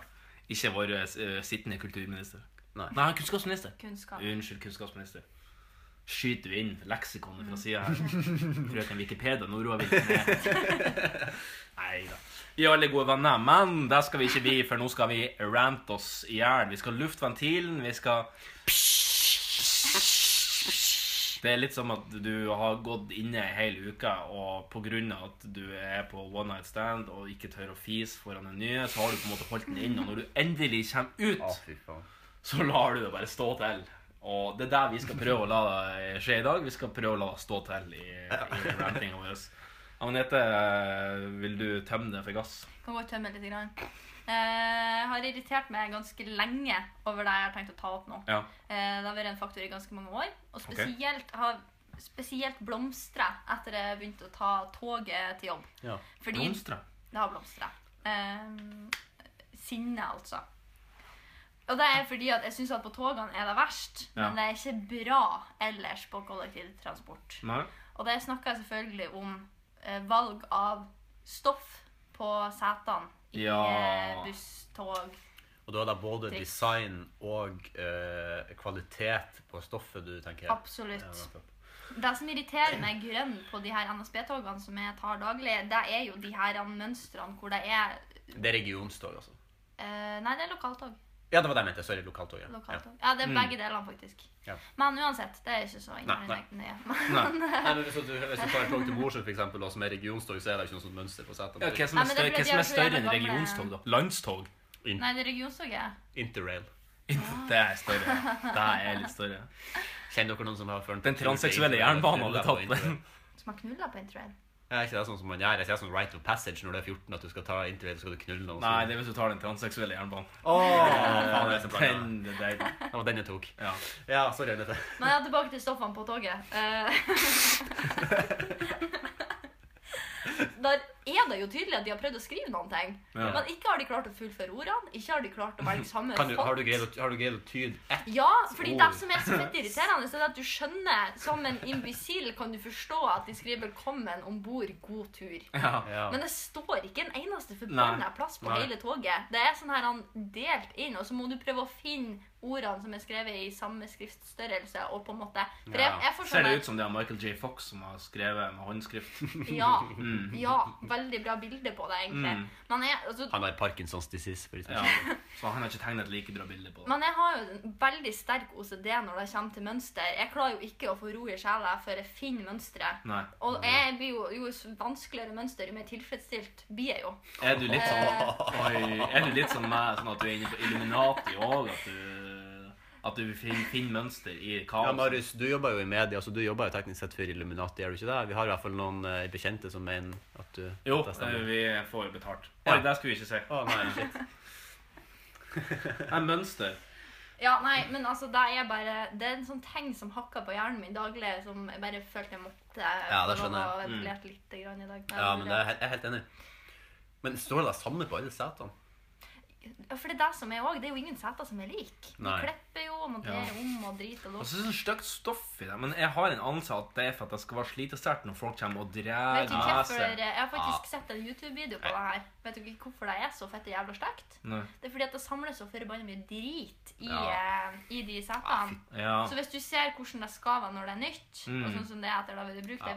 Ikke vår eh, sittende kulturminister. Nei, han er kunnskapsminister.
Kunnskap.
Unnskyld, kunnskapsminister. Skyter vi inn leksikonet fra sida her? Frøken Wikipedia, nå roer vi litt ned. Nei da. Vi er alle gode venner, men det skal vi ikke bli, for nå skal vi rante oss i hjel. Vi skal lufte ventilen, vi skal Det er litt som at du har gått inne ei hel uke, og pga. at du er på one night stand og ikke tør å fise foran den nye, så har du på en måte holdt den inne, og når du endelig kommer ut så lar du det bare stå til. Og det er der vi skal prøve å la det skje i dag. Vi skal prøve å la det stå til i, i rantinga vår. Agnete, vil du tømme det for gass?
Kan godt tømme litt. Grann. Eh, har irritert meg ganske lenge over det jeg har tenkt å ta opp nå.
Ja.
Eh, det har vært en faktor i ganske mange år. Og
Ok.
spesielt har spesielt blomstra etter jeg begynte å ta toget til jobb.
Ja.
Fordi-
Blomstra.
Det har blomstra. Ehm, sinne, altså. Og det er fordi at jeg syns at på togene er det verst,
Ja.
men det er ikke bra ellers på kollektivtransport.
Nei?
Og det snakker jeg selvfølgelig om eh, valg av stoff på setene i
Ja.
eh, buss, tog.
Og da er det både
Triks.
design og eh, kvalitet på stoffet du tenker
Absolutt.
Ja, nettopp.
Det som irriterer meg grønn på de her NSB-togene som jeg tar daglig, det er jo de her mønstrene hvor det er
det er regionstog, altså.
eh, Nei, det er lokaltog.
Ja, det var det jeg mente. Sorry, lokaltog. Ja.
lokaltog. Ja, det er
Mm.
begge delene, faktisk.
Ja.
Men uansett, det er ikke så
Nei, nei.
innmari nøye.
Nei.
Men, eh,
Nei, men hvis, du, hvis du tar et tog til Mosjøen, for eksempel, og som er regionstog, så er det ikke noe sånt mønster på setene.
Ja, hva som
Nei,
er
men det
større,
er fordi
hva som
de
er større
har
enn
flere
regionstog, da? Landstog?
nei, det er regionstoget.
Interrail.
Det er større. Det er litt større.
Kjenner dere noen som har ført
Den transseksuelle jernbanen hadde tatt den.
Som har knulla på interrail.
Ja, ikke det er sånn som man gjør. Jeg ser sånn right of passage når du er 14, at du skal ta interrail, så skal du knulle noen.
Nei, det er hvis du tar den transseksuelle jernbanen.
faen, det er så bra.
Den- det er deilig.
Det var den jeg tok.
Ja,
sorry, Agnete.
Men ja, tilbake til stoffene på toget. Eh, Der er det jo tydelig at de har prøvd å skrive noen ting.
Ja.
Men ikke har de klart å fullføre ordene. Ikke har de klart å velge samme
Kan du, har, du
font.
greid, å- har du greid å tyde ett?
Ja, fordi det
Ord.
som er så fett irriterende, så er det at du skjønner Som en imbisil kan du forstå at de skriver 'velkommen om bord, god tur'.
Ja.
Men det står ikke en eneste forbanna
Nei.
plass på
Nei.
hele toget. Det er sånn her han delt inn, og så må du prøve å finne ordene som er skrevet i samme skriftstørrelse, og på en måte For jeg, jeg får
Ser
sånne-
det ut som det er Michael J. Fox som har skrevet med håndskrift?
Ja.
Mm.
ja, veldig bra bilde på det, egentlig.
Mm.
Men, jeg, altså,
Han har Parkinsons disease. For de som
Ja.
ikke-
Så han har ikke tegnet et like bra bilde på det.
men jeg har jo en veldig sterk OCD når det kommer til mønster. Jeg klarer jo ikke å få ro i sjela før jeg finner mønsteret.
Nei.
Og jeg blir jo, jo s- vanskeligere mønster, jo mer tilfredsstilt blir jeg jo.
Er du litt sånn,
Eh.
oi, er du litt sånn, meg, sånn at du er inne på Illuminati òg? At du, at du finner, finner mønster i
Ja,
kaos?
Marius, du jobber jo i media, så du jobber jo teknisk sett for Illuminati, gjør du ikke det? Vi har i hvert fall noen eh, bekjente som mener at du
Jo,
at det stemmer.
eh, vi får jo betalt.
Ja.
Oi, det skulle vi ikke si.
Å, nei, shit.
Nei, mønster.
Ja, nei, men altså, det er bare Det er en sånn ting som hakker på hjernen min daglig, som jeg bare følte jeg måtte eh,
Ja, det skjønner jeg.
jeg.
Mm.
ventilert litt grann i dag.
Ja, men det er, jeg er helt enig. Men står det samme på alle setene?
Ja, for det er det som er òg. Det er jo ingen seter som er like. Man
Nei.
klipper jo, man tar
Ja.
om og driter
Og
og
så er
lort.
det sånn stygt stoff i det. Men jeg har en anelse at det er for at det skal være slitesterkt når folk kommer og drar
Vet du ikke hvorfor,
nese.
jeg har faktisk sett en YouTube-video på det her. Vet du ikke hvorfor det er så fette jævla stygt?
Nei.
Det er fordi at det samles så forbanna mye drit i,
Ja.
eh, i de
Ah,
setene.
Ja.
Så hvis du ser hvordan det skal være når det er nytt,
Mm.
og sånn som det er etter det har vært brukt ei uke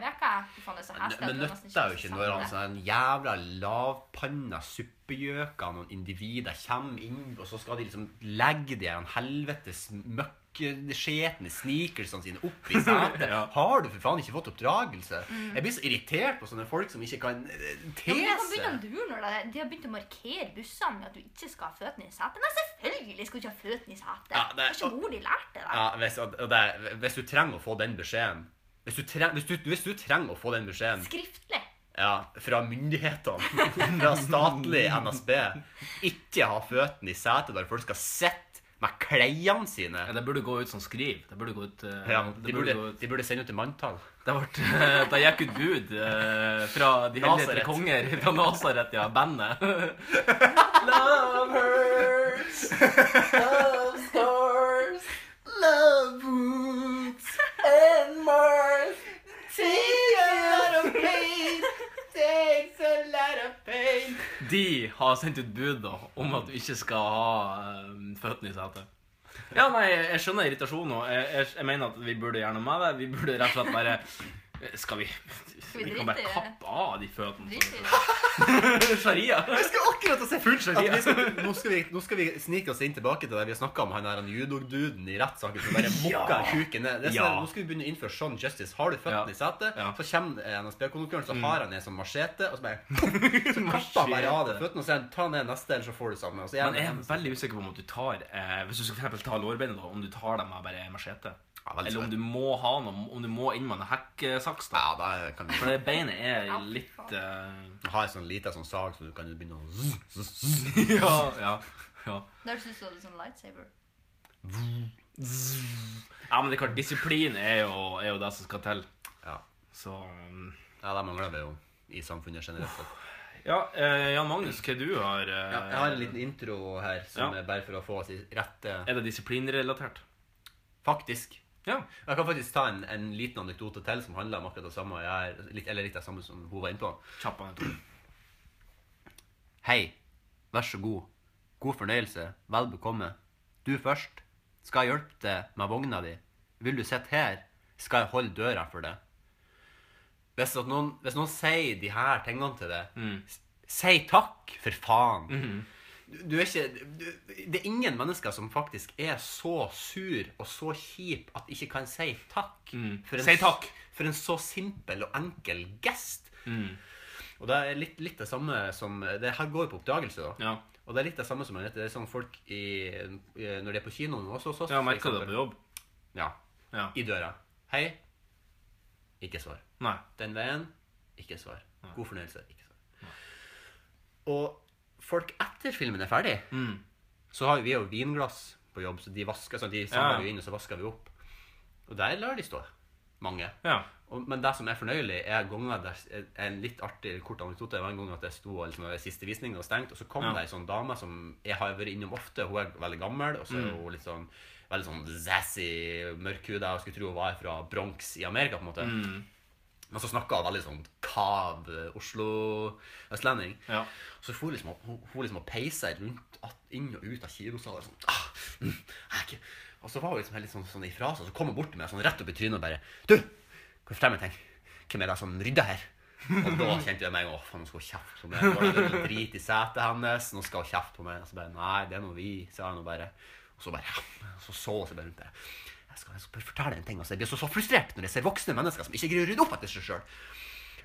Fy faen, det er så heslig at
Men
du nesten
nøtter er jo
kan
ikke
se
når
det.
han sånn en jævla lavpanna suppe oppgjøka noen individer kommer inn, og så skal de liksom legge de her helvetes møkkeskjetne sneakersene sine opp i setet. Har du for faen ikke fått oppdragelse?
Mm.
Jeg blir så irritert på sånne folk som ikke kan eh,
Ja,
te
men du kan begynne å
seg.
lure når det- de har begynt å markere bussene med at du ikke skal ha føttene i setet. Nei, selvfølgelig skal du ikke ha føttene i setet!
Ja,
Har
det-
ikke mor di lært det? da?
Ja, hvis, og det, er- hvis du trenger å få den beskjeden hvis du, tre, hvis, du, hvis du trenger å få den beskjeden
Skriftlig.
Ja, fra myndighetene, fra statlig NSB. Ikke ha føttene i setet der folk skal sitte med klærne sine.
Det burde gå ut som skriv. Det burde gå ut, eh,
ja,
det
de,
burde
burde,
gå
de burde sende ut til manntall.
Det ble, da gikk ut bud eh, fra De hellige tre
Nasaret.
konger fra Nasaret, ja, bandet.
Love hurts. Love scars. Love wounds and mars. Takes a lot of pain. Takes a lot of pain.
De har sendt ut bud da, om at du ikke skal ha eh, føttene i setet. Ja, nei, jeg skjønner irritasjonen, og jeg, jeg, jeg mener at vi burde gjøre noe med det. Vi burde rett og slett bare eh, Skal vi
vi
Vi kan bare
drite i det?
kappe av de føttene.
Drit i det.
Sharia.
Jeg skal akkurat å si full
sharia.
At vi skal, nå, skal vi, nå skal vi snike oss inn tilbake til det vi har snakka om, han der han judoduden i rettssaken som bare
Ja.
mokka kuken ned. Det er sånn,
Ja.
Nå skal vi begynne å innføre sånn justice. Har du føttene i setet, så kommer eh, NSB-konduktøren,
Mm.
så har han en sånn machete, og så bare Så kapper han bare av deg føttene og sier han, ta ned neste, eller så får du samme. Og så
Men jeg er veldig usikker på om du tar eh, Hvis du skal for eksempel ta lårbeinet, da, om du tar dem med bare machete.
veldig
Eller om
svært.
du må ha noe Om du må inn med en hekkesaks. da For det beinet er litt eh,
Du har en sånn liten sånn sag som du kan begynne å zzz, zzz, zzz.
Ja, ja, ja.
Der syns du det er sånn lightsaber.
Ja, men det er klart, disiplin er jo, er jo det som skal til.
Ja.
Så um,
Ja, det mangler vi jo i samfunnet generelt sett.
Ja, eh, Jan Magnus, hva du har eh,
Ja, jeg har en liten intro her, som
Ja.
er bare for å få oss i rette
Er det disiplinrelatert?
Faktisk.
Ja.
Jeg kan faktisk ta en, en liten anekdote til som handler om akkurat det samme. Jeg er, litt, eller litt det samme som hun var inne på.
Kjapp anekdote.
Hei. Vær så god. God fornøyelse. Vel bekomme. Du først. Skal jeg hjelpe deg med vogna di? Vil du sitte her? Skal jeg holde døra for deg? Hvis, at noen, hvis noen sier de her tingene til deg, s- si takk, for faen. Du, du er ikke, du, det er ingen mennesker som faktisk er så sur og så kjip at de ikke kan si takk. For
Si
takk! For en så simpel og enkel gest. Og det er litt, litt det samme som Det her går jo på oppdragelse, da. Og det er litt det samme som jeg vet, det er sånn folk i, i- når de er på kinoen også hos oss.
Ja,
for
merker det
eksempel.
på jobb.
Ja. I døra. Hei. Ikke svar.
Nei.
Den veien. Ikke svar. God fornøyelse. Ikke svar. Og folk etter filmen er ferdig,
Mm.
så har jo vi jo vinglass på jobb, så de vasker, sånn, de samler
Ja.
jo inn, og så vasker vi opp. Og der lar de stå. Mange.
Ja.
Og, men det som er fornøyelig, er ganger der en litt artig kort anekdote. Det var en gang at jeg sto og liksom, det var siste visning og stengt, og så kom
Ja.
det ei sånn dame som jeg har vært innom ofte. Hun er veldig gammel, og så er
Mm.
hun litt sånn veldig sånn zazzy, mørkhuda. Jeg skulle tro hun var fra Bronx i Amerika, på en måte.
Mm.
Men så snakka hun veldig sånn kav eh, Oslo-østlending. Så for hun liksom, og- hun, hun liksom og peisa rundt at, inn og ut av kinosalen. Sånn, ah, mm, jeg er ikke... Og så var hun liksom helt litt sånn, sånn ifra seg, og så kom hun bort til meg sånn rett opp i trynet og bare Du! Kom frem og tenk. Hvem er det som rydder her? Og da kjente jeg meg Å, faen, nå skal hun kjefte på meg. Nå er det noe drit i setet hennes. Nå skal hun kjefte på meg. Og så bare Nei, det er nå vi, sa jeg nå bare. Og så bare Så så hun seg bare rundt der. Jeg skal, jeg skal bare fortelle en ting. Altså, jeg blir så, så frustrert når jeg ser voksne mennesker som ikke greier å rydde opp etter seg sjøl.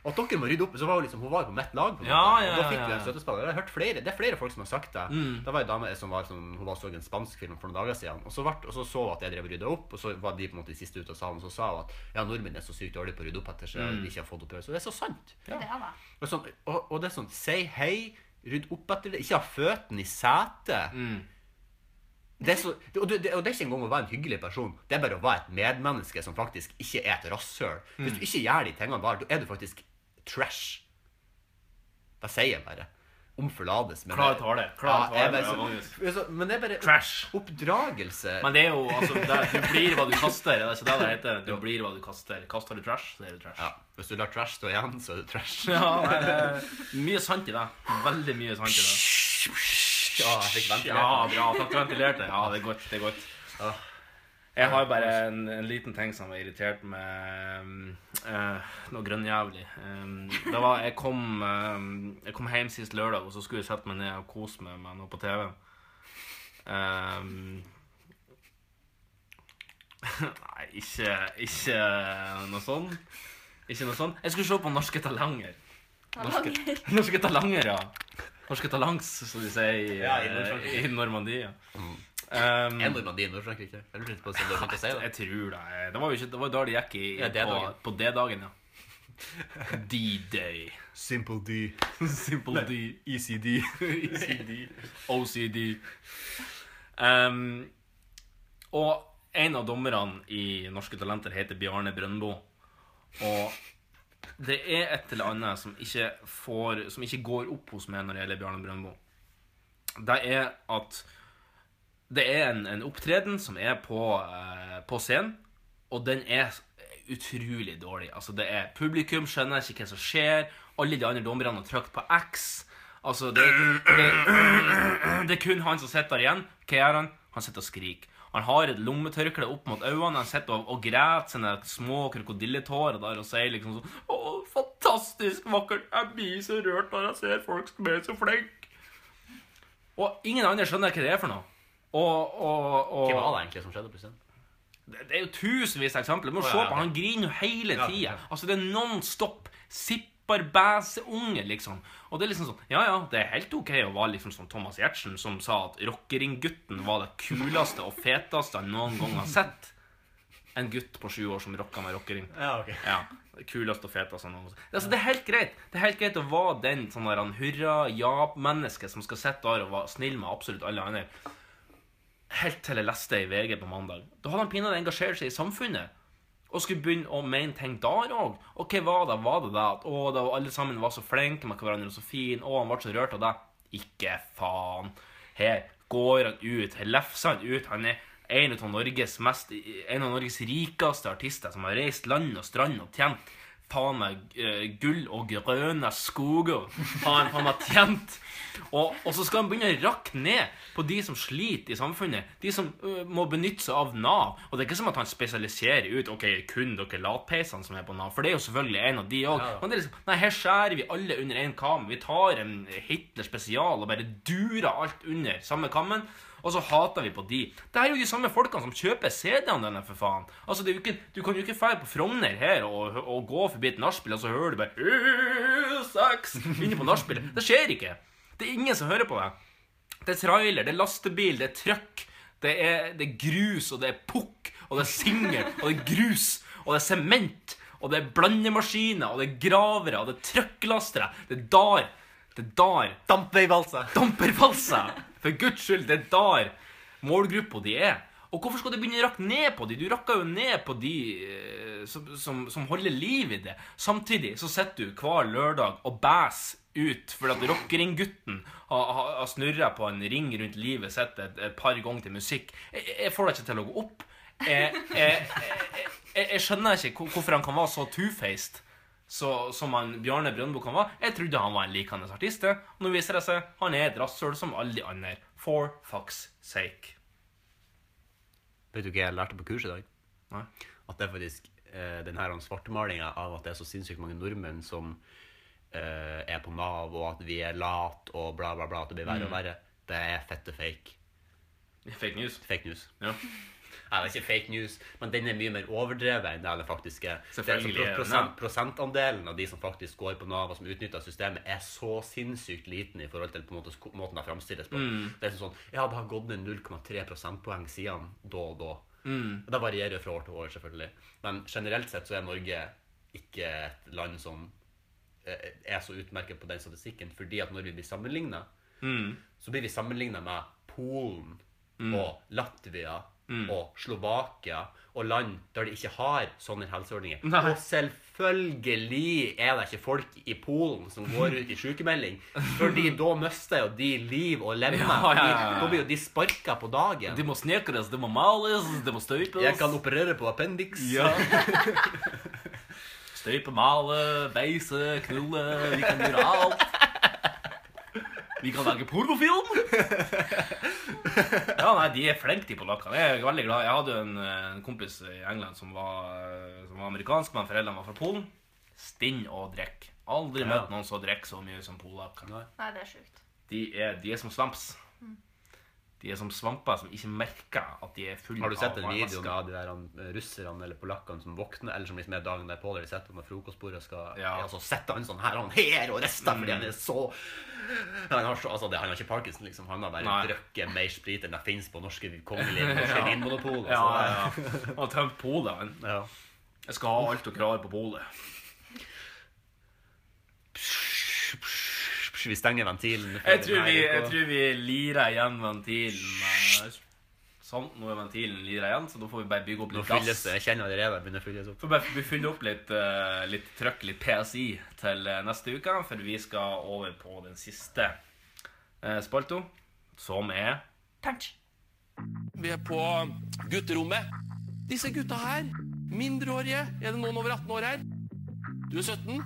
Og at dere må rydde opp, så var hun liksom, hun var jo på mitt lag. på en
Ja,
måte.
ja,
og da fikk
ja,
vi
ja.
en støttespiller. Jeg har hørt flere, det er flere folk som har sagt det.
Mm.
Det var en dame som var, som, hun var så en spansk film for noen dager siden. Og så, vart- og så så hun at jeg drev og rydda opp, og så var de på en måte de siste ute av salen. Så sa hun at ja, nordmenn er så sykt dårlige på å rydde opp etter seg. og
Mm.
De ikke har fått opp i øret. Så det er så sant.
Det er det.
Og, sånn, og, og det er sånn Si hei, rydd opp etter det. Ikke ha føttene i setet.
Mm.
Det er så, det, og, det, det- og det er ikke engang å være en hyggelig person. Det er bare å være et medmenneske som faktisk ikke er et rasshøl.
Mm.
Hvis du ikke gjør de tingene der, da er du faktisk trash. Det sier jeg bare. Om forlates. men-
Klar tale, klar tale,
Ja, jeg bare
ja,
så-
Magnus.
altså, men det er bare
Trash.
oppdragelse.
Men det er jo altså det, Du blir hva du kaster. Er det ikke det det heter? Du blir hva du kaster. Kaster du trash, så er du trash.
Ja, Hvis du lar trash stå igjen, så er du trash.
Ja, nei, det er mye sant i det. Veldig mye sant i det.
Ja, jeg fikk ventilert det.
Ja, bra. Takk for ventilerte. Ja, det er godt. det er godt. Jeg har bare en, en liten ting som har irritert meg um, eh, noe grønnjævlig. Um, det var, jeg, kom, eh, jeg kom hjem sist lørdag, og så skulle jeg sette meg ned og kose meg med noe på TV. Um, nei, ikke, ikke noe sånn. Ikke noe sånn. Jeg skulle se på Norske Talanger. Norske,
Talanger.
norske Talanger, ja. Norske Talants, som de sier i,
Ja, i Mm.
eh,
Nord-Frankrike.
i Normandie. ja. Um,
Er Normandie i Nord-Frankrike? Jeg lurte litt på om du begynte å si det.
Jeg tror det. Det var jo ikke, det var jo da det gikk i,
Ja, det er
på,
dagen.
på D-dagen, ja. D-day.
Simple D.
Simple
Nei, E
D. ECD. ECD. OCD. Um, og en av dommerne i Norske Talenter heter Bjarne Brøndbo. Og det er et eller annet som ikke, får, som ikke går opp hos meg når det gjelder Bjarne Brøndbo. Det er at det er en, en opptreden som er på, eh, på scenen, og den er utrolig dårlig. Altså, det er publikum skjønner ikke hva som skjer. Alle de andre dommerne har trykt på X. Altså, det, det, det er kun han som sitter der igjen. Hva gjør han? Han sitter og skriker. Han har et lommetørkle opp mot øynene. Han sitter og, og græter sine små krokodilletårer der og sier liksom sånn Å, fantastisk vakkert. Jeg blir så rørt når jeg ser folk som er så flinke. Og ingen andre skjønner hva det er for noe. Og, og, og
Hva var det egentlig som skjedde? på scenen?
det det er jo tusenvis av eksempler. Men
Å, ja,
se
ja,
på,
ok.
han griner jo hele
Ja,
tida. Altså, det er non stop. Sipper bæseunge, liksom. Og det er liksom sånn Ja, ja, det er helt OK å være liksom som Thomas Giertsen, som sa at rockering-gutten var det kuleste og feteste han noen gang har sett. En gutt på sju år som rocka med rockering.
Ja, ok.
Ja. det Kulest og fetest han noen gang har sett. Altså, det er helt greit. Det er helt greit å være den sånn der han hurra-ja-mennesket som skal sitte der og være snill med absolutt alle andre helt til jeg leste det i VG på mandag. Da hadde han pinadø engasjert seg i samfunnet. Og skulle begynne å mene ting der òg. Og hva var det? Var det det at å, da alle sammen var så flinke med hverandre og så fine, å, han ble så rørt av det? Ikke faen. Her går han ut. Her lefser han ut. Han er en av Norges, mest, en av Norges rikeste artister som har reist land og strand og tjent faen meg eh, gull og grønne skoger. Faen, han har tjent. Og, og så skal han begynne å rakke ned på de som sliter i samfunnet. De som ø, må benytte seg av Nav. Og det er ikke som at han spesialiserer ut ok, kun dere latpeisene som er på Nav. For det er jo selvfølgelig en av de òg.
Ja, ja.
Men det er liksom, nei, her skjærer vi alle under én kam. Vi tar en Hitler spesial og bare durer alt under samme kammen. Og så hater vi på de. Det er jo de samme folkene som kjøper CD-ene dine, for faen. Altså, det er jo ikke, Du kan jo ikke dra på Frogner her og, og gå forbi et nachspiel, og så hører du bare Sex! Inne på nachspielet. Det skjer ikke. Det er ingen som hører på deg. Det er trailer, det er lastebil, det er trøkk, det er, det er grus, og det er pukk, og det er singel, og det er grus, og det er sement, og det er blandemaskiner, og det er gravere, og det er trøkklastere, det er dar, det er dar. Dampveivalser. Dampervalser. For guds skyld, det er dar målgruppa de er. Og hvorfor skal du begynne å rakke ned på de? Du rakker jo ned på de eh, som, som, som holder liv i det. Samtidig så sitter du hver lørdag og bæs ut fordi at rockering-gutten har, har, har snurra på en ring rundt livet sitt et, et par ganger til musikk. Jeg, jeg- jeg får det ikke til å gå opp. Jeg, jeg, jeg, jeg, jeg skjønner ikke hvor- hvorfor han kan være så two-faced så, som han Bjarne Brøndbo kan være. Jeg trodde han var en likende artist. jeg. Og nå viser det seg han er et rasshøl som alle de andre. For fucks sake.
Vet du hva jeg lærte på kurs i dag?
Nei.
At det er faktisk eh, den her svartmalinga av at det er så sinnssykt mange nordmenn som eh, er på Nav, og at vi er late og bla, bla, bla, at det blir verre og
Mm.
verre, det er fette fake.
Fake news.
Fake news.
Ja.
Nei, det er ikke fake news, men den er mye mer overdrevet enn det den faktisk er. Det er
Selvfølgelig
sånn
er
pro-
den
prosent, prosentandelen av de som faktisk går på Nav, og som utnytter systemet, er så sinnssykt liten i forhold til på en måte, sk- måten det framstilles på.
Mm.
Det er sånn sånn, ja, det har gått ned 0,3 prosentpoeng siden da og da.
Mm.
Og Det varierer jo fra år til år, selvfølgelig. Men generelt sett så er Norge ikke et land som eh, er så utmerket på den statistikken, fordi at når vi blir sammenligna,
Mm.
så blir vi sammenligna med Polen
Mm.
og Latvia
Mm.
og Slovakia og land der de ikke har sånne helseordninger.
Nei.
Og selvfølgelig er det ikke folk i Polen som går ut i sykemelding, fordi da mister jo de liv og lemmer.
Ja, ja, ja, ja.
De- Da blir jo de sparka på dagen.
Det må snekres, det må males, det må støypes.
Jeg kan operere på appendix.
Ja. Støype, male, beise, knulle. Vi kan gjøre alt. Vi kan lage pornofilm! Ja, nei, de er flinke, de polakkene. Jeg er veldig glad. Jeg hadde jo en, eh, en kompis i England som var, eh, som var amerikansk, men foreldrene var fra Polen. Stinn og drikk. Aldri
Ja.
møtt noen som drikker så mye som polakkene.
Nei, det er sjukt.
De er, de er som svamps.
Mm.
De er som svamper som ikke merker at de er fulle
Har du sett den
av
videoen
væske.
av de der han, eh, russerne eller polakkene som våkner, eller som liksom er dagen derpå, der de sitter med frokostbordet og skal ja. altså, sette han sånn her, han her og resten, fordi han er
Mm.
så Han har, så, altså, det, han har ikke Parkinson, liksom. Han har bare
Nei.
drukket mer sprit enn det fins på norske kongelige norske
Ja.
vinmonopol. Altså.
Ja, ja, ja. Og tømt polet. han. Jeg skal ha alt dere har på polet.
Vi stenger ventilen. for
Jeg tror
denne
vi, jeg
uka.
tror vi lirer igjen ventilen. eh, Sånn, nå er ventilen lira igjen, så da får vi bare bygge opp
Nå
litt
fylles
gass.
det. Jeg kjenner allerede det begynner å fylles opp.
Får bare vi fyller opp litt, eh, litt trøkk, litt PSI, til eh, neste uke. For vi skal over på den siste eh, spalto, som er
Punch.
Vi er på gutterommet. Disse gutta her, mindreårige, er det noen over 18 år her? Du er 17,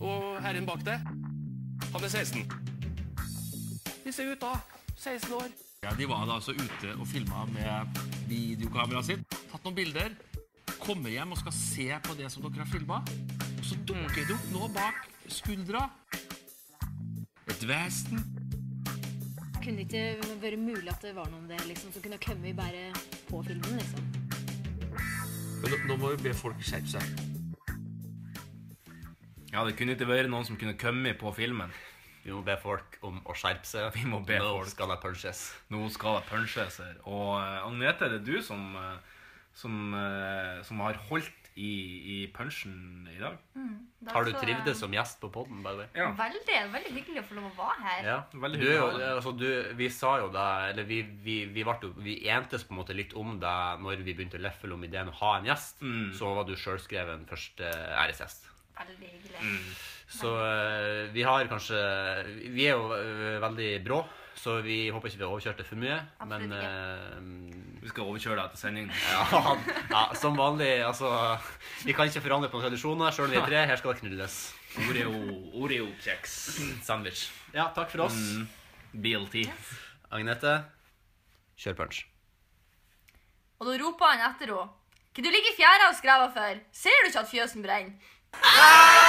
og herren bak deg, han er 16. Disse gutta, 16 år. Ja, De var da altså ute og filma med videokameraet sitt. Tatt noen bilder. Kommer hjem og skal se på det som dere har filma. Og så dukker det opp nå bak skuldra. Et vesen.
Kunne det ikke vært mulig at det var noe om det liksom, som kunne ha kommet bare på filmen? liksom?
Men nå, nå må vi be folk skjerpe seg.
Ja, det kunne ikke vært noen som kunne komme på filmen.
Vi må be folk om å skjerpe seg.
Vi må be
Nå
folk.
skal det punches.
Nå skal det punches her. Og eh, Agnete, det er du som, eh, som, eh, som har holdt i, i punchen i dag.
Mm, da
Har du
så-
trivdes som gjest på podden, by the way?
Veldig, veldig hyggelig å få lov å være her.
Ja.
Veldig
Du, er jo-
hyggelig.
altså, du, vi sa jo det Eller vi, vi, vi, vart jo, vi entes på en måte litt om det når vi begynte å leffele om ideen å ha en gjest.
Mm.
Så var du sjølskreven første æresgjest.
Veldig hyggelig.
Mm. Så eh, vi har kanskje Vi er jo eh, veldig brå, så vi håper ikke vi har overkjørt det for mye. Men Vi
skal overkjøre det etter sending.
Ja, ja, som vanlig. Altså Vi kan ikke forandre på noen tradisjoner, sjøl om vi er tre. Her skal det knulles.
Oreo- Oreo-kjeks.
Sandwich. Ja, takk for oss.
Mm. BLT.
Agnete, kjør punch.
Og da roper han etter henne. Hva du ligger i fjæra og skraver for? Ser du ikke at fjøsen brenner?